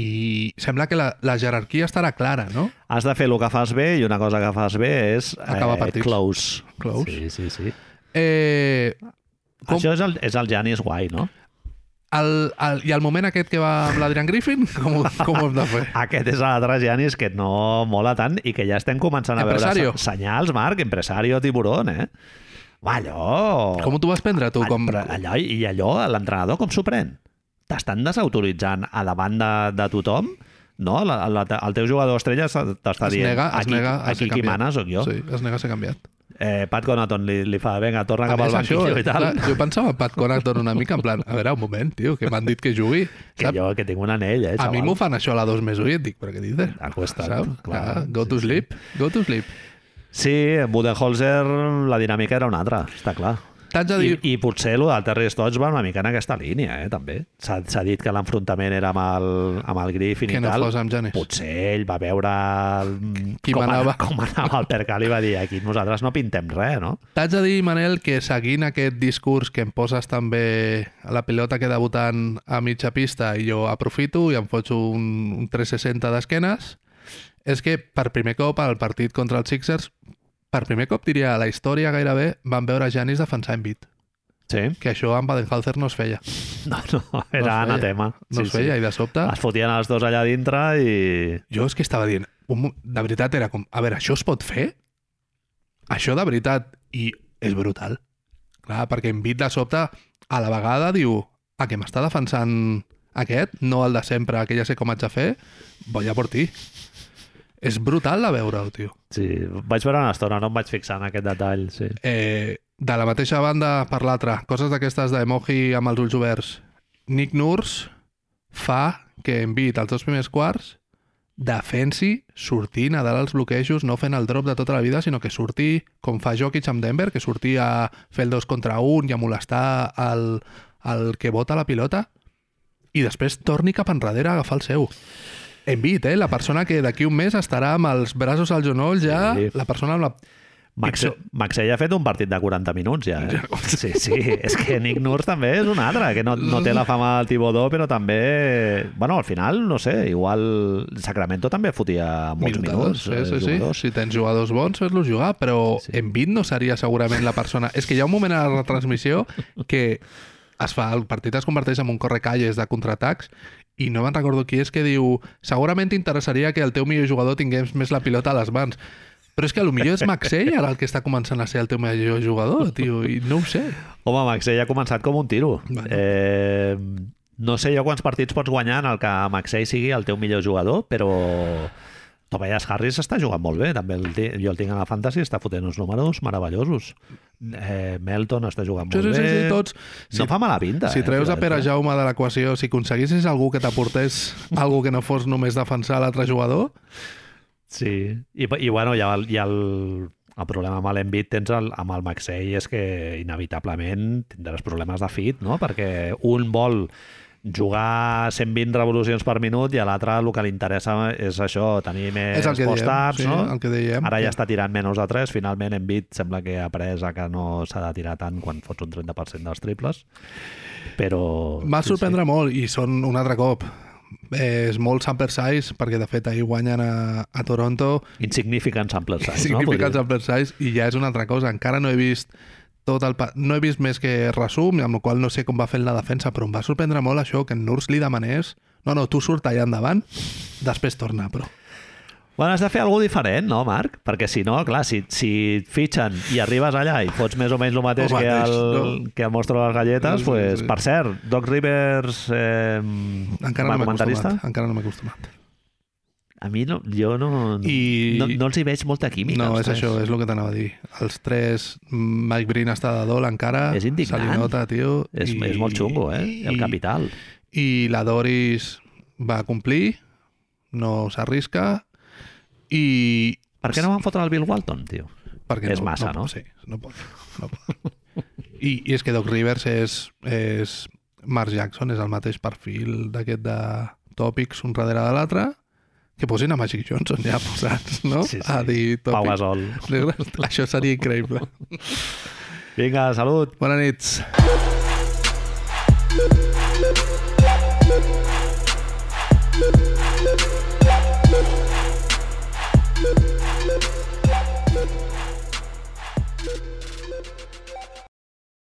sembla que la, la jerarquia estarà clara, no?
Has de fer el que fas bé i una cosa que fas bé és eh,
Acabar partits.
close.
Close.
Sí, sí, sí.
Eh, Com-
Això és el, és el Giannis guai, no?
El, el, I el moment aquest que va amb l'Adrian Griffin, com, ho- com ho hem de fer?
Aquest és l'altre Giannis que no mola tant i que ja estem començant a
Empresario.
veure se- senyals, Marc, empresario tiburón, eh? Va, allò...
Com t'ho vas prendre, tu? Com...
Però allò, I allò, l'entrenador com s'ho pren? T'estan desautoritzant a davant de, de tothom? No? La, la, el teu jugador estrella se- t'està
Es
dient
nega, es
aquí,
nega a
aquí
ser
qui
canviat.
mana sóc eh, jo.
Sí, es nega a ser canviat.
Eh, Pat Connaughton li, li fa, vinga, torna cap
A
al
més,
banquillo i tal.
eh, clar, jo pensava en Pat Connaughton una mica, en plan, a veure, un moment, tio, que m'han dit que jugui.
Que jo, que tinc un anell, eh,
a
xaval.
mi m'ho fan això a la 2 més 1 i et dic, però què dices?
Acuesta't,
Saps?
clar,
Clar, go
sí,
to
sí.
sleep, go to sleep.
Sí, en Budenholzer la dinàmica era una altra, està clar.
T'haig de
I,
dir...
I potser el del Terry Stotts va una mica en aquesta línia, eh, també. S'ha s'ha dit que l'enfrontament era amb el, amb el Griffin
Que
i
no
tal.
fos amb Giannis.
Potser ell va veure el-
Qui
com, anava-
manava.
com anava el percal i va dir aquí nosaltres no pintem res, no?
T'haig de dir, Manel, que seguint aquest discurs que em poses també a la pilota que debutant a mitja pista i jo aprofito i em fotxo un, un 360 d'esquenes, és que per primer cop al partit contra els Sixers, per primer cop diria a la història gairebé, van veure Janis defensar en bit,
Sí.
que això amb Baden-Halzer no es feia.
No, no, era
No es feia.
anatema.
No
sí,
es feia
Sí.
i de sobte...
Es fotien els dos allà dintre i...
Jo és que estava dient, un, mo- de veritat era com, a veure, això es pot fer? Això de veritat, i és brutal. Clar, perquè en Bit de sobte, a la vegada diu, a que m'està defensant aquest, no el de sempre, que ja sé com haig de fer, voy a por ti. És brutal de veure-ho, tio.
Sí, vaig veure una estona, no em vaig fixar en aquest detall, sí.
Eh, de la mateixa banda per l'altra, coses d'aquestes d'emoji amb els ulls oberts. Nick Nurse fa que Embiid els dos primers quarts defensi sortint a dalt als bloquejos, no fent el drop de tota la vida, sinó que sortir, com fa Jokic amb Denver, que sortir a fer el dos contra un i a molestar el, el que bota la pilota, i després torni cap enrere a agafar el seu. Embiid, eh? La persona que d'aquí un mes estarà amb els braços al genoll ja,
Sí.
la persona amb la
Maxe-
Pixel.
Maxell ha fet un partit de 40 minuts ja, eh? Sí, sí, és que Nick Nurse també és un altre, que no, no té la fama del Tibodó, però també... Bueno, al final, no sé, igual Sacramento també fotia molts minuts.
sí,
eh,
sí, sí.
jugadors.
Si tens jugadors bons, fes-los jugar, però
Sí.
sí. Embiid no seria segurament la persona... És que hi ha un moment a la retransmissió que es fa, el partit es converteix en un correcalles de contraatacs i no me'n recordo qui és que diu segurament t'interessaria que el teu millor jugador tingués més la pilota a les mans. Però és que a lo millor és Maxey ara el que està començant a ser el teu millor jugador, tio, i no ho sé.
Home, Maxell ha començat com un tiro.
Bueno.
Eh, no sé jo quants partits pots guanyar en el que Maxell sigui el teu millor jugador, però Tobias Harris està jugant molt bé, també el, ti- jo el tinc a la Fantasy, està fotent uns números meravellosos. Eh, Melton està jugant
Sí,
molt
sí, sí,
bé.
sí, tots.
No
Si-
fa mala pinta. eh,
Si treus a
Filadèlfia.
Pere Jaume de l'equació, si aconseguissis algú que t'aportés algú que no fos només defensar l'altre jugador,
Sí, i, i bueno, ja, el- ja el, el problema amb l'Envit tens el, amb el Maxey és que inevitablement tindràs problemes de fit, no? Perquè un vol jugar 120 revolucions per minut i a l'altre el que li interessa és això, tenir més
és el que diem.
post-ups,
Sí,
no?
el que diem.
Ara ja està tirant menys de 3, finalment Embiid sembla que ha après a que no s'ha de tirar tant quan fots un 30% dels triples, però...
Em va sorprendre molt i són un altre cop. Eh, és molt sample size perquè de fet ahir guanyen a, a Toronto
Insignificant sample size,
significa
Ah, no? Podríem-
sample size i ja és una altra cosa. Encara no he vist tot el pa... no he vist més que resum, amb la qual no sé com va fer la defensa, però em va sorprendre molt això que en Nurs li demanés no, no, tu surt allà endavant, després torna, però...
Bueno, has de fer alguna diferent, no, Marc? Perquè si no, clar, si, si et fitxen i arribes allà i fots més o menys el mateix
El
que,
mateix,
el,
no?
que el monstre de les galletes,
Sí, sí,
pues,
sí.
per cert, Doc Rivers... Eh,
Encara
va
no m'he
comentarista?
acostumat. Encara no m'he acostumat.
A mi no, jo no,
I-
no, no els hi veig molta química.
No,
els
és
tres.
això, és el que t'anava a dir. Els tres, mm, Mike Breen està de dol encara,
És indignant.
se li nota, tio.
És,
i-
és molt xungo, eh? El
i-
capital.
i la Doris va complir, no s'arrisca i...
Per què no van fotre el Bill Walton, tio?
Perquè
És massa, no?
pot, Sí, no pot. No pot. I, I és que Doc Rivers és, és Mark Jackson, és el mateix perfil d'aquest de tòpics un darrere de l'altre, que posin a Magic Johnson ja posats, no?
Sí, sí.
A dir
Pau
tòpics.
Gasol.
negres. Això seria increïble.
Vinga, salut!
Bona nits.